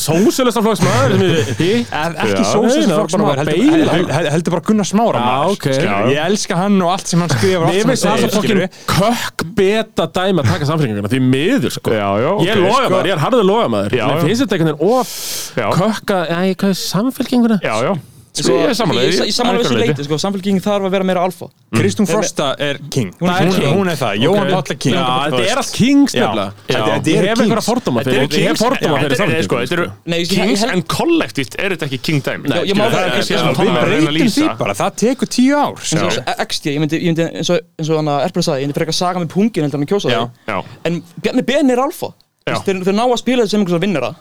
D: sósæsarflóksmaður sem ég hitt
B: ef ekki
D: Já.
B: sósiflokksmaður
D: Nei, það er bara að
B: heldur,
D: beila.
B: hel- hel- heldur bara Gunnar Smára
D: Já,
B: maður,
D: ok.
B: skilurðu. ég elska hann og allt sem hann skrifar og allt
D: Mér
B: sem hann
D: finnst það
B: segir,
D: svo fokkin
B: skilurðu.
D: kökk beta dæmi að taka samfélkinguna því miður sko
C: Já, já,
D: Ég er
C: ok,
D: loga
C: sko.
D: maður, ég er harður loga maður
C: Já,
D: Mér
C: já.
D: finnst þetta einhvern veginn of
C: Já.
D: kökka, æ, hvað er samfélkinguna?
C: Já, já
B: Sko,
C: ég er samanlega
E: Ég, ég, ég samanlega þessi leiti, sko, samfélkingin þarf að vera meira alfa
D: Mm.
B: Kristún Frosta er king Hún,
D: er
B: hún,
D: king.
B: hún er það, Jóhann
D: Ok.
B: Páll er king
D: Já,
B: Þú
D: þetta
B: veist.
D: er allt kings
B: Já.
D: nefnilega
B: Já.
D: Þetta- Ég hef einhverja fordóma fyrir Ég hef fordóma fyrir
C: samfélkingu sko, Þetta
D: samfélkingu
C: eru
E: Nei, ég-
C: Kings
E: ég held-
C: en kollektíft er þetta ekki King Dæmi
E: Já, ég má-
C: það er kannski það sem
E: Já,
B: Við
C: Pálmi er að reyna að
B: breytum því
C: lýsa.
B: bara, það tekur tíu ár
E: En svo- svo- XG, ég myndi, ég myndi eins og, eins og hann að Erbrið sagði, ég myndi frekar saga með pungin heldur en að kjósa
B: Já,
C: já.
E: það En Bjarni Ben er alfa
C: Já.
E: Þeir, þeir ná að spila þetta sem einhversa vinnara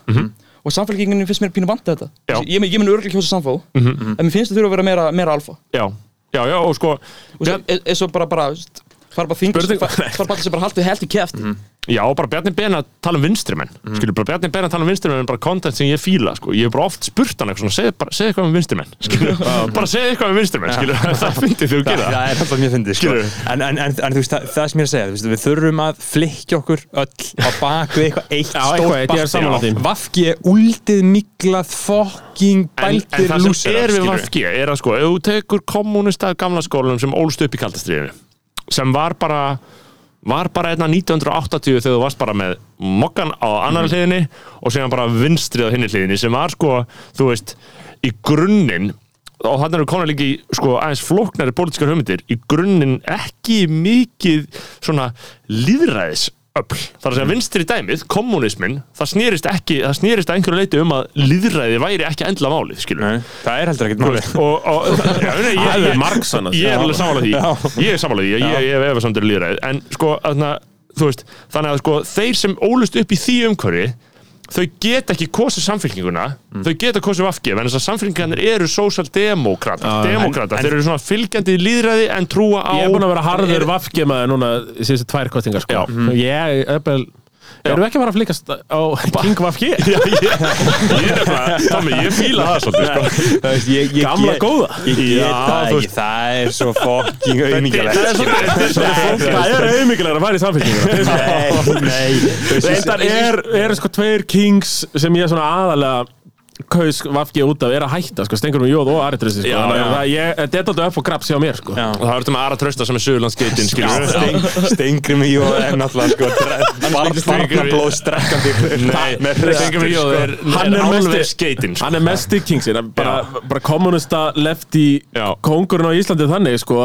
E: Og samfélkingin finnst mér pínu vanda þetta
C: Já.
E: Ég, ég, ég mun örgulega kjósa samfó En mér finnst það þurfa að vera meira, meira alfa
C: Já, já, já, og sko
E: Og svo- e- eins og bara, bara, þú veist, fara bara þingur
C: Spurning-
E: Fara fara bara þessi bara haldið helt í kæft
C: Já, og bara Bjarni Ben að tala um vinstri menn Skilur, bara Bjarni Ben að tala um vinstri menn er bara content sem ég fíla, sko Ég hef bara oft spurt hann eitthvað svona Segð bara- segðu eitthvað um vinstri menn, skilur Bara segð eitthvað um vinstri menn, skilur Það fyndi þú
B: Það,
C: að gera
B: það er alltaf mjög fyndið sko.
C: Skilurðu?
B: en, en, en, en þú veist, það, það sem ég er að segja þú veist, Við þurfum að flikja okkur öll á bak við eitthvað eitt
D: eitthvað eitt, ég er sammála
B: stórt
D: því.
B: Vafki er úldið miklað fokking
C: En, en
B: bæltir
C: það sem
B: lúsera
C: er við
B: skilurðu.
C: VFG er að sko, ef þú tekur kommunista af gamla skólanum sem ólst upp í kaldastriðinu sem var bara var bara hérna einna 1980 þegar þú varst bara með mokkan á annar hliðinni og síðan bara vinstrið á hinni hliðinni sem var sko, þú veist, í grunninn og þannig eru konar líka í sko, aðeins flóknari pólitískar hugmyndir í grunninn ekki mikið svona líðræðis öll. Það er að segja vinstri dæmið, kommunismin, það snýrist ekki, það snýrist að einhverju leiti um að líðræði væri ekki endla málið, skilur
B: Nei, Það er heldur ekkert máli
C: og, og já, nei, ég,
D: Það
C: ég,
D: er Marx annars.
C: ég er alveg sammála því
B: Já.
C: ég er sammála því, ég, ég, ég hef samtidig líðræði en sko, þarna, þú veist þannig að sko, þeir sem ólust upp í því umhverfi þau geta ekki kosið samfélkinguna
D: Mm.
C: þau geta kosið vafki en þess að samfélkingarnir eru sósaldemókratar
D: Já, já.
C: demókratar,
D: En-
C: þeir eru svona fylgjandi í líðræði en trúa á
D: Ég er búin að vera harður vaffgemaði núna síðustu tvær kostingar sko Ég, öppel Erum við ekki að fara að flikast á King Vafki?
C: Já, ég, ég, er nefnilega- Tommy, ég fíla það svolítið sko.
B: Það veist, ég- ég
D: Gamla
B: get-
D: góða.
B: Ég
C: Já,
B: get það
C: þú
B: ekki, það er svo fokking auðmíkjalegt
D: Það er auðmikilegt að fara í samfélkinguna
B: Nei, nei þú veist, ég-
D: Reyndar er, er sko tveir kings sem ég svona aðalega kaus vafki út af er að hætta sko, Stengur um Jóð og Ari Trösti sko,
C: Já,
D: þannig
C: já.
D: að það- ég- þetta er alltaf upp og graps hjá mér sko.
B: Já.
C: og það er þetta með Ara Trausta sem er Suðurlandsgeitin skilur
B: Steng- Steingrim í Jó er náttúrulega sko Barnablóð strekkandi
C: Nei, Steingrímur J. er-
D: Hann
C: er
D: er
C: álver
D: mesti-
C: skeitin, sko.
D: Hann er mest í kingsin hann bara, bara kommunista lefti
C: Já.
D: kongurinn á Íslandi þannig sko,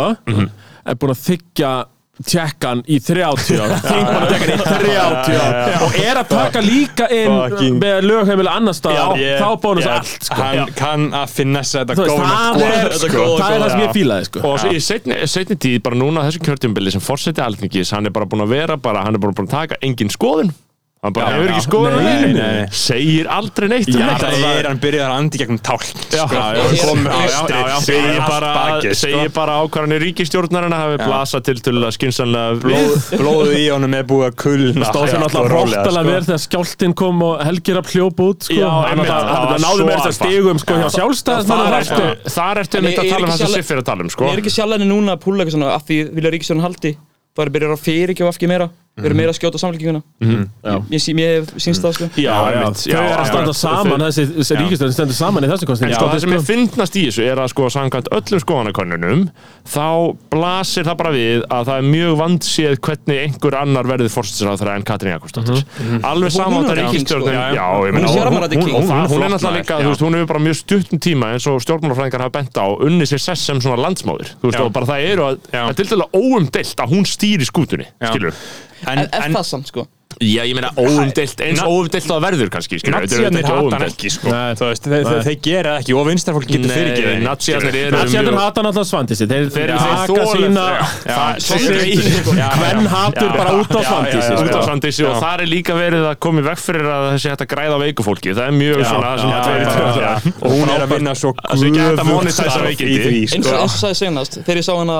D: er búin að þykja tjekkan í 30 ár þingmann að tjekkan í 30 ár og er að taka líka inn
B: Fucking-
D: með lögheimili annar staðar þá bónus allt sko.
B: Hann kann að finnessa þetta
D: Þú veist,
B: góðan
D: það er sko, það er það sem ég fílaði sko.
C: og svo í setni, setni tíð bara núna á þessu kjörtjumbili sem forseti alþingis hann er bara búin að vera bara, hann er bara búin að taka engin skoðun hann bara hefur ekki skoðun á
B: Nei,
C: neinu.
B: nei, nei.
C: segir aldrei neitt um
B: Já,
C: neitt.
B: það er hann byrjaði að sko, andi gegnum tálk Já,
E: ég-
B: komið á
E: ég-
B: strið,
C: segir
B: allt
C: bara,
B: bakið, sko.
C: segir bara ákvarðanir ríkistjórnarina hafi blasa til til að skynsanlega við
B: Blóð- Blóðið í honum er búið að kulna
D: stóð sér
B: hægt og
D: náttúrulega
B: rólega,
D: hróttalega
B: sko.
D: vel þegar skjálftinn kom og Helgir að hljópa út sko.
C: Já,
D: hann náttúrulega-
C: einmitt, það
D: hann
C: var
D: náði
C: svo
D: með þess að
C: alfa.
D: stigum sko, hjá sko. sjálfstæðismann
C: þar ertu, þar ertu
E: En
C: mitt að
E: ég- ég er
C: tala um
E: ekki
C: það sem
E: sjálf-
C: Siffir er að tala um sko.
E: Ég er ekki sjálf henni núna að púla eitthvað svona af því vilja ríkistjórn haldi Það er byrjar að fyrirgjóða afgið meira Við erum meira að skjóta samfélkinguna Ég- Ég sí- ég syns það sko
C: já, einmitt,
D: þau er að standa saman þessi, þessi ríkistöðin stendur saman í þessu kostning
C: En sko, það sem er fyndnast í þessu er að sko samkvæmt öllum skoðanakönnunum þá blasir það bara við að það er mjög vandséð hvernig einhver annar verður fórstinsráðara en Katrín Jakobsdóttir alveg
E: Hún
C: saman
E: er
C: það
E: king, sko.
C: ríkistjórnum
E: Já,
C: Já,
E: já.
C: ég meina,
E: Hún er
C: og-
E: sérmanandi
C: hún-
E: king.
C: og
B: Hún
C: það- hún er
B: flott
C: náttúrulega
B: maður,
C: líka,
B: já.
C: þú veist, hún hefur bara mjög stuttum tíma eins og stjórnmálafræðingar hafa bent á unni sér sess sem svona landsmáður þú veist,
B: Já.
C: og bara það eru að,
B: Já.
C: það er til dæla óumdeilt að hún stýri skútunni,
B: Já.
C: skilur
B: En,
E: En er
B: en
E: það samt sko
C: Já, ég meina óumdeilt, eins óumdeilt að það verður kannski, skilur
B: natsíðanir hata hann ekki sko.
D: Nei.
B: Þú veist, þeir, þeir, þeir gera það ekki og vinstrafólk getur fyrirgefið
C: Nei,
B: henni.
C: natsíðanir eru
D: Natsjættur
C: mjög-
D: hata náttúrulega Svandísi þeir,
C: Þeir-
D: þeir
C: þeir
D: taka
C: þola-
D: sína
C: Já. Það-
B: Já,
D: hvern hatur
B: já,
D: bara út á
B: já,
D: Svandísi
B: já, já,
C: út
D: sko.
C: af Sandísi og þar er líka verið að koma í veg fyrir að þessi hægt að græða á veiku fólki það er mjög svona það sem
B: já,
C: hægt verið
B: já,
C: að
B: já.
C: gera
B: og hún er að vinna svo
C: Það sé ekki hægt að
B: göfugt
C: monetisa
B: starf í
C: veikindi.
B: því
E: eins og
B: sko.
E: eins og sagði senast þegar ég sá hana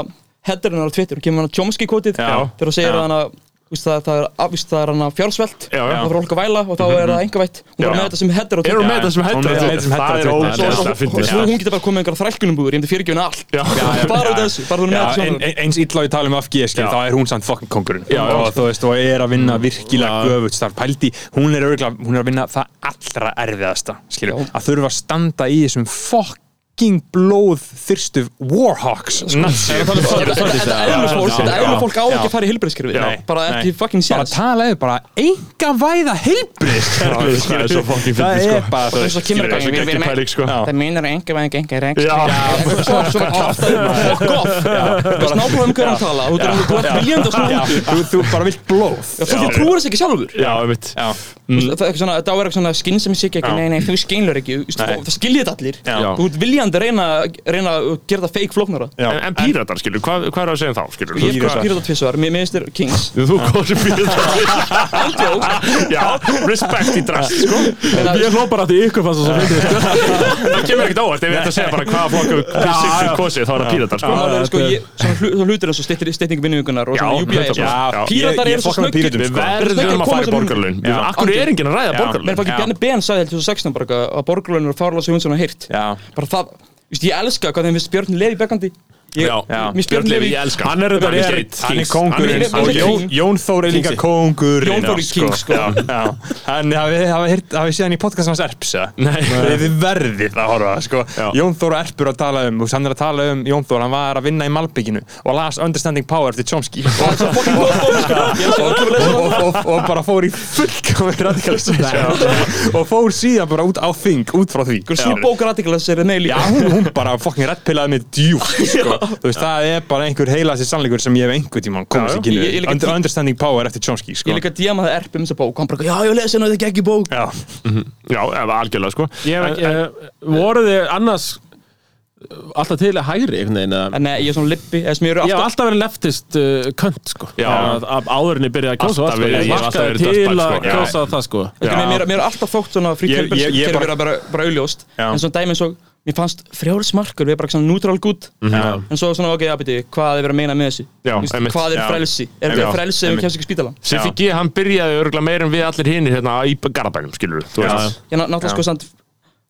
E: headerinn hennar á Twitter, kemur hana Chomsky kotið
B: Já.
E: þegar hún segir
B: Já.
E: að hana víst, það, það, er, af- víst, það er hana fjársvelt
C: Já, já.
E: og það er fólk að væla og þá er það engavætt hún
C: Já.
E: var með þetta sem header á
C: Eru
E: Twitter
C: með þetta sem
B: Hún er með þetta sem header á
C: hægt það er
B: Twitter.
E: og,
C: ógeðslega
E: og, og, og
C: fyndið
E: svo hún getur bara komið með einhverja þrælkunum búður ég myndi fyrirgefin allt
C: Já.
E: bara út af þessu, bara þú er með
B: Já, en,
E: þetta svona
B: en- eins illa við talum af GSG
C: Já.
B: þá er hún samt fucking Mm. kongurinn
C: Já, já.
B: og þú veist, og er að vinna virkilega göfugt starf pældi, hún er örgulega, hún er að vinna það allra erfiðasta, skilju,
E: Já.
B: að þurfa að standa í þessum fucking fucking blóð þyrstu Warhawks sko.
C: Nazi
B: um
E: Eðlufólk eðlufólk á ekki að fara í helbriðskerfið
C: Já.
E: Bara ekki fucking
B: bara
E: séns
B: talaðu bara enga væða heilbrist
C: Það er svo fucking
B: það
C: fyndið,
B: er
C: sko.
B: bara
C: Það
I: svo kemur
C: skilur,
I: bara-
C: það er
I: við- við-
C: ekki pæling sko
I: Það minnir enga veginn gengur ekki
C: Já,
E: um Svo svo er kjáftæður Fuck off Þú veist nákvæmlega um hverjum hann tala Þú ert- þú ert viljandi að snúa út
B: þú, þú bara vilt blóð
E: Já, Mm. fólk trúir þess ekki sjálfur
C: já, einmitt
E: Þú veist, Það er eitthvað svona, það var eitthvað svona skinn sem ég sé ekki
C: Já.
I: Nei, nei,
E: Þú skilur ekki, þú veist, og það skiljið þetta allir
C: Já.
E: Þú ert viljandi að reyna, reyna að gera það fake flóknara
C: En, en píratar, skilur, hvað, hvað er að segja um þá, skilur?
E: Ég er
C: Hvað-
E: pyrrða tvisvar, mér minnst þér Kings
C: Þú kosið píratar.
E: Aldjók
C: Já, respect í drast, sko.
D: Ég hló bara að því ykkur fannst það svo fyndið sko.
C: Það kemur ekkert óvart ef ég ætti að segja bara hvaða flokku sikkur kosið, þá er það píratar, sko.
E: Málið er sko, ég, svona hlu- svona hlutir eins og styttir- stytting vinnuvíkunar og
C: Já,
E: svona UBI
C: 100%.
E: sko.
C: Já,
E: Píratar
B: ég- ég
E: eru svo
B: fokka með
E: snöggir
B: Pírötum,
C: Við
B: sko.
C: verðum að fara í borgarlun.
B: Já.
C: Akkur er enginn að ræða borgarlun.
E: Mér er bara ekki Bjarni Ben sagði til 2016 bara eitthvað að borgarlögin eru fárlega sem hún sem hann heyrt
B: Já.
E: Bara það, þú veist, ég elska hvað þeim finnst Björn Levi bekkandi Ég,
C: Já,
E: mér finnst Björn Levi,
C: ég elska
D: Hann er þetta
C: Hann
D: rétt.
B: hann er
C: Kings.
B: kongurinn
E: Hann er-
B: og
E: hann er
B: Jón,
E: king.
B: Jón Þór er líka kongurinn
E: Jón Þór er
B: Já,
E: king, sko.
B: já, já. hann hafi, hafi, heyrt- hafi séð hann í podcast hans Erps eða?
C: Nei.
B: þið verðið að horfa sko.
C: Já.
B: Jón Þór og Erpur að tala um og hann er að tala um Jón Þór, hann var að vinna í Malbygginu og las Understanding Power eftir Chomsky
E: það er svo fucking góð bók sko Ég elska það, þú lesa
B: og,
E: það.
B: og, og bara fór í fullkomir radikalism og fór síðan bara út á þing út frá því
E: Svo bók radikalas er það með
B: Já,
E: líka
B: hún, hún bara fucking reddpilaði mig djúpt sko. Þú veist, það er bara einhver heilasti sannleikur sem ég hef einhvern tímann komist
C: Já,
B: ekki
E: Ég- ég
B: niður
E: líka
B: Under,
E: tí-
B: Understanding Power eftir Chomsky sko.
E: Ég líka díma það erp um þessa bók og hann bara, já, ég lesi henni þetta ekki bók
B: Já,
C: Já, ef algjörlega, sko.
D: Ég hef ekki, voruð Eh, þið annars eh, alltaf til að hægri einhvern veginn eða-
E: En nei, ég er svona lippi, eða sem ég eru
D: Ég hef
E: alltaf
D: alltaf verið leftist uh, könt sko
C: Já.
D: Að- að Áðurinni byrjaði að kjósa
C: Alltaf
D: það, sko.
C: verið-
D: Ég
C: ég hef alltaf
D: vakkaði
C: verið
D: til
C: dustbag,
D: að
C: sko. Já.
D: kjósa það sko
E: Ekki,
C: Já.
E: mér, mér, mér er alltaf þótt svona frí
B: Ég- ég-
E: kelbers
B: ég
E: kerfi
B: bara-
E: vera bara, bara auðljóst
B: Já.
E: en svona dæmi eins og mér fannst frjálsmarkur við erum bara svona neutral good
B: Mhm.
E: en svo svona ok, já beti, hvað er verið að meina með þessu
C: Já,
E: Þú veist,
C: einmitt.
E: hvað er
C: Já.
E: frelsi, er
C: Já.
E: þetta frelsi ef við
C: Einmitt.
E: kemst ekki spítalan
C: Siffi G, hann byrjaði örgulega meir en við allir hinir hérna í Garabænum, skilur þú veist.
E: ég ná- náttúrulega sko samt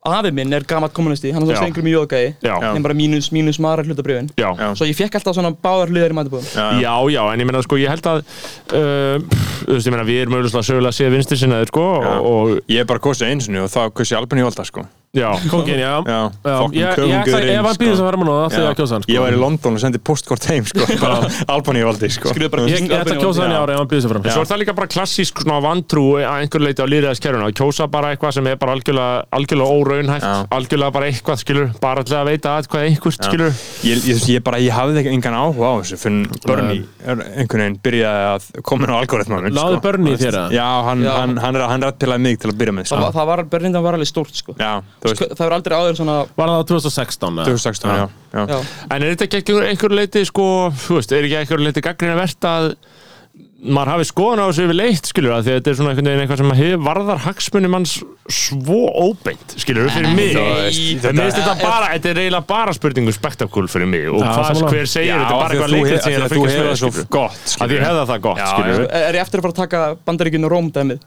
E: afi minn er gamalt kommunisti, hann er
C: Já.
E: svona stengur með jóðgæði
C: Já.
E: en bara mínus, mínus mara hlutabriðin
C: Já, já.
E: svo ég fekk alltaf svona báðar hlutar í matabóðum
C: Já, já, en ég meina sko, ég held að uh, pff, þú veist, ég meina, við erum auðvitað sögulega að sé vinstir sinnaðir, sko, og, og
B: ég hef bara kosið eins og þá kosið ég Albin í Volta sko.
C: já,
D: Kongin, já
B: Já,
D: Já,
B: fucking
D: ég, ég ætla,
B: kóngurinn,
D: ef hann býður þess að fara maður það þegar að kjósa hann sko.
B: Ég var í London og sendið postkort heim sko. bara Albin í Volta sko.
E: skriðu bara
D: Ég- ég ætla að kjósa hann í ára ef hann býður þess að fara
C: Svo er það líka bara klassísk svona vantrú að einhver leiti á lýræðiskerfuna að kjósa bara eitthvað sem er bara algjörlega, algjörlega óraunhægt,
B: Já.
C: algjörlega bara eitthvað skilur, bara alltaf að veita að hvað einhvert skilur
B: ég, ég, ég bara, ég hafði ekki engan áhuga á þessu fyrir Bernie er einhvern veginn byrjaði að koma inn á algoritmanum sko.
D: Náðu Bernie í þér, eða?
B: Já, hann,
E: Já.
B: hann, hann, hann rættpilaði mig til að byrja með
E: það
B: sko.
E: var- það var, bernindan var alveg stórt sko
B: Já, þú veist,
E: það er aldrei áður svona
D: Var það á 2016 eða?
B: 2016, já, já.
E: já,
C: En er þetta ekki einhver, einhver leiti sko, þú veist, er ekki einhver leiti gaggrina verðt að maður hafi skoðan á þessu yfir leitt skilur að því að þetta er svona einhvern veginn eitthvað sem hefur varðar hagsmunum hans svo óbeint skilur fyrir mig
B: þetta-
C: en mér finnst þetta bara, þetta er eiginlega bara spurningu spektakul fyrir mig og
D: Já,
C: hvað,
D: sammála.
C: hver segir,
B: Já,
C: þetta er bara
B: af því að
C: eitthvað
B: þú
C: leikrið
B: hef-
C: sem ég er
B: af
C: að
B: því að þú
C: fylgjast
B: hefur
C: með
B: það svo
C: skilur.
B: gott,
C: að
B: skilurðu.
C: ég hefða það gott
B: Já,
C: skilur
E: er ég eftir að fara að taka bandaríkjun og róm dæmið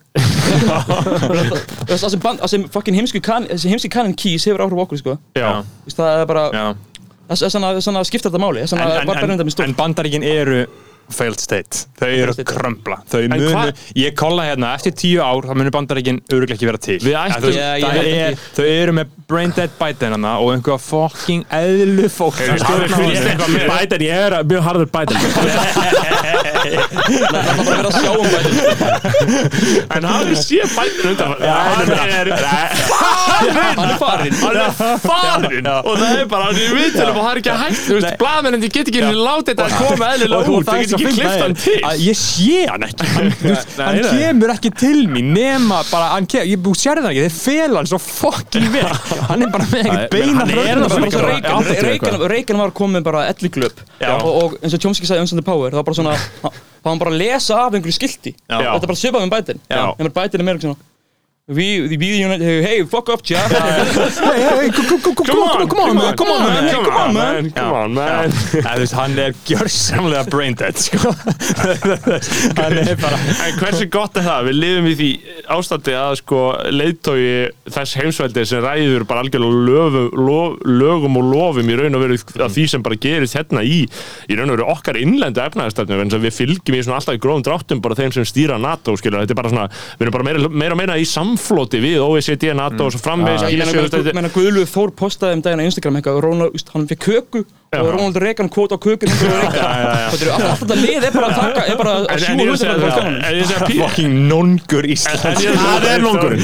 E: Þú veist, það sem, band, það sem fucking heimsku kan, þessi heimski kanin kýs hefur áhrif á okkur sko.
C: Já,
E: Þú veist, það er bara
B: já.
E: það er svona, svona skipta þetta máli það er
B: En,
E: svona var
B: en,
E: berðindan
B: en,
E: minn stórt
B: en bandaríkin eru failed state, þau eru
E: state, já.
B: krömbla þau
C: En
B: munu,
C: hvað-
B: ég kolla hérna eftir tíu ár, það munu bandaríkin öruglega ekki vera til
C: Við
B: Eða,
C: ættum-
B: þú veist,
E: Já, ég
B: það
E: held
B: er,
E: ekki.
B: þau eru með brain dead Biden hana og einhverja fucking eðlu fólk
C: Hefur stjórn á þessu?
D: já Biden, ég er mjög harður Biden
E: það er verið að sjá um bæðin
C: en hafið sé bæðin undan hann er
E: hann er farinn
C: hann er farinn og það er bara, hann er í viðtölum og það er ekki að hægt þú veist, blaðmennin, þið get ekki látið þetta að koma eðlilega út, þið get ekki klift hann til
B: að ég sé hann ekki hann, þú veist, hann kemur ekki til mín nema bara, hann kemur, ég bú sér það ekki þeir fel hann svo fucking vel hann er bara með ekkert beina
E: Það var bara
B: hröðn
E: svo
B: og-
E: Reagan- Reagan- Reagan var komið bara ellu glöp og, og eins og Chomsky sagði Unsound the Power það var bara svona hann- það var hann bara að lesa af einhverju skilti þetta er bara svipað með bætin en bara bætin er meira svona We, the we unit, hey, fuck up, Jack
B: Hey, hey, hey, come on, come on, come on, man, come on, man, hey, come on, man.
C: come on, man
B: Eða, þú veist, hann er gjörsamlega brain dead, sko. hann er bara...
C: En hversu gott er það? Við lifum í því ástandi að sko leiðtói þess heimsveldi sem ræður bara algjörlega löfu, lof, lögum og lofum í raun og veru að því sem bara gerist hérna í í raun og veru okkar innlendu efnaðastefnu en við fylgjum í svona alltaf í gróðum dráttum bara þeim sem stýra NATO skilur, þetta er bara svona, við erum bara meira, meira og meira í samfélag samfloti við OECD, NATO og svo framvegis
E: Ég
C: Ég sé
E: meina,
C: þetta-
E: meina Guðlu Þór postaði um daginn á Instagram eitthvað, Ronald, veist, hann fikk köku og Ronald Reagan kvót á köku alltaf þetta lið er bara að taka er bara
C: En-
E: að
C: en
E: sjúga
C: ég
E: út
C: segi-
E: þetta frá
C: já, en ég segi að Pí-
B: Fucking nongur Ísland
C: en ég-
D: Það er nóngurinn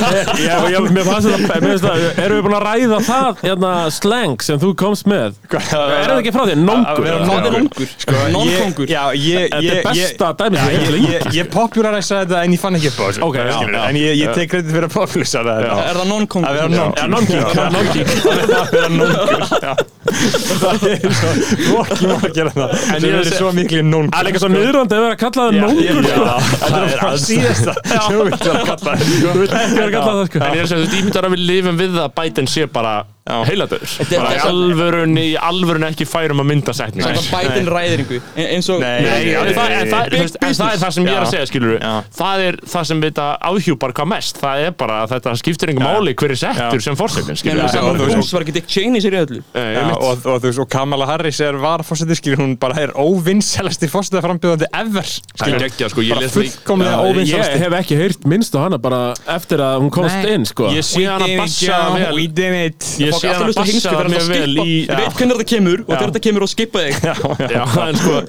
D: Ég, ég, mér fannst þetta, mér finnst það, erum við búin að ræða það, hérna, slang sem þú komst með? Er þetta ekki frá þér?
B: Að
D: Nóngur?
B: vera
E: Það er
B: nongur. sko.
E: nongur, nonkongur
B: Já, ég
D: Þetta er
B: ég- ég-
D: besta dæmið sem
B: Já,
D: ég hef
B: ég,
D: lengi.
B: ég, ég popularæsa þetta en ég fann ekki upp á þessu
D: Ok, já,
B: Skilurðu,
D: já.
B: En ég, ég tek kredit fyrir að popularæsa þetta
E: Er það
B: Að vera
E: nonkongur?
B: nongur
D: Nóngur? Nóngur?
B: Að vera nongur já. Það er svo Hvorki má að gera það En
D: ég
B: ég er
D: sé-
B: svo miklu nongur
D: Það er líka svo niðrandi að vera að kalla það nóngur sko.
B: Það er að síðasta sem Þú vilt vera að kalla það sko.
D: Þú veit ekki að vera að kalla það sko.
C: En ég er sem þú ímyndar að við lifum við það að Biden sé bara heiladöður
E: Þetta er-
C: Bara í
E: þetta er-
C: alvörunni, í alvörunni ekki færum að mynda setning
E: Það er bætinn ræðiringu E- eins og
C: Nei, en það, en, það, þú veist, en það er það sem ég er að
B: Já.
C: segja, skilur Það er það sem við þetta áhjúpar hvað mest Það er bara að þetta skiptir engum máli hver er settur sem fórsetin, skilur
E: Menna
C: við
E: saman Bush var ekki Dick Cheney sér í öllu
B: Já, og, og, þú veist, og Kamala Harris er varfórseti skilur hún bara er óvinnselasti fórseta frambjöðandi ever
C: Það
B: skilur
C: er ekki, sko, ég
B: bara
C: les því
B: fullkomlega
D: Ég
B: óvinnselasti
D: hef ekki heyrt minnst á hana bara eftir að hún komst
I: Nei.
D: inn sko.
C: Ég sé hann að bassa vel
B: we did it
C: Ég
E: Fólk
C: sé hann
E: alltaf
C: að bassa
E: hlusta á heimsku þegar
C: mjög
E: það er
C: vel í
E: alltaf skipa Ég veit hvernig þetta kemur og þegar þetta kemur og skipa þig
C: Já, en sko,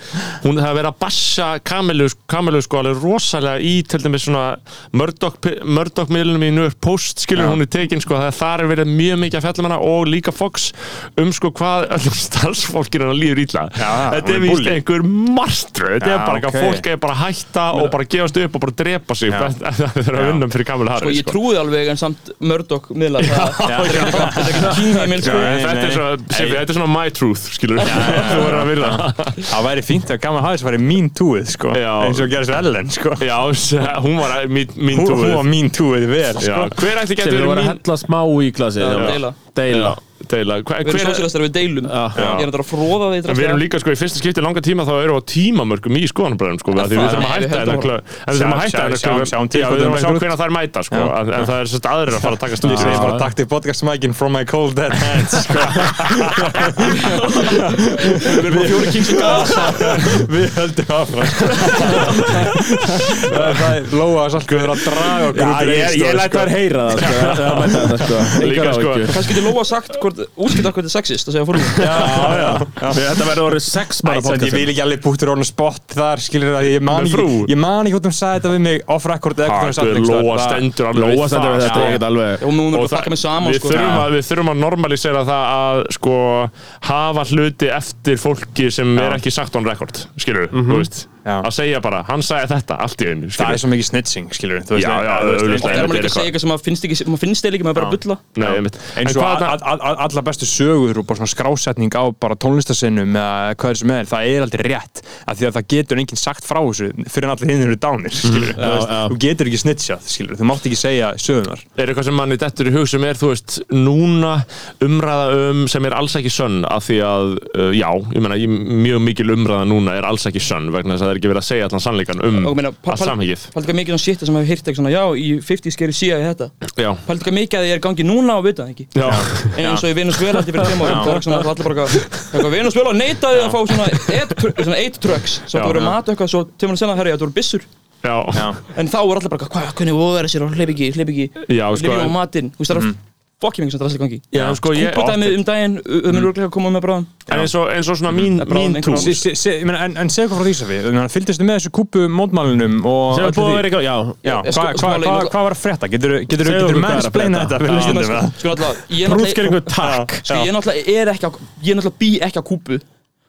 C: hún hefði verið að bassa Kamilu, Kamilu sko alveg rosalega í til dæmis svona Murdoch-miðlunum í New York Post skilur hún er tekin sko, það þar er verið mjög mikið að fjalla um hana og líka Fox um sko hvað öllum starfsfólkinu hana líður illa
B: Já,
C: þetta
B: hún
C: er
B: er
C: víst
B: bully.
C: einhver martröð þetta
B: Já,
C: er bara eitthvað
B: ok.
C: fólk er bara að hætta og bara gefast upp og bara drepa sig það er að vinna fyrir Kamilu
E: Sko
C: Harris
E: ég trúið alveg en samt Murdoch miðlar það Þetta er ekki- þetta er ekki king heimil sko
C: Nei, Þetta er,
B: nei.
C: svo, Sifi, þetta er svona my truth, skilur Þú verður að virða
B: Það væri fínt að Kamala Harris væri mín túið sko
C: Já.
B: eins og gerðis Ellen sko
C: Já, hún var mín, mín
B: Hún,
C: trúið
B: hún var mín túið vel
C: Já,
B: sko
C: hver ætti
D: Sem
C: getur
D: við
C: verið
D: vorum að
C: mín
D: hella smá í glasið
E: Já,
D: já.
E: deila.
D: Deila
C: deila hver,
E: Við erum
C: hver,
E: sósílastar við deilum Ég
D: Já.
E: er þetta að fróða því
C: en við erum líka sko í fyrsta skipti í langa tíma þá erum við á tímamörgum í skoðanabræðum sko af því við
E: það-
C: þurfum að
E: nei, við
C: hætta
E: höldum
C: þetta
E: á-
C: klö- en við þurfum
B: Sjá-
C: að hætta
B: sjá- um
C: þetta klö-
B: sjáum- sjáum til
C: Já,
B: hvað
C: við þurfum
B: þau
C: að sjá
B: eru að
C: hvernig þær mæta sko en en það er sérst aðrir að fara að taka sko. stund
B: Ég segi bara takk til podcast mækin from my cold dead hands sko.
E: Við erum bara fjóri kings og gas
B: Við höldum áfram Það er- það er Lóa Salkur er að draga okkur út úr
D: Ég,
B: einstofu,
D: ég læt
B: sko.
D: þær heyra það sko. Það mæta þetta sko.
C: Líka,
D: Engar
C: sko.
D: áhyggjur
E: Kannski getur Lóa sagt hvort Útskipta hvort þetta er sexist Það segja fórum
D: Þetta verður orðið sex
B: Æ,
D: manna
B: samt, Ég vil
D: podcast
B: ekki alveg búttur orðin spott þar skilur það, ég man
C: Með
B: ekki
C: frú.
B: ég man ekki hvort hún sagði þetta við mig off record eða hvort hún sagði þetta
C: Takk,
B: einhvers
C: Lóa
B: staðar.
C: stendur alveg
D: Lóa stendur við
C: það,
D: þetta
C: sko.
D: ekkert alveg
E: Og nú
C: Og
E: erum við bara að
C: það-
E: pakka mig saman
C: við,
E: sko
C: þurfum að, við þurfum að normalisera það að sko, hafa hluti eftir fólki sem er ekki sagt on record skilur, þú veist
B: Mhm. Já.
C: að segja bara, hann sagði þetta allt í einu
B: Það
C: skilurðu.
B: er svo mikið snitching skilur
C: Já, já, auðvitað.
E: Það er maður líka að segja eitthvað sem maður finnst ekki Maður finnst það ekki, maður er bara að bulla
C: Nei, einmitt. En
B: eins og
C: hvað
B: a- a- a- allar bestu sögur og bara svona skrásetning á bara tónlistasinnum eða hvað er sem er, það er aldrei rétt af því að það getur enginn sagt frá þessu fyrir en allir hinn eru dánir, skilur þú veist,
D: já.
B: þú getur ekki snitchað, skilur, þú mátt ekki segja sögunar
C: er eitthvað sem manni dettur í hug sem er, þú veist, núna umræða um sem er alls ekki sönn af því að, uh, já, ég meina, ég, mjög mikil umræða núna er alls ekki sönn vegna þess að það er ekki verið að segja allan sannleikan um
E: Og ég meina, pal-
C: allt samhengið.
E: Paldi hvað mikið svona shit sem hefur hýrt eitthvað svona Já, í 50 skeri síða í þetta
C: Já.
E: Paldi hvað mikið að ég er gangi núna og vita það ekki
C: Já.
E: En eins og í Venezuela eftir fyrir tíma árum, það er svona allir bara eitthvað Venezuela neitaði að fá svona eight tr- svona eight trucks svo
C: Já.
E: það voru mat og eitthvað svo tíma senna herri þetta voru byssur
C: Já. Já.
E: en þá voru allir bara eitthvað, hvað, hvernig voru þeirra sér og hleyp ekki, hleyp ekki
C: Já,
E: hleyp
C: sko,
E: ekki á
C: en-
E: matinn þú veist það er fokkjum einhvers að drasla í gangi
C: Já, sko, ég,
E: Kúpa dæmið um daginn, við munum rúglega að koma með bráðum
C: en eins og, eins og svona mín,
E: bráðum
C: mín trú
E: einhverjum.
B: Se- se- se- ég meina, en, en segja hvað frá því Safi, Ég meina, fylgdistu með þessu kúpu mótmælunum og
D: Sem er
B: öllu
D: búið að
B: því?
D: vera eitthvað Já
B: Já,
E: Sko-
B: hvað
E: sko,
B: hva, hva,
E: náttúrulega-
B: hva var að frétta? Getur
D: Segðu
B: þú
D: okkur hvað er að
B: mennsplaina
D: frétta.
B: þetta fyrir
E: Ég
B: hlustendum?
E: meina,
B: eða?
E: sko, sko, náttúrulega, ég náttúrulega-
D: Brútskeringu takk
E: sko, ég náttúrulega er ekki á- ég náttúrulega bý ekki á kúpu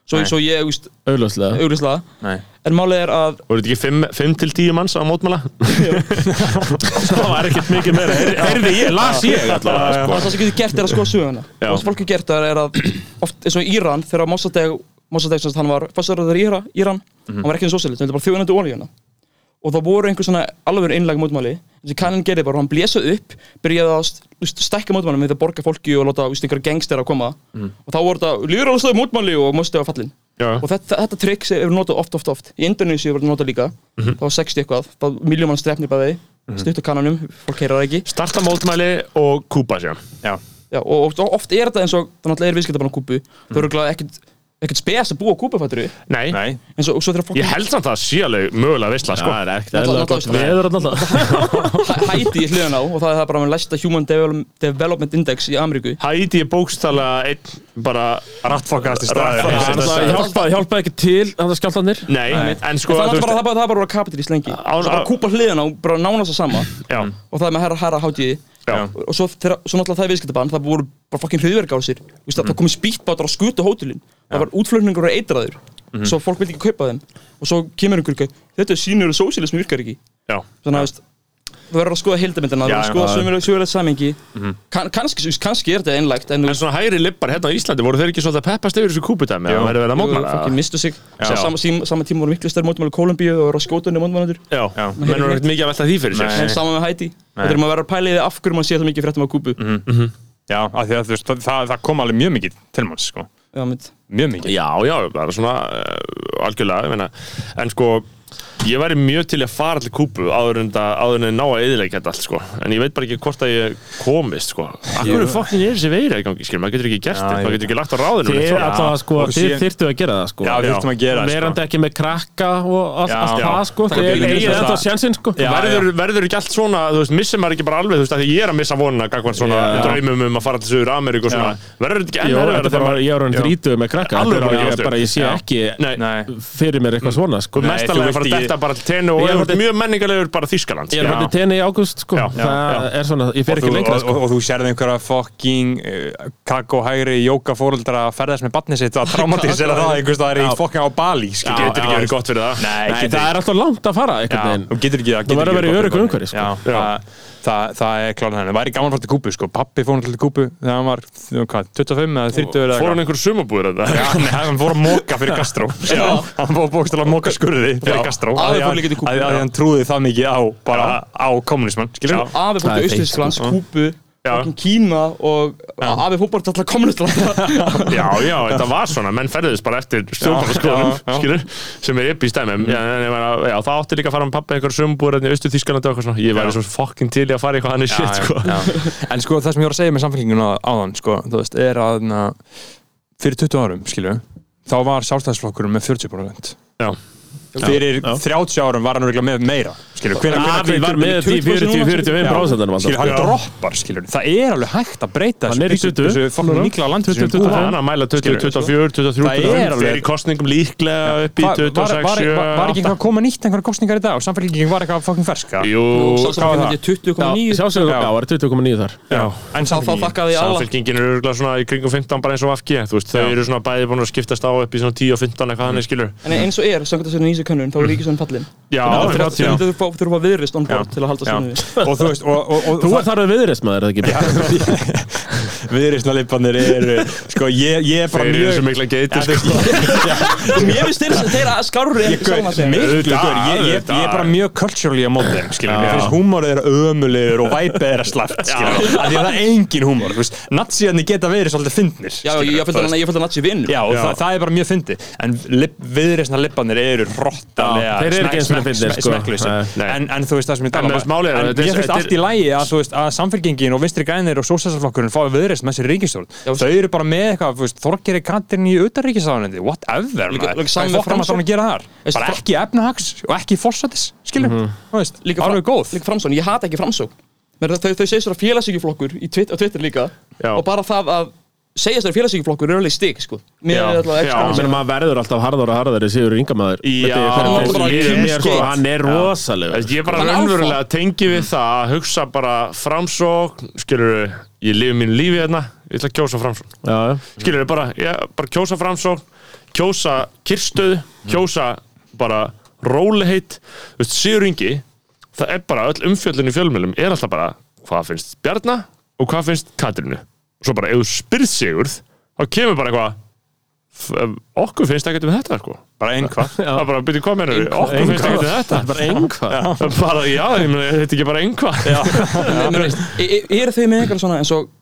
E: svo eins og ég, þú veist,
D: Auðlöslega
E: auglýslega
B: Nei.
E: en málið er að
C: voru þetta ekki 5 til 10 manns að mótmæla?
D: Það var ekkert mikið meira Heyr- Heyrði ég, las ég allavega sko.
E: það sem getur gert er að skoða söguna og það sem fólk getur gert er, er að oft eins og í Íran þegar Mossadegh Mossadegh sem sagt, hann var fastaraður í Íra- Íran hann var ekki eins og sérlít, hann vildi bara þjóðunandi ólíuna og það voru einhver svona alveg einlæg mótmæli þessi kannin gerði bara, hann blésa upp byrjaði að st- þú veist, stækka mótmælum við það borga fólki og láta þú veist, einhverja gangstera að koma og þá voru þetta líðræðslega mótmæli og Mossadegh var fallinn
C: Já.
E: og þetta, þetta trikk sem eru notað oft, oft, oft í Indonesia var þetta notað líka það var 60 eitthvað, þá miljómann strefnir bæði mm -hmm. stutt á kannanum, fólk heyrar það ekki
C: Starta mótmæli og kúpa sér.
B: Já,
E: Já, og oft- oft er þetta eins og það náttúrulega er viðskiptabann á kúpu
C: Mm.
E: þau eru glæði ekkert ekkert spes að búa á kúpu fættur við
C: Nei.
B: nei
E: en svo, og svo þegar fólk
C: Ég held samt að það sé alveg mögulega veistla, sko.
D: Það er ekkert
E: Náttúrulega-
D: eðlilega gott
E: náttúrulega-
D: veður alltaf
E: hæ- Haiti í hliðan á og það er það bara með læsta Human Devel- Development Index í Ameríku
C: Hæti ég bókstala einn bara
B: Rattfokkast í staði
C: Rattfokkast í
D: Það
C: staður. hérna.
D: hjálpaði hjálpa ekki til þannig að skjáltanir
C: Nei, en sko þú
E: Það er bara,
C: veist,
E: það bara, það bara kapitalist lengi
C: Án-
E: Svo bara
C: á-
E: kúpa hliðan á, bara nánast að sama
C: já,
E: og það er með herra herra hátíði
C: Já.
E: og svo, þeirra, svo náttúrulega það er viðskiptabann það voru bara fucking hriðverkásir mm.
C: Mhm.
E: það komið spýtbátar á skutu hótelin það var útflutningur og eitraður
C: Mhm.
E: svo fólk vildi ekki kaupa þeim og svo kemur einhver ykkur þetta er sýnur og sósílismi virkar ekki
C: já,
E: þannig að veist, þú verður að skoða heildamindina
C: Já,
E: þú verður að
C: já,
E: skoða
C: já.
E: sömulega sögulegt samengi kann, kannski, kannski er þetta einlægt en þú
C: En svona hægri lippar hérna á Íslandi voru þeir ekki svolítið að peppast yfir þessu kúpudæmi að það væri verið að mótmæla
E: fokkin mistu sig
C: Já.
E: Svo sama, sama, sama tíma voru miklu stærri mótmæli í Kólumbíu og eru að skóta unni mótmælandur
C: Já, já. menn voru ekkert mikið að velta því fyrir sér
E: en sama með Hæti þetta er maður að vera að pæla í því af hverju maður sé það mikið fréttum á Kúbu
C: Mhm.
B: Já, af því að þú veist, það, það, það kom alveg mjög mikið til manns, sko
E: Já, mitt.
B: Mjög mikið
C: Já, já, það er svona uh, algjörlega, ég meina En sko, ég væri mjög til að fara til Kúbu áður en það, áður en það ná að eðilegja þetta allt, sko En ég veit bara ekki hvort að ég komist, sko Akkur er fokkin er þessi veira í gangi, skil, maður getur ekki gert þetta, maður getur ekki lagt á ráðinu
D: Þið alltaf sko,
B: Og
D: þið
B: síðan-
D: þyrftu að gera það sko
B: Já, við þurfum að gera það,
D: Verandi ekki með krakka og allt,
B: Já.
D: allt
B: Já.
D: það sko Þið
B: getur
D: eigið
B: líka
D: þetta
B: það.
D: sjansinn sko
B: Já,
C: verður, verður ekki allt svona, þú veist, missir maður ekki bara alveg, þú veist, að því ég er að missa vonuna gagvann svona
D: Já.
C: draumum um að fara til Suður Ameríku og svona, verður þetta ekki enn
D: Jó,
C: erfiðara
D: þetta er
C: þegar
D: bara,
C: maður-
D: ég er hann
C: Já.
D: þrítuð með krakka
C: Alveg
D: Þetta er bara,
C: bara ekki
D: ég, bara, ég sé
C: aftur.
D: ekki
C: Nei,
B: Nei,
D: fyrir mér eitthvað svona sko
C: Nei,
B: þú
C: mestalega að fara
B: ert
C: að
B: í-
C: detta bara til
D: Ég
C: tennu
D: er
C: og er
D: orðið-
C: orðið mjög menningarlegur bara Þýskaland
D: Ég er hann til tenni í ágúst sko
C: Já.
D: Það
C: Já.
D: er svona, ég fer
B: og,
D: ekki
B: þú-
D: lengra
B: og,
D: sko
B: og, og þú sérði einhverja fucking uh, kakóhægri jókafóreldra að ferðast með batni sitt að traumatisera það einhvers það er í fucking á Bali skilur.
C: Getur ekki verið gott fyrir það
B: Nei,
D: Nei,
B: getur
D: það er alltaf langt að fara
B: Já,
D: einhvern
B: þú
D: veginn
B: getur ekki það
D: Þú
B: getur
D: verður að
B: ekki
D: vera í
B: gott fyrir
D: öruggu umhverfi, sko.
B: Já, það, það, það er kláðan henni Það væri gaman að fara til Kúbu sko Pappi fór náttúrulega til Kúbu þegar hann var hvað, 25 eða 30 eða
C: Fór hann
B: eitthvað.
C: einhver sumabúður þetta?
B: Já, nei, hann fór að móka fyrir Castro Já. Hann fór bókstala að móka skurði fyrir
C: Já.
B: Castro
E: Aðeins
B: Af
E: fór líka til
B: því
E: Kúbu,
B: að af því hann trúði það mikið á bara á kommunismann skilur
E: Afi fór til Austurísklands, Kúbu fucking Kína og Afi fór bara til alltaf kommunistlanda
C: Já, já, þetta var svona, menn ferðist bara eftir stjórnarskoðunum, skilur, sem er upp í stæmum já, en ég meina, já, það átti líka að fara með pappi einhver sumabúður í austur Þýskalandi og eitthvað svona Ég væri svo fokkin til í að fara í eitthvað hann er shit, sko
B: En sko það sem ég var að segja með samfélkinguna áðan sko, þú veist, er að na, fyrir 20 árum, skilju þá var sjálfstæðisflokkurinn með 40%
C: Já.
B: Fyrir 30 árum var hann örugglega með meira skilju, hvenær, hvenær,
D: Afi var með því 40-45%
B: skilju, hann droppar, skilju það er alveg hægt að breyta
D: Hann er í 20.
B: þessu fólknum mikla land sem búa.
C: Það er hann að mæla 20, 24, 23,
B: Það er
C: 25
B: alveg-
C: Fyrir kostningum líklega upp í
B: Hvað-
C: 26,
B: var, var, var, var ekki
C: 7,
B: eitthvað að koma nýtt einhverja kostningar í dag og samfélkingin var eitthvað fucking ferska
C: 8 Jú,
B: hvað var það?
E: Sjálfsögum
D: Sjálfsögur, já, var 20,9 þar
B: Já. en
E: Þá þá
B: samfélkingin
E: þakkaði ég alla
C: Samfélkingin eru örgulega svona í kringum 15 bara eins og VFG Þú veist, þau eru svona bæði búin að skiptast á upp í svona 10 og 15 eitthvað þannig skilur
E: En eins og er, samkvæmt þessari nýsu könnun, þá er Ríkisson fallin
C: Já,
E: Þannig að
C: 30
E: Þau þurfa- þurfa að viðrist on board til að halda
B: Já.
E: sönnu við
B: og þú veist og, og, og,
D: Þú er þar við viðreist maður, eða ekki?
B: viðreysnalipanir eru sko ég, ég er bara
C: Þeir eru
B: mjög
C: sem mikla sko.
B: Ja,
C: geitir
B: þú veist, ég-
E: Mér finnst þeir þeirra skárri en
B: Gaur,
E: saman segja
B: miklu
C: Auðvitað,
B: gaur, ég, ég, ég er bara mjög culturally á móti þeim, skilur mér finnst húmórið er ömulegur og væpið er að slæft skilur mér, af því að það er engin húmór nazíðanir geta verið svolítið fyndnir
E: Já,
B: skilurðu,
E: ég ég
B: þú
E: fylgði
B: veist.
E: hann ég fylgdi hann að sé vinn
B: Já, og það, það er bara mjög fyndi En viðreysna lippanir eru rottalega
D: Já, þeir eru ekki eins og
B: smekk-
D: fyndnir,
B: smekk-
D: sko.
B: smekklausir.
C: Nei.
B: en, en þú veist það sem ég
C: En
B: tala um,
C: þú veist, málið er að
B: En
C: þetta er-
B: ég finnst
C: þetta er-
B: allt í lægi að, þú veist, að samfélkingin og vinstri grænir og sósæsarflokkurinn fái viðreysn með sér ríkistjórn
E: Já,
B: Þau eru bara með eitthvað, þú veist, Þorgeri Katrin í utanríkisáðanendi Whatever,
E: Líka- líka
B: maður
E: saman
B: Hvað
E: með
B: fokkar maður
E: Framsókn.
B: þarna að gera þar?
E: Veist,
B: Bara
E: Fra-
B: ekki efnahags og ekki fórsatis, skilur
C: Mhm.
B: Þú veist,
E: Líka
B: alveg góð
E: Líka framsókn, ég hata ekki framsókn Men þau, þau segist þér að félagsíkjuflokkur á Twitter líka
C: Já.
E: Og bara það að segjast þér félagsíkjuflokkur er alveg stig, sko Mér
C: Já.
E: er alltaf
C: Já.
E: ekki
D: Menn maður verður alltaf harðar og harðar í Sigur Ingamæður
C: Já,
E: hann er bara
D: sko,
E: kynnskeitt.
D: Hann er rosalegur
C: Ég er bara
E: Hann er
C: raunverulega tengi við það að hugsa bara framsókn, skilur ég lifi mínu lífi hérna, ég ætla að kjósa framsókn
D: Já, já.
C: skilur bara, ég bara kjósa framsókn kjósa kyrstöð kjósa bara róleheit, þú veist, Sigur Ingi það er bara, öll umfjöllun í fjölmjölum er alltaf bara, hvað finnst Bjarna og hvað finnst Katrinu og svo bara, ef þú spyrð Sigurð þá kemur bara eitthvað "F- eh, okkur finnst ekkert um þetta, sko
B: Bara einhvað
C: það er bara, byrju, hvað menur við, okkur finnst ekkert um þetta
D: Það er bara einhvað
C: bara, já, ég meina, er þetta ekki bara einhvað já,
E: e- Er þau með einhverja svona, eins og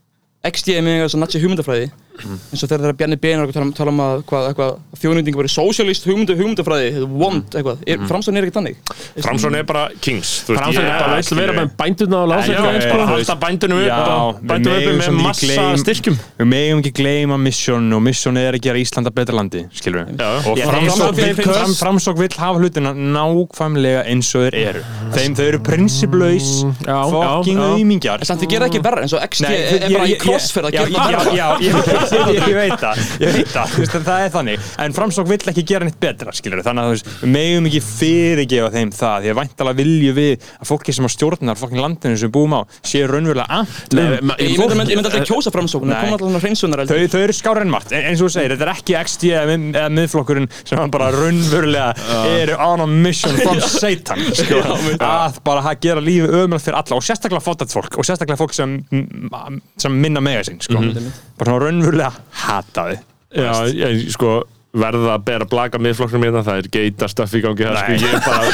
E: XD er með einhverja svona natsi hugmyndafræði eins og þegar þeirra Bjarni Bein og tala, um- tala um að hvað, eitthvað þjóðnýting var í sósjalist hugmyndu, hugmyndafræði, þetta er vond eitthvað, er, Framsókn er ekki þannig
C: Framsón er bara kings þú veist,
D: Framsókn
C: ég-
D: er bara veist að vera með bændurna og
C: Já,
D: lásækja
C: eins bara halda bændunum upp
B: Já,
C: og
B: við
C: bændunum
B: megum
C: upp
B: samt
C: með
B: ekki
C: massa
B: gleym-
C: styrkjum
B: Við megum ekki gleyma Mission og Mission er að gera Ísland að betra landi, skilur við.
C: og
B: Ég-
C: Framsókn
B: Framsókn vill-
C: vill-
B: fram, framsók vill hafa hlutina nákvæmlega eins og þeir eru. Þeim þau eru prinsipplaus,
D: já,
B: fucking
D: já.
B: aumingjar.
E: En samt þið gera ekki verra eins og XT
B: Nei,
E: er
B: ég-
E: bara í
B: ég-
E: crossfit að
B: já,
E: gera
B: já,
E: bara
B: já, ég, ég, ég, ég veit það, ég veit það, þú veist, en það er þannig en Framsókn vill ekki gera neitt betra, skilur þannig að þú veist, við megum ekki fyrirgefa þeim það því að væntalega vilju við að fólki sem á stjórnar fokkin landinu sem við búum á séu raunverulega amt um
D: ma-
E: Ég myndi- myndi myndi aldrei kjósa Framsókn, það
B: Nei.
E: kom alltaf svona hreinsunar
B: Þau, þau eru skár en margt, En eins og þú segir, þetta er ekki XD eða mið- eða miðflokkurinn sem hann bara raunverulega eru on a mission from Satan sko, að bara ha- gera lífið ömulegt fyrir alla og sérstaklega fótætt fólk og sérstaklega fólk sem, m- m- sem minna mega sín sko. bara svona raunverulega hataði
C: Já, ég, sko verða að bera blaka miðflokknum hérna það er geita stöff í gangi það sko ég er bara,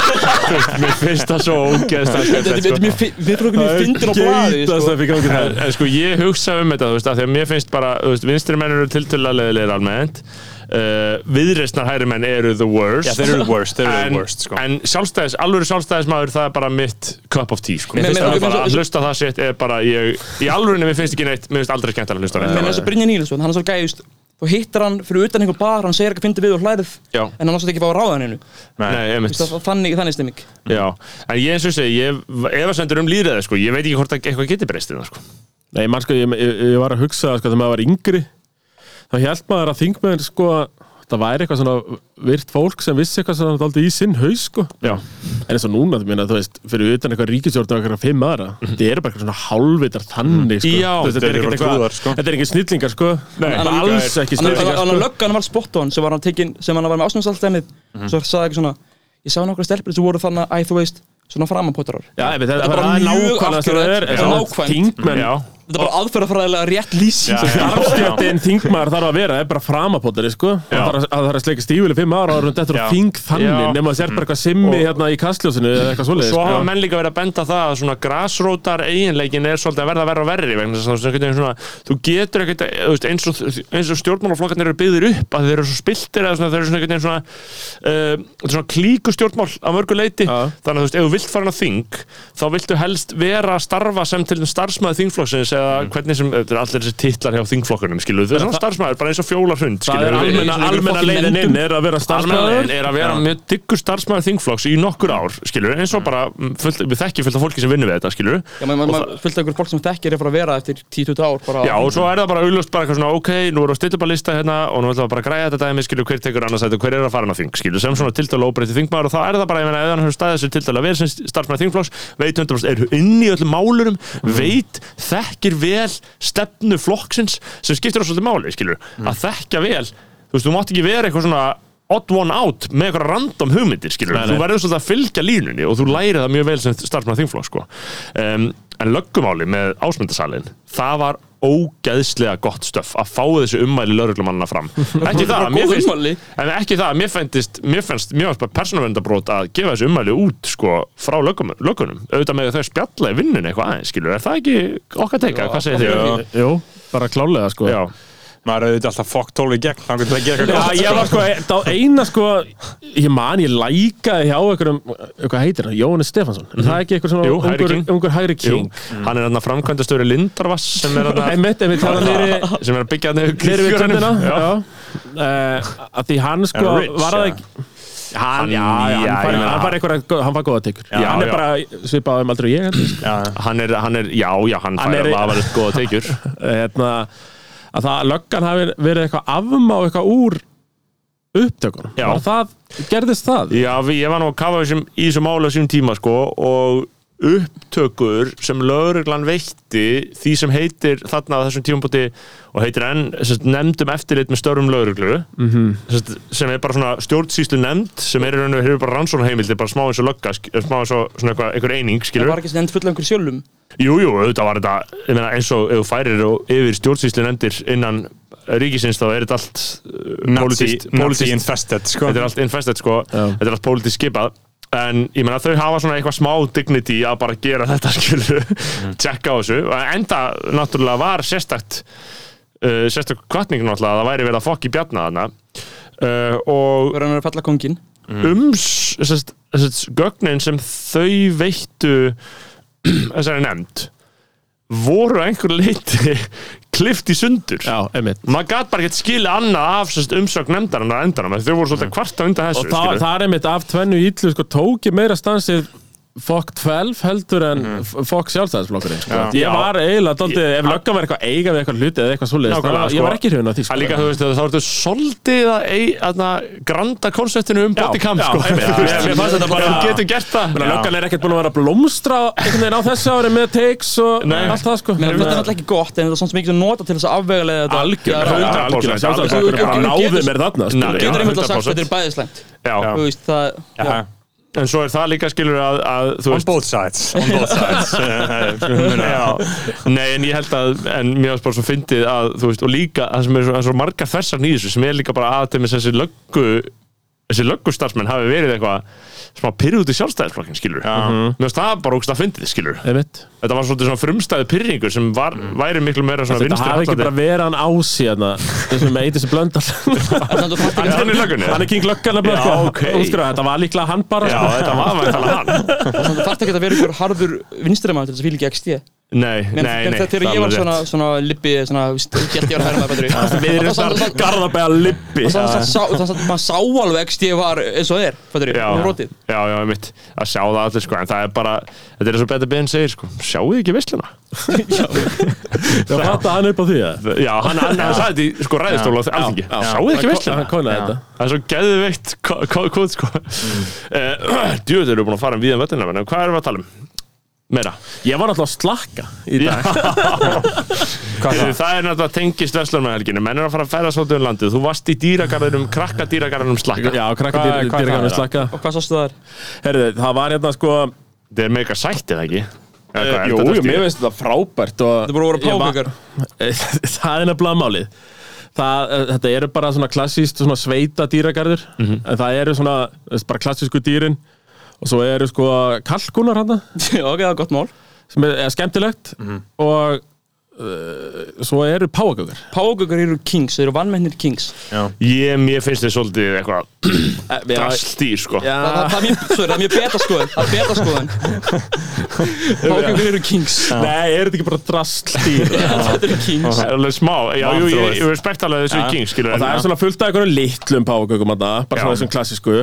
C: þú veist, mér finnst það svo ógeðst
E: Þetta þetta er mér fi- við fyrir okkur mér fyndin á blaði
D: Geitast upp í gangi
C: en,
D: það
C: en sko ég hugsa um þetta þú veist, af því að mér finnst bara, þú veist, vinstri menn eru tiltölulega leðilegir almennt uh, viðreistnar hægri menn eru the worst
B: Já, þeir eru worst, þeir
C: en,
B: eru worst sko.
C: en sjálfstæðis, alvöru sjálfstæðismæður það er bara mitt cup of tea sko.
E: Mér
C: mér finnst það
E: finnst það-
C: bara
E: mér
C: að
E: finnst-
C: hlusta á það sitt er bara, ég, í alvörunni mér finnst ekki neitt mér finnst aldrei skemmt að hlusta á
E: Mér finnst
C: neitt
E: þess að Brynja Nílsson, hann er svo gæðist Þú hittir hann fyrir utan einhver bar, hann segir eitthvað fyndi við og hlærið
C: Já.
E: En hann ástætti ekki að fá að ráða hann einu
C: Nei, einmitt.
E: Þannig, þannig stemming
C: Já, en ég eins og segi, ég efasendur um líðræði, sko, ég veit ekki hvort að eitthvað geti breyst innan, sko.
D: Nei, mann sko, ég, ég, ég var að hugsa sko, þegar maður var yngri þá held maður að þingmenn sko það væri eitthvað svona virt fólk sem vissi eitthvað svona aldrei í sinn haus sko
C: Já.
D: en eins og núna, þú meina, þú veist, fyrir utan eitthvað ríkisjórn og eitthvað fimm aðra, mm -hmm. þið eru bara eitthvað svona hálfvitar þannig, sko
C: Mhm. Já,
D: Þú veist, þetta
C: þeir
D: er
C: eru
D: ekkert
C: bara
D: eitthvað,
C: trúðar, sko.
D: þetta er ekki snillingar, sko Nei,
E: En hann-
D: alls ekki
E: Þannig
D: snillingar,
E: að
D: sko
E: löggan var spott á hann sem var hann tekin, sem hann var með ásnáðsaldæmið Svo sagði ekki svona, ég sá nokkra stelpur sem voru þannig að þú veist, svona framanpotrar
D: Já, ef þetta
E: Þetta
D: er
E: er
D: bara
E: bara mjög
D: nákvæmlega sem það er
E: akkurat,
D: en
E: þetta er
D: svona
E: nákvæmt.
D: þingmenn,
C: Já,
E: Þetta er bara aðferðafræðilega rétt lýsing
D: starfstjöttin þingmaður þarf að vera, er bara framapotari, sko
C: Já.
D: það þarf að- að það þarf að sleika stífili fimm ára árum þetta er
C: Já.
D: þing
C: Já.
D: þannig, nema að sér bara eitthvað simmi
C: Og-
D: hérna í kastljósinu eða eitthvað svoleiðis,
C: svo hafa
D: sko
C: menn líka verið að benda á það að svona grasrótar eiginleikin er svolítið að verða verra og verri vegna þess að þú veist, einhvern veginn svona, þú getur ekkert að- þú veist, eins og, eins og stjórnmálaflokkarnir eru byggðir upp að þeir eru svo spiltir eða svona, þeir eru svona einhvern veginn svona, uh, þetta er svona klíku stjórnmál að mörgu leiti
D: Já.
C: þannig að þú veist, ef þú vilt fara inn á þing þá viltu helst vera að starfa sem til þeim starfsmæði þingflokksins eða
D: Mm.
C: hvernig sem, þetta er allir þessi titlar hjá þingflokkunum skiluðu, þú er svona starfsmæður, bara eins og fjólar hund
D: það er almenna, almenna leiðin inn er að vera starfsmæður
C: Almennilegin er að vera mjög diggur starfsmæður þingflokks í nokkur ár, skilur, eins og bara mm, fullt, við þekkjum fullt af fólki sem vinnur við þetta, skilur
E: Já, maður ma fullt af einhver fólk sem þekkir er að fara að vera eftir 10-20 ár bara
C: Já, og svo er það bara auðlust bara eitthvað svona, ok, nú erum við að stilla bara lista hérna og nú ætlum við bara að græja þetta dæmi, skilur, hver tekur annars þetta, hver er að fara inn á þing, skilur, sem svona tildala óbreytti þingmaður og þá er það bara, ég meina, ef hann hefur staðið sér tildala vel sem starfsmæður þingflokks, veit 100% er inn í öllum málurum, veit, þekkir vel stefnu flokksins sem skiptir á svolítið máli, skilur, að þekkja vel, þú veist, þú mátt ekki vera eitthvað svona odd one out með eitthvað random hugmyndir skilur, þú verður svolítið að fylgja línunni og þú lærið það mjög vel sem starfsmæð þingflokk sko. um, en löggumáli með ásmundasalinn, það var ógeðslega gott stöf að fá þessu ummæli lauruglumanna fram ekki það, mér
E: góð
C: finnst
E: ummæli.
C: en ekki það, mér fændist, mér fannst mér fannst bara persónavendabrót að gefa þessu ummæli út sko, frá lögum, lögunum auðvitað með þau spjalla í vinnunni eitthvað aðeins skilur, er það ekki okkar teika, hvað segir þið?
D: Jú, bara klálega sko
C: Já,
B: maður auðvitað alltaf fokk tólu í gegn þá getur það að gera eitthvað
D: Já,
B: gott.
D: ég var sko, þá eina sko ég man, ég lækaði hjá einhverjum eitthvað heitir hann, Jóhannes Stefansson mm. það er ekki eitthvað svona
C: Mhm. Jú, hægri
D: ungur,
C: king.
D: ungur hægri
C: Jú,
D: king
C: hann er þarna framkvæmdastöru Lindarvass sem er þarna
D: einmitt, einmitt, það var nýri
C: sem er að byggja hann
D: Þeir eru við kjöndina
C: já.
D: uh, að því hann sko
B: En Rich,
D: var það
B: ja.
D: ekki hann, já,
C: já,
D: já, hann fær-
C: já.
D: hann var eitthvað hann var góða tekur
C: Já,
D: hann
C: já.
D: er bara svipað um aldrei og ég held ég, sko.
C: Hann er, hann er, já, já, hann,
D: Hann
C: fær
D: er-
C: alveg aðvarðist góða teikjur
D: hérna, að það löggan hafi verið eitthvað afmá eitthvað úr upptökunum
C: Já.
D: Var það, gerðist það
C: Já, við, ég var nú að kafa þessum, í þessum mála þessum tíma, sko og upptökur sem lögreglan veitti því sem heitir þarna á þessum tímabóti og heitir enn sest, nefndum um eftirlit með störfum lögreglu -hmm.
D: Mhm.
C: sest, sem er bara svona stjórnsýslu nefnd sem er í raun og hefur bara rannsónaheimildi bara smá eins og lögga, sk- smá eins og svona eitthvað, einhver eining,
E: Það
C: skilur
E: var ekki stend fulla einhver sjölum
C: Jú, jú, auðvitað var þetta ég meina, eins og ef þú færir og yfir stjórnsýslu nefndir innan ríkisins þá er þetta allt uh,
B: Nazi,
C: pólitískt-
B: Nazi
C: pólitískt-
B: infested sko.
C: þetta er allt infestet sko, þetta er allt pólitískt skipað en ég meina þau hafa svona eitthvað smá dignity að bara
B: Mhm.
C: gera þetta skilur tjekka á þessu, en það náttúrulega var sérstakt uh, sérstök kvartning náttúrulega að það væri verið að fokk í bjarna þarna uh, og
E: Verður hann að falla kongin
D: Mm.
C: ums sérst, sérst, gögnin um, sem þau veittu þessari nefnd voru að einhverju leiti klift í sundur
D: Já, einmitt
C: maður gat bara ekkert skilið annað af sérst, umsögn nefndarinn á endanum þau voru svolítið kvarta undan
D: Mm. og
C: þessu
D: það,
C: skilurðu.
D: það er einmitt af tvennu ítlu sko, tók ég meira stansið Fokk 12 heldur en mm. Fokk sjálfstæðisflokkurinn sko.
C: Mhm. Já.
D: Ég var eiginlega daldið, ef löggan var eitthvað eiga við eitthvað hluti eða eitthvað svoleiðis,
C: Nákvæmlega,
D: það-
C: sko.
D: ég var ekki hrifin af því sko.
C: Það líka, þú veist, þá ertu svolítið að ei, aðna, granda konseptinu um bodycam,
D: já,
C: sko.
D: einmitt.
C: Þú veist,
D: Já, mér fannst þetta bara-
C: Þú getur gert það.
D: Menna, löggan er ekkert búin að vera að blómstra einhvern veginn á þessu ári með takes og
C: Nei.
D: allt það sko
E: Mér finnst þetta náttúrulega ekki gott En það er svona sem mikið sem nota til þess að afvegulega þetta
D: Algjörlega,
E: Já,
C: hundra-
E: já.
C: 100%,
D: sjálfstæðisflokkurinn bara
E: algjörlega.
D: náði mér þarna sko.
C: Nei.
E: Getur einhvern veginn sagt
C: 100%.
E: Þetta er bæðið slæmt Þú
C: Já,
E: veist það já.
C: en svo er það líka skilur að, að þú
H: On
C: veist,
H: both sides On both sides
C: já, nei, en ég held að, en mér varst bara svo fyndið að, þú veist, og líka, það sem er svo, er svo margar þessar nýðis, sem er líka bara að til með þessi löggu, þessi löggustarfsmenn hafi verið eitthvað smá pyrr út í sjálfstæðisflokkin, skilur. Já. Mér finnst það bara ógst að fyndið, skilur.
D: Einmitt.
C: Þetta var svolítið svona frumstæði pyrringur sem var, væri miklu meira svona
D: Mm. Þetta
C: vinstri
D: hafi ekki
C: hallandi.
D: bara verið hann ási hérna, þessum með eitthvað sem blöndar
E: En þannig að þú fattar
C: Hann er löggunni?
D: Hann er king löggan að
C: Já,
D: blöndar
C: ok.
D: Þetta var líklega hann bara
C: Já,
D: sko.
C: þetta var væntalega hann.
E: Þannig að það þarf ekki að vera ykkur harður vinstrimaður til þess að fylgja ekki stíð
C: Nei, nei,
E: Men,
C: nei.
E: men þetta er
C: það
E: ég var
C: alveg
E: svona,
C: rétt.
E: svona lippi, svona, gæti ég var að hæra maður betri
D: Við erum þar garðabæja lippi
E: Þannig að maður sá alveg ekki stíð var eins og það er, fattur ég, hún
C: Já,
E: rotið
C: já, já, mitt að sjá það allir sko, en það er bara þetta er eins og betur Ben segir sko, sjáu þið ekki visluna
D: Það fatta hann upp á því að
C: Já, hann, hann, hann sagði þetta í sko ræðistóla á alþingi, sjáu þið ekki
D: Hann
C: visluna
D: konaði þetta
C: Það er svo geðveikt kóð sko Djúður eru búin að fara um víðan völlina en hvað erum við að tala um? Meira
D: Ég var náttúrulega að slakka í
C: Já.
D: dag
C: Þið, það er náttúrulega tengist verslunarhelginu menn er að fara að ferða svolítið um landið þú varst í dýragarðinum, krakka dýragarðinum slakka
D: Já, krakka
B: Hvað- hvað er
D: dýrgarnir
B: það?
D: slakka
E: Og hvað sástu það er?
D: Herðu, það var hérna sko
C: það er mega sætt eða ekki Eða hvað, er
D: Eh, Jú,
C: þetta
D: jú,
C: eftir?
D: mér finnst þetta frábært og
E: Það voru að
D: Ég
E: vera
D: va-
E: páfengar
D: Það er nefnilega málið Það, eh, þetta eru bara svona klassíst svona sveita dýragarður
C: Mhm.
D: en það eru svona, þú veist, bara klassísku dýrin og svo eru sko kalkunar hann
E: Já, ok, það er gott mál
D: sem er, er skemmtilegt
C: Mhm.
D: og uh, svo eru páagögar
E: Páfengar eru kings, þeir eru vannmennir kings
C: Ég, mér finnst þið svolítið eitthvað Eh, drastýr, sko.
D: Já,
E: Það það- það er mjög, sorry, það er mjög beta skoðun Það er beta skoðun Páfengar eru kings
D: Nei, er þetta ekki bara drastlýr
E: Þetta eru kings
C: Það er alveg smá. Já, jú, ég, ég respekt alveg þessu í King, skilur.
D: og það er svona fullt af einhverjum litlum páfagökum að það, bara
C: Já.
D: svona þessum klassísku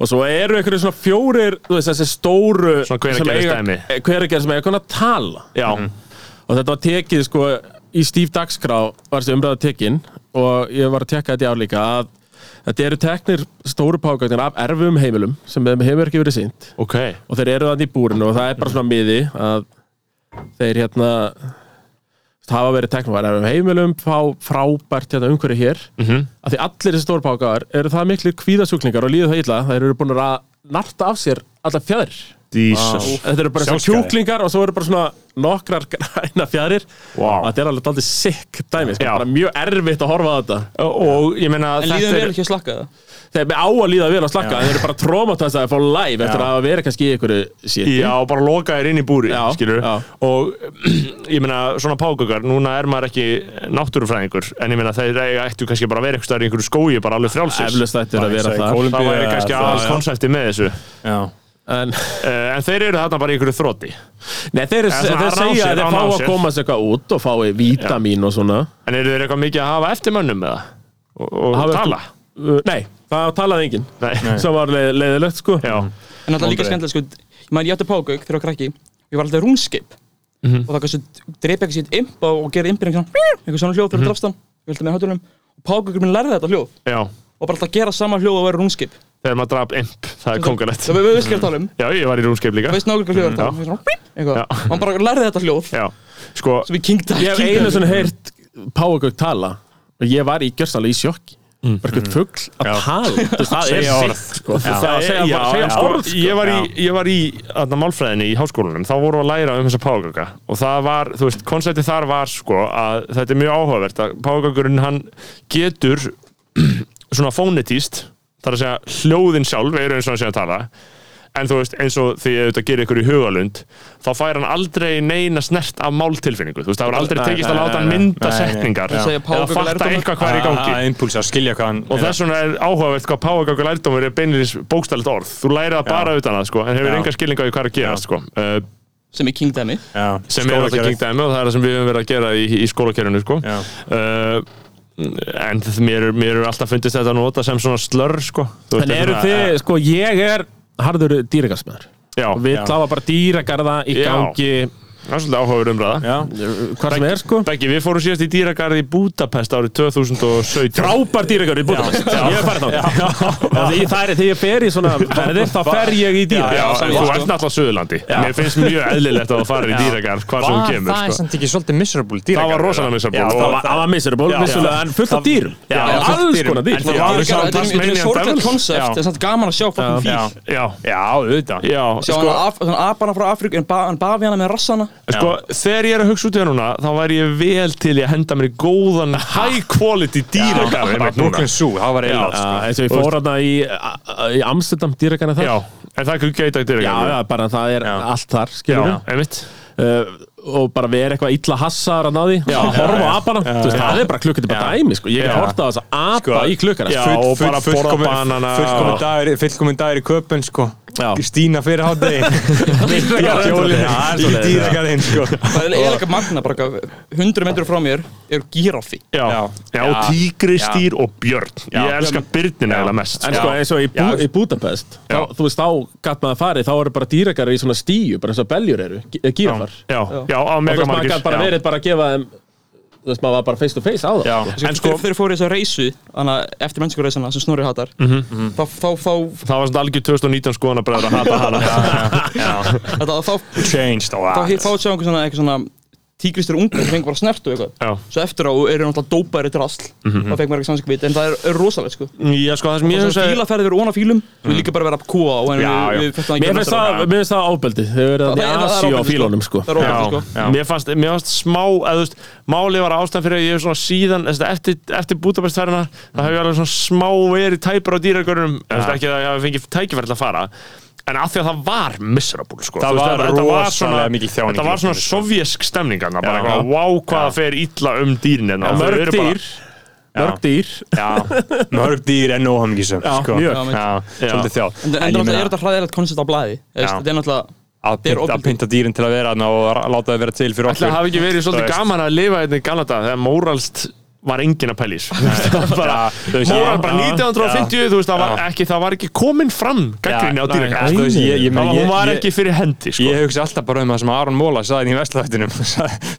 D: og svo eru einhverjum svona fjórir þú veist þessi stóru
C: Svona hveragerðisdæmi.
D: hveragerð sem eiga eh, einhvern að tala
C: Já,
D: og þetta var tekið sko í stíf dagskrá var þessi umræða tekin og ég var að tekka þetta í ár líka að þetta eru teknir stóru páfagöknir af erfum heimilum sem þeim hefur ekki verið sínt
C: ok.
D: og þeir eru þannig í búrinu og það er bara svona miði að þeir hérna hafa verið teknumvæðar um heimilum fá frábært hérna umhverju hér af því allir þessi stórpákaðar eru það miklir kvíðasjúklingar og líður það illa þeir eru búin að narta af sér alla fjær Ah.
C: Jesus.
D: þetta eru bara svona
B: Sjálfsgæði.
D: kjúklingar og svo eru bara svona nokkrar græna fjærir
C: Vá.
D: og þetta er alveg daldið sick dæmi sko,
C: Já.
D: bara mjög erfitt að horfa á þetta
C: Og ég meina,
E: En líðan
C: þetta
E: vel
C: er...
E: ekki að slakka það
D: þeir á að líða vel að slakka þeir eru bara trómatast að fá live eftir að vera kannski í einhverju shit
C: Já, bara loka þér inn í búri,
D: Hm? Já,
C: skilur.
D: já.
C: Og ég meina, svona págökar, núna er maður ekki náttúrufræðingur, en ég meina, þeir eiga- ættu kannski bara að vera einhverstaðar í einhverju skói, bara alveg frjálsins.
D: eflust ættir að vera það
C: Það væri kannski aðal konsepti með þessu.
D: en,
C: Eh, En þeir eru þarna bara í einhverju þrótti.
D: nei, þeir,
C: Eða svona
D: þeir
C: að
D: segja
C: ná sér,
D: að
C: að
D: þeir fá
C: ná
D: að
C: sér.
D: komast eitthvað út og fái vítamín og svona
C: En eru þeir eitthvað mikið að hafa eftirmönnum með það? Og, og
D: Hafa
C: tala?
D: Uh, nei, það talaði enginn
C: Nei.
D: sem var leið, leiðilegt sko
C: Já.
E: En alltaf líka skemmtilega sko, ég maður ég átti págauk þegar ég var krakki ég var alltaf rúmskeip og það kannski dreipi eitthvað sér imp og, og gerði impin eitthvað svona- eitthvað svona hljóð þegar mm -hmm. drafst hann ég vildi með hötunum og págaukur minn lærði þetta hljóð
C: Já.
E: og bara alltaf gera sama hljóð og vera rúmskeip
C: Þegar maður draf imp, það er kongalegt.
E: Það við veist hvað ég er að tala um
C: Já, ég var í rúmskeip líka.
E: Það veist nákvæmlega hljóð er að tala
C: já.
E: um eitthvað svona, eitthvað.
C: Já.
E: og hann bara lærði þetta hljóð
C: Já, sko,
E: sem við kingta
D: Ég hef einu svona heyrt Páagauk tala og ég var í gjörsalega í sjokki
C: Mm.
D: bara eitthvað fugg að tala Þú veist, það er
H: Segja orð.
D: sitt sko. það er að segja,
C: já,
D: bara, segja
C: sko,
D: orð sko.
C: ég var í, ég var í aðna, málfræðinni í háskólanum, þá vorum við að læra um þessa págöka og það var, þú veist, konceptið þar var sko að þetta er mjög áhugavert að págökurinn hann getur svona fónetíst, þar að segja hljóðin sjálf, er eins og hann sé að tala en þú veist, eins og því að þetta gerir ykkur í hugalund þá fær hann aldrei neina snert af máltilfinningu, þú veist, það var aldrei
B: Nei,
C: tekist
B: nei,
C: að láta hann
B: nei,
C: mynda
B: nei, nei.
C: setningar
B: Ég
E: segi
C: eða
E: páfagaukur
C: fatta
E: lærdómur.
C: eitthvað hvað er í gangi
B: að impulsa að skilja hvað hann
C: og þess vegna er áhugavert hvað páagögg og lærdómur er beinlýs bókstælit orð þú lærir það bara utan að sko, en hefur
B: Já.
C: enga skilninga í hvað er að gera sko. uh,
E: sem er kingdæmi
B: Já,
C: sem er alltaf
B: skólakerfið.
C: gengt dæmi og það er það sem við höfum verið að gera í, í skólakerfinu sko.
B: Já.
C: uh, en þ- mér, er- mér er alltaf fundist þetta að nota sem svona slör sko. Þú veist,
D: En
C: þetta er
D: eru
C: svona-
D: þið, sko, ég er harður dýragarðsmaður
C: Já,
D: og við
B: Já.
D: kláfa bara dýragarða í
C: Já.
D: gangi
C: það er svolítið áhugaverð umræða
B: Já.
D: hvað sem er, sko
C: Beggi, við fórum síðast í dýragarði í Budapest árið 2017
D: Frábær dýragarði í Budapest Ég er farið þá Það er þegar ég fer í svona ferðir þá fer ég í
C: Já,
D: dýragarð
C: en þú ert náttúrulega Suðurlandi Mér finnst mjög eðlilegt að það fara í dýragarð hvað sem þú
B: Það
C: kemur
B: er
C: sko.
B: samt ekki svolítið miserable dýra
C: Það var rosalega miserable
B: Já,
C: og-
D: Það var- það var miserable,
C: Já.
D: vissulega, en fullt af dýrum
C: Já,
D: Alls
C: fullt
D: konar
C: af dýrum.
D: dýr
C: En það
E: Já,
C: var
E: þetta
C: alveg
E: er- þetta er- þetta er
C: Tasmanian
E: sorglega
C: Devil.
E: koncept, en samt gaman að sjá fokkin fíl
B: Já,
C: Já,
B: já, auðvitað
C: já
E: Sjá
C: sko,
E: hann af- hann apana frá Afríku en ba- hann bafi hana með rassana
C: sko, þegar ég er að hugsa út í það núna þá væri ég vel til í að henda mér í góðan high quality dýragarð einmitt núna.
B: Brooklyn Zoo, það var
C: Já.
B: eilagt
D: Já, eins og ég fór hana í, eh, í Amsterdam dýragarða þar
C: Já, en það er ekki
D: já,
C: gæta
D: já,
C: dýragarð
D: bara það er allt þar, skilur við
C: einmitt
D: uh, og bara vera eitthvað illa hassaðar að náði já, horfa á apana, þú veist, það er bara klukkutíma dæmi, sko, ég er
C: Já. Sko,
D: hort á þess að apa í klukkar
C: Já,
D: já,
C: og bara borða banana
B: Fullkomin dagur, fullkomin dagur í köpun sko
D: Já.
B: Stína fyrir hátegi Hjólin
D: Kjólinn. Já, það er
B: í
D: svoleiðis,
B: dýragarðin sko
E: það er eiginlega magna bara hundru metru frá mér er gíraffi
C: Já,
B: Já.
C: já og tígristýr og björn Ég elska byrnina eða mest
D: en sko eins og í, Bú, í Budapest þá,
C: Já.
D: þú veist, þá gatt maður að fari þá eru bara dýragar í svona stíu, bara eins og beljur eru gírafar,
C: Já, já, á
D: og þú veist,
C: megamargir
D: maður gatt bara verið bara að gefa þeim þú veist, maður var bara face to face á það
C: Já,
D: sko.
C: en sko,
E: þeir, þeir fóru í þess að reysu þannig að eftir mennskureysana sem Snorri hatar
C: Mhm.
E: þá, þá, þá,
C: það var svona algjör 2019 skoðanabræður að hata hana
E: þá, þá, þá,
B: Changed a
E: þá
B: lot
E: hitt fáið sjá einhver svona, einhver svona tígristur ungar sem fengur bara snert og eitthvað
C: Já.
E: svo eftir á eru náttúrulega dópaðir í drasl þá fengur maður ekki samskipið en það er, er rosalegt sko
C: Já, sko, það sem ég
E: og
C: hugsa Mhm.
E: svona fílaferðir voru ofan á fílum við líka bara vera að kúa á en
C: Já, já.
E: við, við þetta
D: mér finnst það, mér finnst það ábeldi þau eru
E: Það-
D: þannig
E: það- það er
D: asi á
E: ábeldi, sko.
D: fílónum sko
E: það er
C: Já,
E: ofan sko
C: já. Mér fannst, mér fannst smá eða, þú veist, máli var ástæðan fyrir að ég hef svona síðan þess að eftir, eftir Budapest þærna það hef ég alveg svona smá verið tæpur á dýragörnum ja. ekki að ég hafi fengið tækifæri til að fara en af því að það var miserable sko.
B: Það
C: Þú
B: var
C: þetta- þetta
B: rosalega
C: svona-
B: mikil þjáning
C: þetta var
B: í
C: svona
B: lokinni, sko.
C: sovjesk stemning þarna, bara
B: Já.
C: eitthvað, wow hvað það fer illa um dýrin hérna. Og þau
D: mörg
C: eru bara-
D: dýr mörg dýr
B: Já, mörg dýr en óhamgisum
D: Já,
B: sko.
D: mjög.
B: Já, Svolítið þjá
E: en það- en náttúrulega er þetta hræðilegt koncept á blæði
B: Já.
E: þetta er náttúrulega
B: að
E: er
B: pynta,
E: ofbeldi.
B: að pynta dýrin til að vera þarna og ra- láta það vera til fyrir
C: Ætli
B: okkur
C: það hafi ekki verið
B: Þú
C: svolítið
B: veist.
C: gaman að lifa hérna í gamla dag þegar móralst var engin að pælis móral
B: Móral
C: bara 1950 þú veist það var ekki það var ekki komin fram gaggrinni
B: Þú veist, ég- ég-
C: á dýragarð það var- hún
B: ég-
C: var
B: ég-
C: ekki fyrir hendi sko.
B: Ég hugsi alltaf bara um það sem Aron Móla sagði í Vestlaðættinum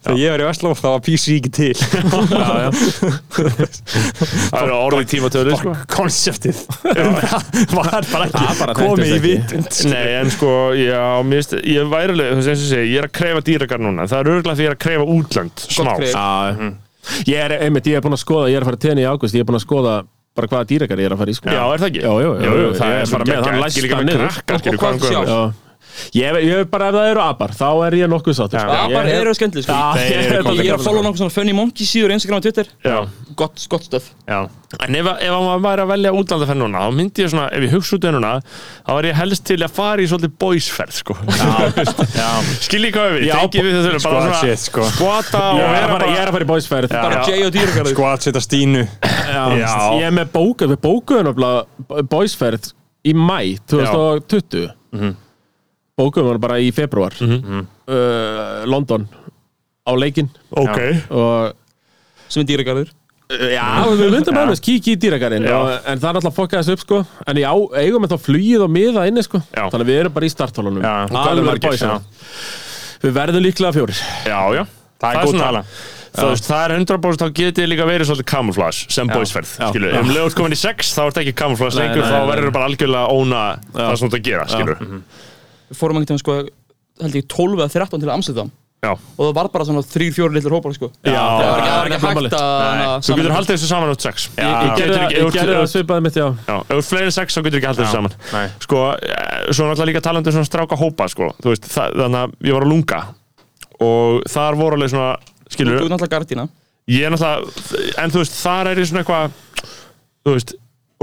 B: þegar ég var í Vestlaðættinum þá var PC ekki til
C: það eru orðið tímatölu sko.
B: konseptið var bara
D: Það bara
B: ekki
D: þekktist
B: komið í
D: ekki.
B: vitund
C: nei en sko já, mér veist, ég væri alveg þú veist, eins og segi, ég er að kreifa dýragarð núna það er örgulega því ég er að kreifa útlönd smá
E: kreif.
D: Já, Mm.
C: Mm.
D: ég er einmitt, ég er búinn að skoða, ég er að fara til henni í águst, ég er búinn að skoða bara hvaða dýrakar ég er að fara í sko.
C: já er það ekki
D: Já, já, já,
C: Jú, jú, það
D: ég
C: er bara
D: með, hann læst það niður.
E: Og- og hvað sjá?
C: niður
D: Já. Ég, ég er bara, ef það eru apar, þá er ég nokkuð sáttur. sko.
E: apar
D: Ég-
E: eru skemmtileg sko
D: Já,
C: Þeir
D: ég
C: eru
D: er bara-
E: ég er að followa nokkuð svona funny monkey síður á Instagram og Twitter
C: já
E: gott, gott stöð
C: Já. En ef, ef maður væri að velja útlandaferð núna þá myndi ég svona, ef ég hugsa út í núna þá var ég helst til að fara í svolítið boysferð sko. Skiljið hvað við,
D: Já,
C: tengið við þessu bara
B: squad
C: svona
B: shit, sko.
C: skvata
D: Ég er
C: og
D: að
C: vera
D: fara- ég er
C: bara
D: að fara í boysferð.
E: bara
C: Já.
E: Jay og dýragarður
B: sko að setja Stínu
D: Ég er með bókuð, við bókuðum náttúrulega boysferð í mæ 2020.
C: Mhm.
D: Bókuðum hann bara í februar. Uh, London, á leikinn
C: Ok,
D: og
E: sem er dýragarður
D: Já, við myndum bara aðeins kíkja í dýragarinn
C: Já.
D: og, en það er alltaf að fokka þessu upp sko en já, eigum við þá flugið og miða inni sko
C: Já.
D: þannig að við erum bara í starthólunum
C: Já, hvað eru margir? Já.
D: Við verðum líklega fjórir
C: já, já
B: Það er góð tala.
C: Þú veist, það er 100% þá getið þið líka verið svolítið camouflage sem boysferð,
D: Já.
C: skilu
D: Já.
C: Ef um lögur komin í sex, þá ert ekki camouflage
D: Nei,
C: lengur
D: nei,
C: þá
D: nei, Mhm.
C: verður bara algjörlega óna það sem þú ert að gera, skilu
E: við fórum einhvern veginn sko held ég 12 eða 13 til Amsterdam
C: Já,
E: og það var bara svona 3-4 litlir hópar sko
C: Já.
E: það var ekki, það var
D: það er
E: ekki
D: gamanlegt.
E: hægt að
C: þú getur haldið þessu saman átt sex Ég- ég
D: Ég
C: getur
D: gerði
C: ekki-
D: það-
C: ef
D: ég
C: þú-
D: gerði það svipaði mitt, já
C: Já, ef þú ert fleiri en sex þá getur ekki haldið þessu saman
B: nei.
C: Sko, eh, svo náttúrulega líka talandi um svona stráka hópa sko. Þú veist, það, þannig að ég var að lunga og þar voru alveg svona
E: þú
C: skilur,
E: getur náttúrulega gardína
C: ég er náttúrulega en þú veist, þar er ég svona eitthvað þú veist,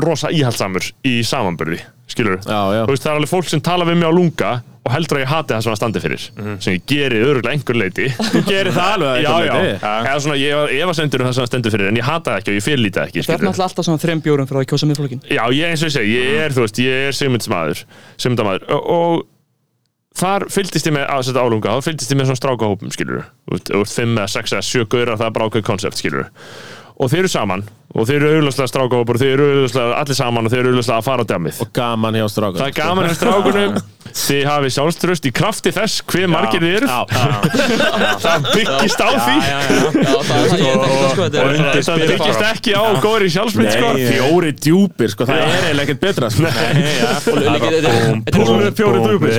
C: rosa íhaldsamur í samanburði skilur
D: Já, já.
C: þú veist það er alveg fólk sem tala við mig á lunga og heldur að ég hati það sem það standi fyrir sem ég geri örugglega einhver leiti
D: Þú gerir það alveg
C: já, já,
D: einhver leyti.
C: eða svona ég var efasendur um það sem það stendur fyrir en ég hata það ekki og ég fyrirlíti það ekki
E: Það er
C: skilurðu.
E: náttúrulega alltaf svona þrem bjórum fyrir að kjósa miðflokkin
C: Já, ég eins og ég segi, ég er, þú veist, ég er sigmyndsmaður, sigmyndamaður og, og þar fylgdist ég með, að setja álunga, þá fylgdist ég með svona strákahópum, skilur þú veist, þú veist, fimm eða sex eða sjö gaurar, það er bara ákveð konsept, skilur og þeir eru saman, og þeir eru auðvitað strákahópur, og þeir eru auðvitað allir saman og þeir eru auðvitað að fara á dæmið
D: Gaman hjá strákur
C: Það er gaman hjá strákunum Þið hafið sjálfströst í krafti þess hver margir þið eru Það byggist á því
E: Já, það er það ég þekki það sko þetta er
C: Það það byggist ekki á góðri sjálfsmynd sko.
D: Fjóri djúpir, sko, það er eiginlega ekkert betra sko.
E: Þetta er- þetta er svona
C: Fjóri drúpir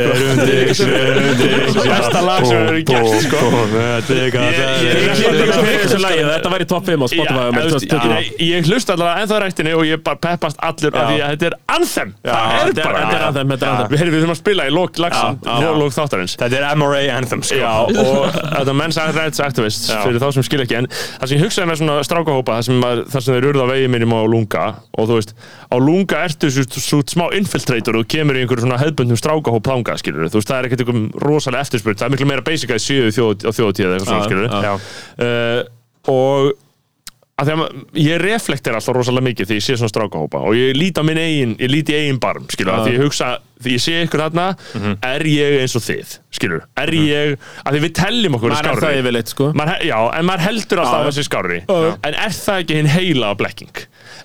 C: Besta lag sem hefur verið gert sko.
D: Ég
C: Ég-
D: kynni
C: ég-
D: ekki fyrir þessu lagi, þetta var í top 5 á
C: Já,
D: Spotify
C: þú
D: með
C: veist,
D: 2020
C: ég- Ég hlust allavega ennþá rættinni og ég bara peppast allur af því að þetta er anthem Það er
D: þetta er-
C: bara
D: þetta er anthem, þetta er anthem.
C: Við heyrðum, við þurfum að spila í lók lagsin
D: Já, já.
C: Lók þáttarins
H: Þetta er MRA Anthem, sko.
C: Já, og þetta menns að rights activists fyrir þá sem skil ekki, en það sem ég hugsaði með svona strákahópa, það sem, maður, það sem þeir urðu á vegi mínum á lunga, og þú veist á lunga ertu svo, svo smá infiltrator og þú kemur í einhverjum svona hefðbundnum strákahóp langa, skilur þú veist, það er ekkert einhverjum rosalega eftirspurt, það er miklu meira basic að séu þjóð, á þjóðatíð eða eitthvað svona, skilur
D: Eh,
C: Uh, og að því að ma- ég reflektir alltaf rosalega mikið því ég sé svona strákahópa og ég lít á minn eigin, ég lít í eigin barm skilur, að því ég hugsa, því ég sé ykkur þarna
D: Mhm.
C: er ég eins og þið, skilur er ég, að því við telljum okkur
D: Maður er það yfirleitt, sko
C: Maður, he- já, en maður heldur alltaf
D: Já,
C: að
D: já.
C: þessi skárri En er það ekki hinn heila blekking?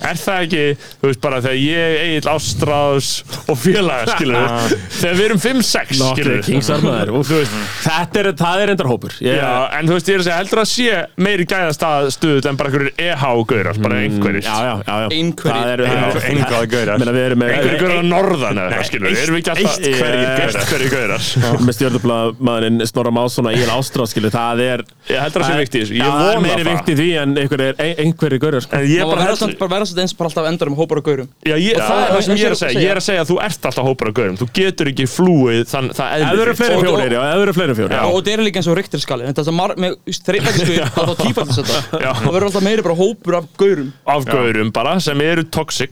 C: Er það ekki, þú veist bara þegar ég Egil Ástráðs og félaga skilur við? Þegar við erum 5-6 skilur
D: Nokkri
C: við?
D: kingsarmaður úff. Þetta er, það er endar hópur Ég-
C: Já, en þú veist, ég er að segja, heldur að sé meiri gæðastað stuðull en bara einhverjir EH-gaurar, bara einhverjir
D: Mm, Já, já, já, já.
E: Einhverjir.
D: Það eru-
C: Já,
H: Einhvað gaurar.
D: Meina, við erum með
C: einhverjir gaurar að norðan eða eitthvað, skilur, við? erum við ekki alltaf
D: eitt hverjir gaurar.
C: Eitt hverjir gaurar
D: með stjórnublaðmaðurinn Snorra Másson að ég er ástráð, skilur, það er
C: Ég heldur að sé vikt í þessu, ég
D: það er
C: vona
D: meiri
C: það
D: vikt í því en einhver er, ein- einhver er gaurur, sko.
C: En ég
E: Það
C: bara
E: verður
C: heldur
E: samt- bara verður þetta eins og bara alltaf endar um hópar og gaurum
C: Já, ég,
E: Og
C: það, er það sem ég er að segja, ég er að segja að þú ert alltaf hópar af gaurum, þú getur ekki flúið þann, það eðli
D: Ef þú eru fleiri en
C: Og-
D: fjórir, já, ef þú eru fleiri en fjórir.
E: Og og þetta er líka eins og reyktir skali Þetta er það mar- með þreifættiskuð Það þá tífættis þetta
C: Já.
E: Það verður alltaf meiri bara hópur af gaurum
C: og af gaurum bara sem eru toxic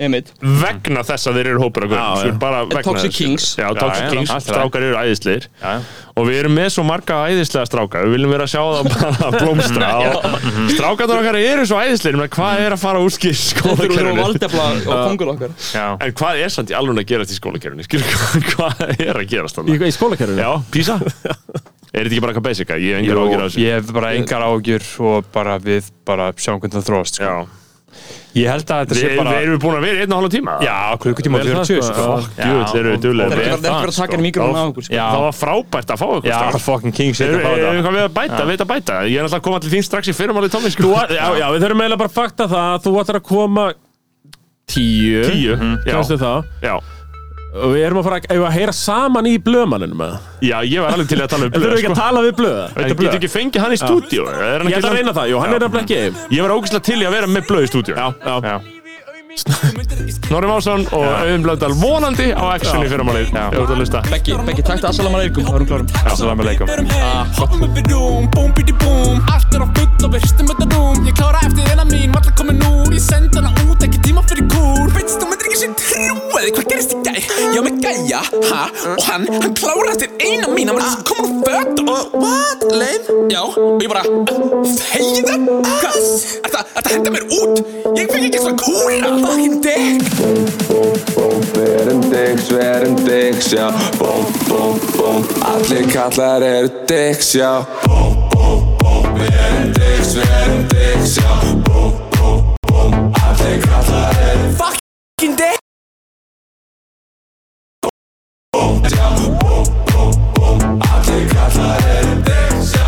E: Emitt
C: vegna þess að þeir eru hópar af gaurum
D: Já,
C: skilur,
D: já.
C: bara vegna
E: Toxic
C: þess.
E: kings.
C: Já, Eh, toxic
H: Já, já,
C: kings,
H: allt í lagi.
C: strákar eru æðisleir
H: Já, já.
C: og við erum með svo marga æðislega stráka við viljum vera að sjá það bara að blómstra og strákarnar okkar eru svo æðisleir menn, hvað er að fara úr skil
E: Þetta eru úr
C: skólakerfinu
E: valdefla og kongul okkar
H: Já.
C: en hvað er samt í alveg að gerast í skólakerfinu skilur, hvað er að gerast
D: Í,
C: þannig
D: í skólakerfinu?
C: já, písa er þetta ekki bara eitthvað basic ég hef engar
H: Jú,
C: ágjur af þessu
H: ég hef bara engar ágjur og bara við bara sjáum hvernig það þróast sko.
C: Já.
H: ég held að þetta
C: Við
H: sé
C: erum,
H: bara
C: við erum búin að vera í einn og hálf tíma
H: já, klukkutíma og
D: Vel það,
H: 40
D: sko.
H: sko.
D: Fuck,
H: Já,
C: djöfull, erum við duglegir.
H: og-
E: Þetta er
H: og-
E: ekki verið að taka mikrofonu á okkur sko.
H: Já.
C: Það var frábært að fá okkur
H: já,
C: strax.
H: fucking kings
C: Eru
H: þetta
C: er, er,
H: báða.
C: eitthvað við að bæta, við að bæta Ég er alltaf að koma til þín strax í fyrrumáli Tommy sko.
D: já, já, við þurfum eiginlega bara að fakta það að þú ætlar að koma tíu,
C: Tíu, já.
D: kannski það
C: já.
D: og við erum að fara að, eigum við að heyra saman í blöðmanninum eða?
C: já, ég var alveg til í að tala
D: Þú
C: um blöð
D: þurfum ekki
C: sko.
D: að tala við blöða
C: Þetta getur ekki fengið hann í stúdíu er
D: Ég
C: hann ekki
D: ætla að reyna það, jú, hann
C: Já.
D: er að blekja eigum
C: Ég var ógæslega til í að vera með blöð í stúdíu
D: já.
C: Snorri Másson og Auðum Blöndal vonandi á action í fyrrumáli Ég var að lusta
E: Beggi, Beggi, takk til Assalamu alaikum Það erum klárum Ah,
H: Assalamu alaikum
J: Hoppum upp í rúm, búm bíti búm Allt er á full og við hristum þetta rúm Ég klára eftir þeirna mín, valla komin úr Ég send hana út, ekki tíma fyrir kúr Veitst þú myndir ekki sem trúaði hvað gerist í gær Já með gæja, ha, og hann Hann klára eftir eina mín, hann var þess að komin úr fött Og, what, leim? Já, og ég bara, þegi það? Hvað, er það að henda mér út? Ég fengi ekki svona kúra Fucking dick
A: Bóm, verum dicks, verum dicks, já Bóm, bóm, bóm, allir kallar eru dicks, já Bóm, bóm, bóm, verum dicks, verum dicks, já Bóm, bóm, bóm, allir kallar eru
J: Fucking dick
A: dicks, já Bóm, bóm, bóm, allir kallar eru dicks, já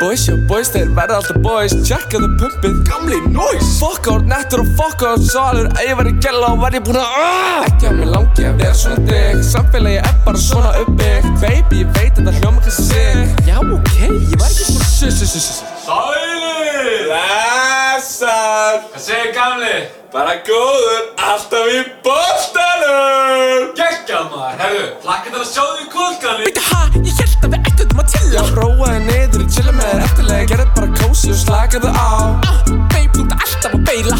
J: Boys, já boys, þeir verða alltaf boys Tjekkaðu pumpið, gamli noise Fuck out nettur og fuck out salur Ef ég væri gæla og væri búin að ah! Ekki að mér langi að vera svona dick Samfélagi er bara svona uppbyggt Baby, ég veit að það hljóma kannski sig Já, ok, ég var ekki búin að Sus, sus, sus, sus
G: Sælir!
J: Blessar,
G: Hvað segir gamli?
J: bara góður Alltaf í bóstanum
G: Geggjað maður! Herru, hlakka til að sjá þig í kvöld, gamli!
J: Býta, ha, ég held að við ættum að tella Já, róaði niður, chilla með þér eftirlega Gerðu bara kósi og slakaðu á Ah, babe, þú Uh, ert alltaf að beila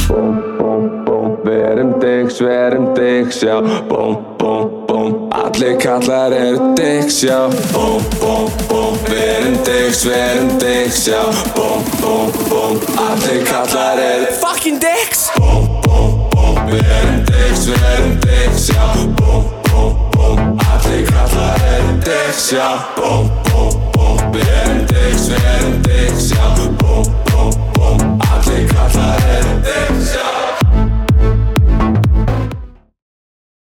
A: Bóm, bóm,
J: sverum þig, sjá Búm, búm, búm, allir kallar eru þig, sjá Búm, búm, búm, verum þig, sverum þig, sjá Búm, búm, búm, allir kallar eru
K: Fucking dicks
J: Búm, búm, búm, verum þig, sverum þig, sjá Búm, búm, búm, allir kallar eru þig, sjá Búm,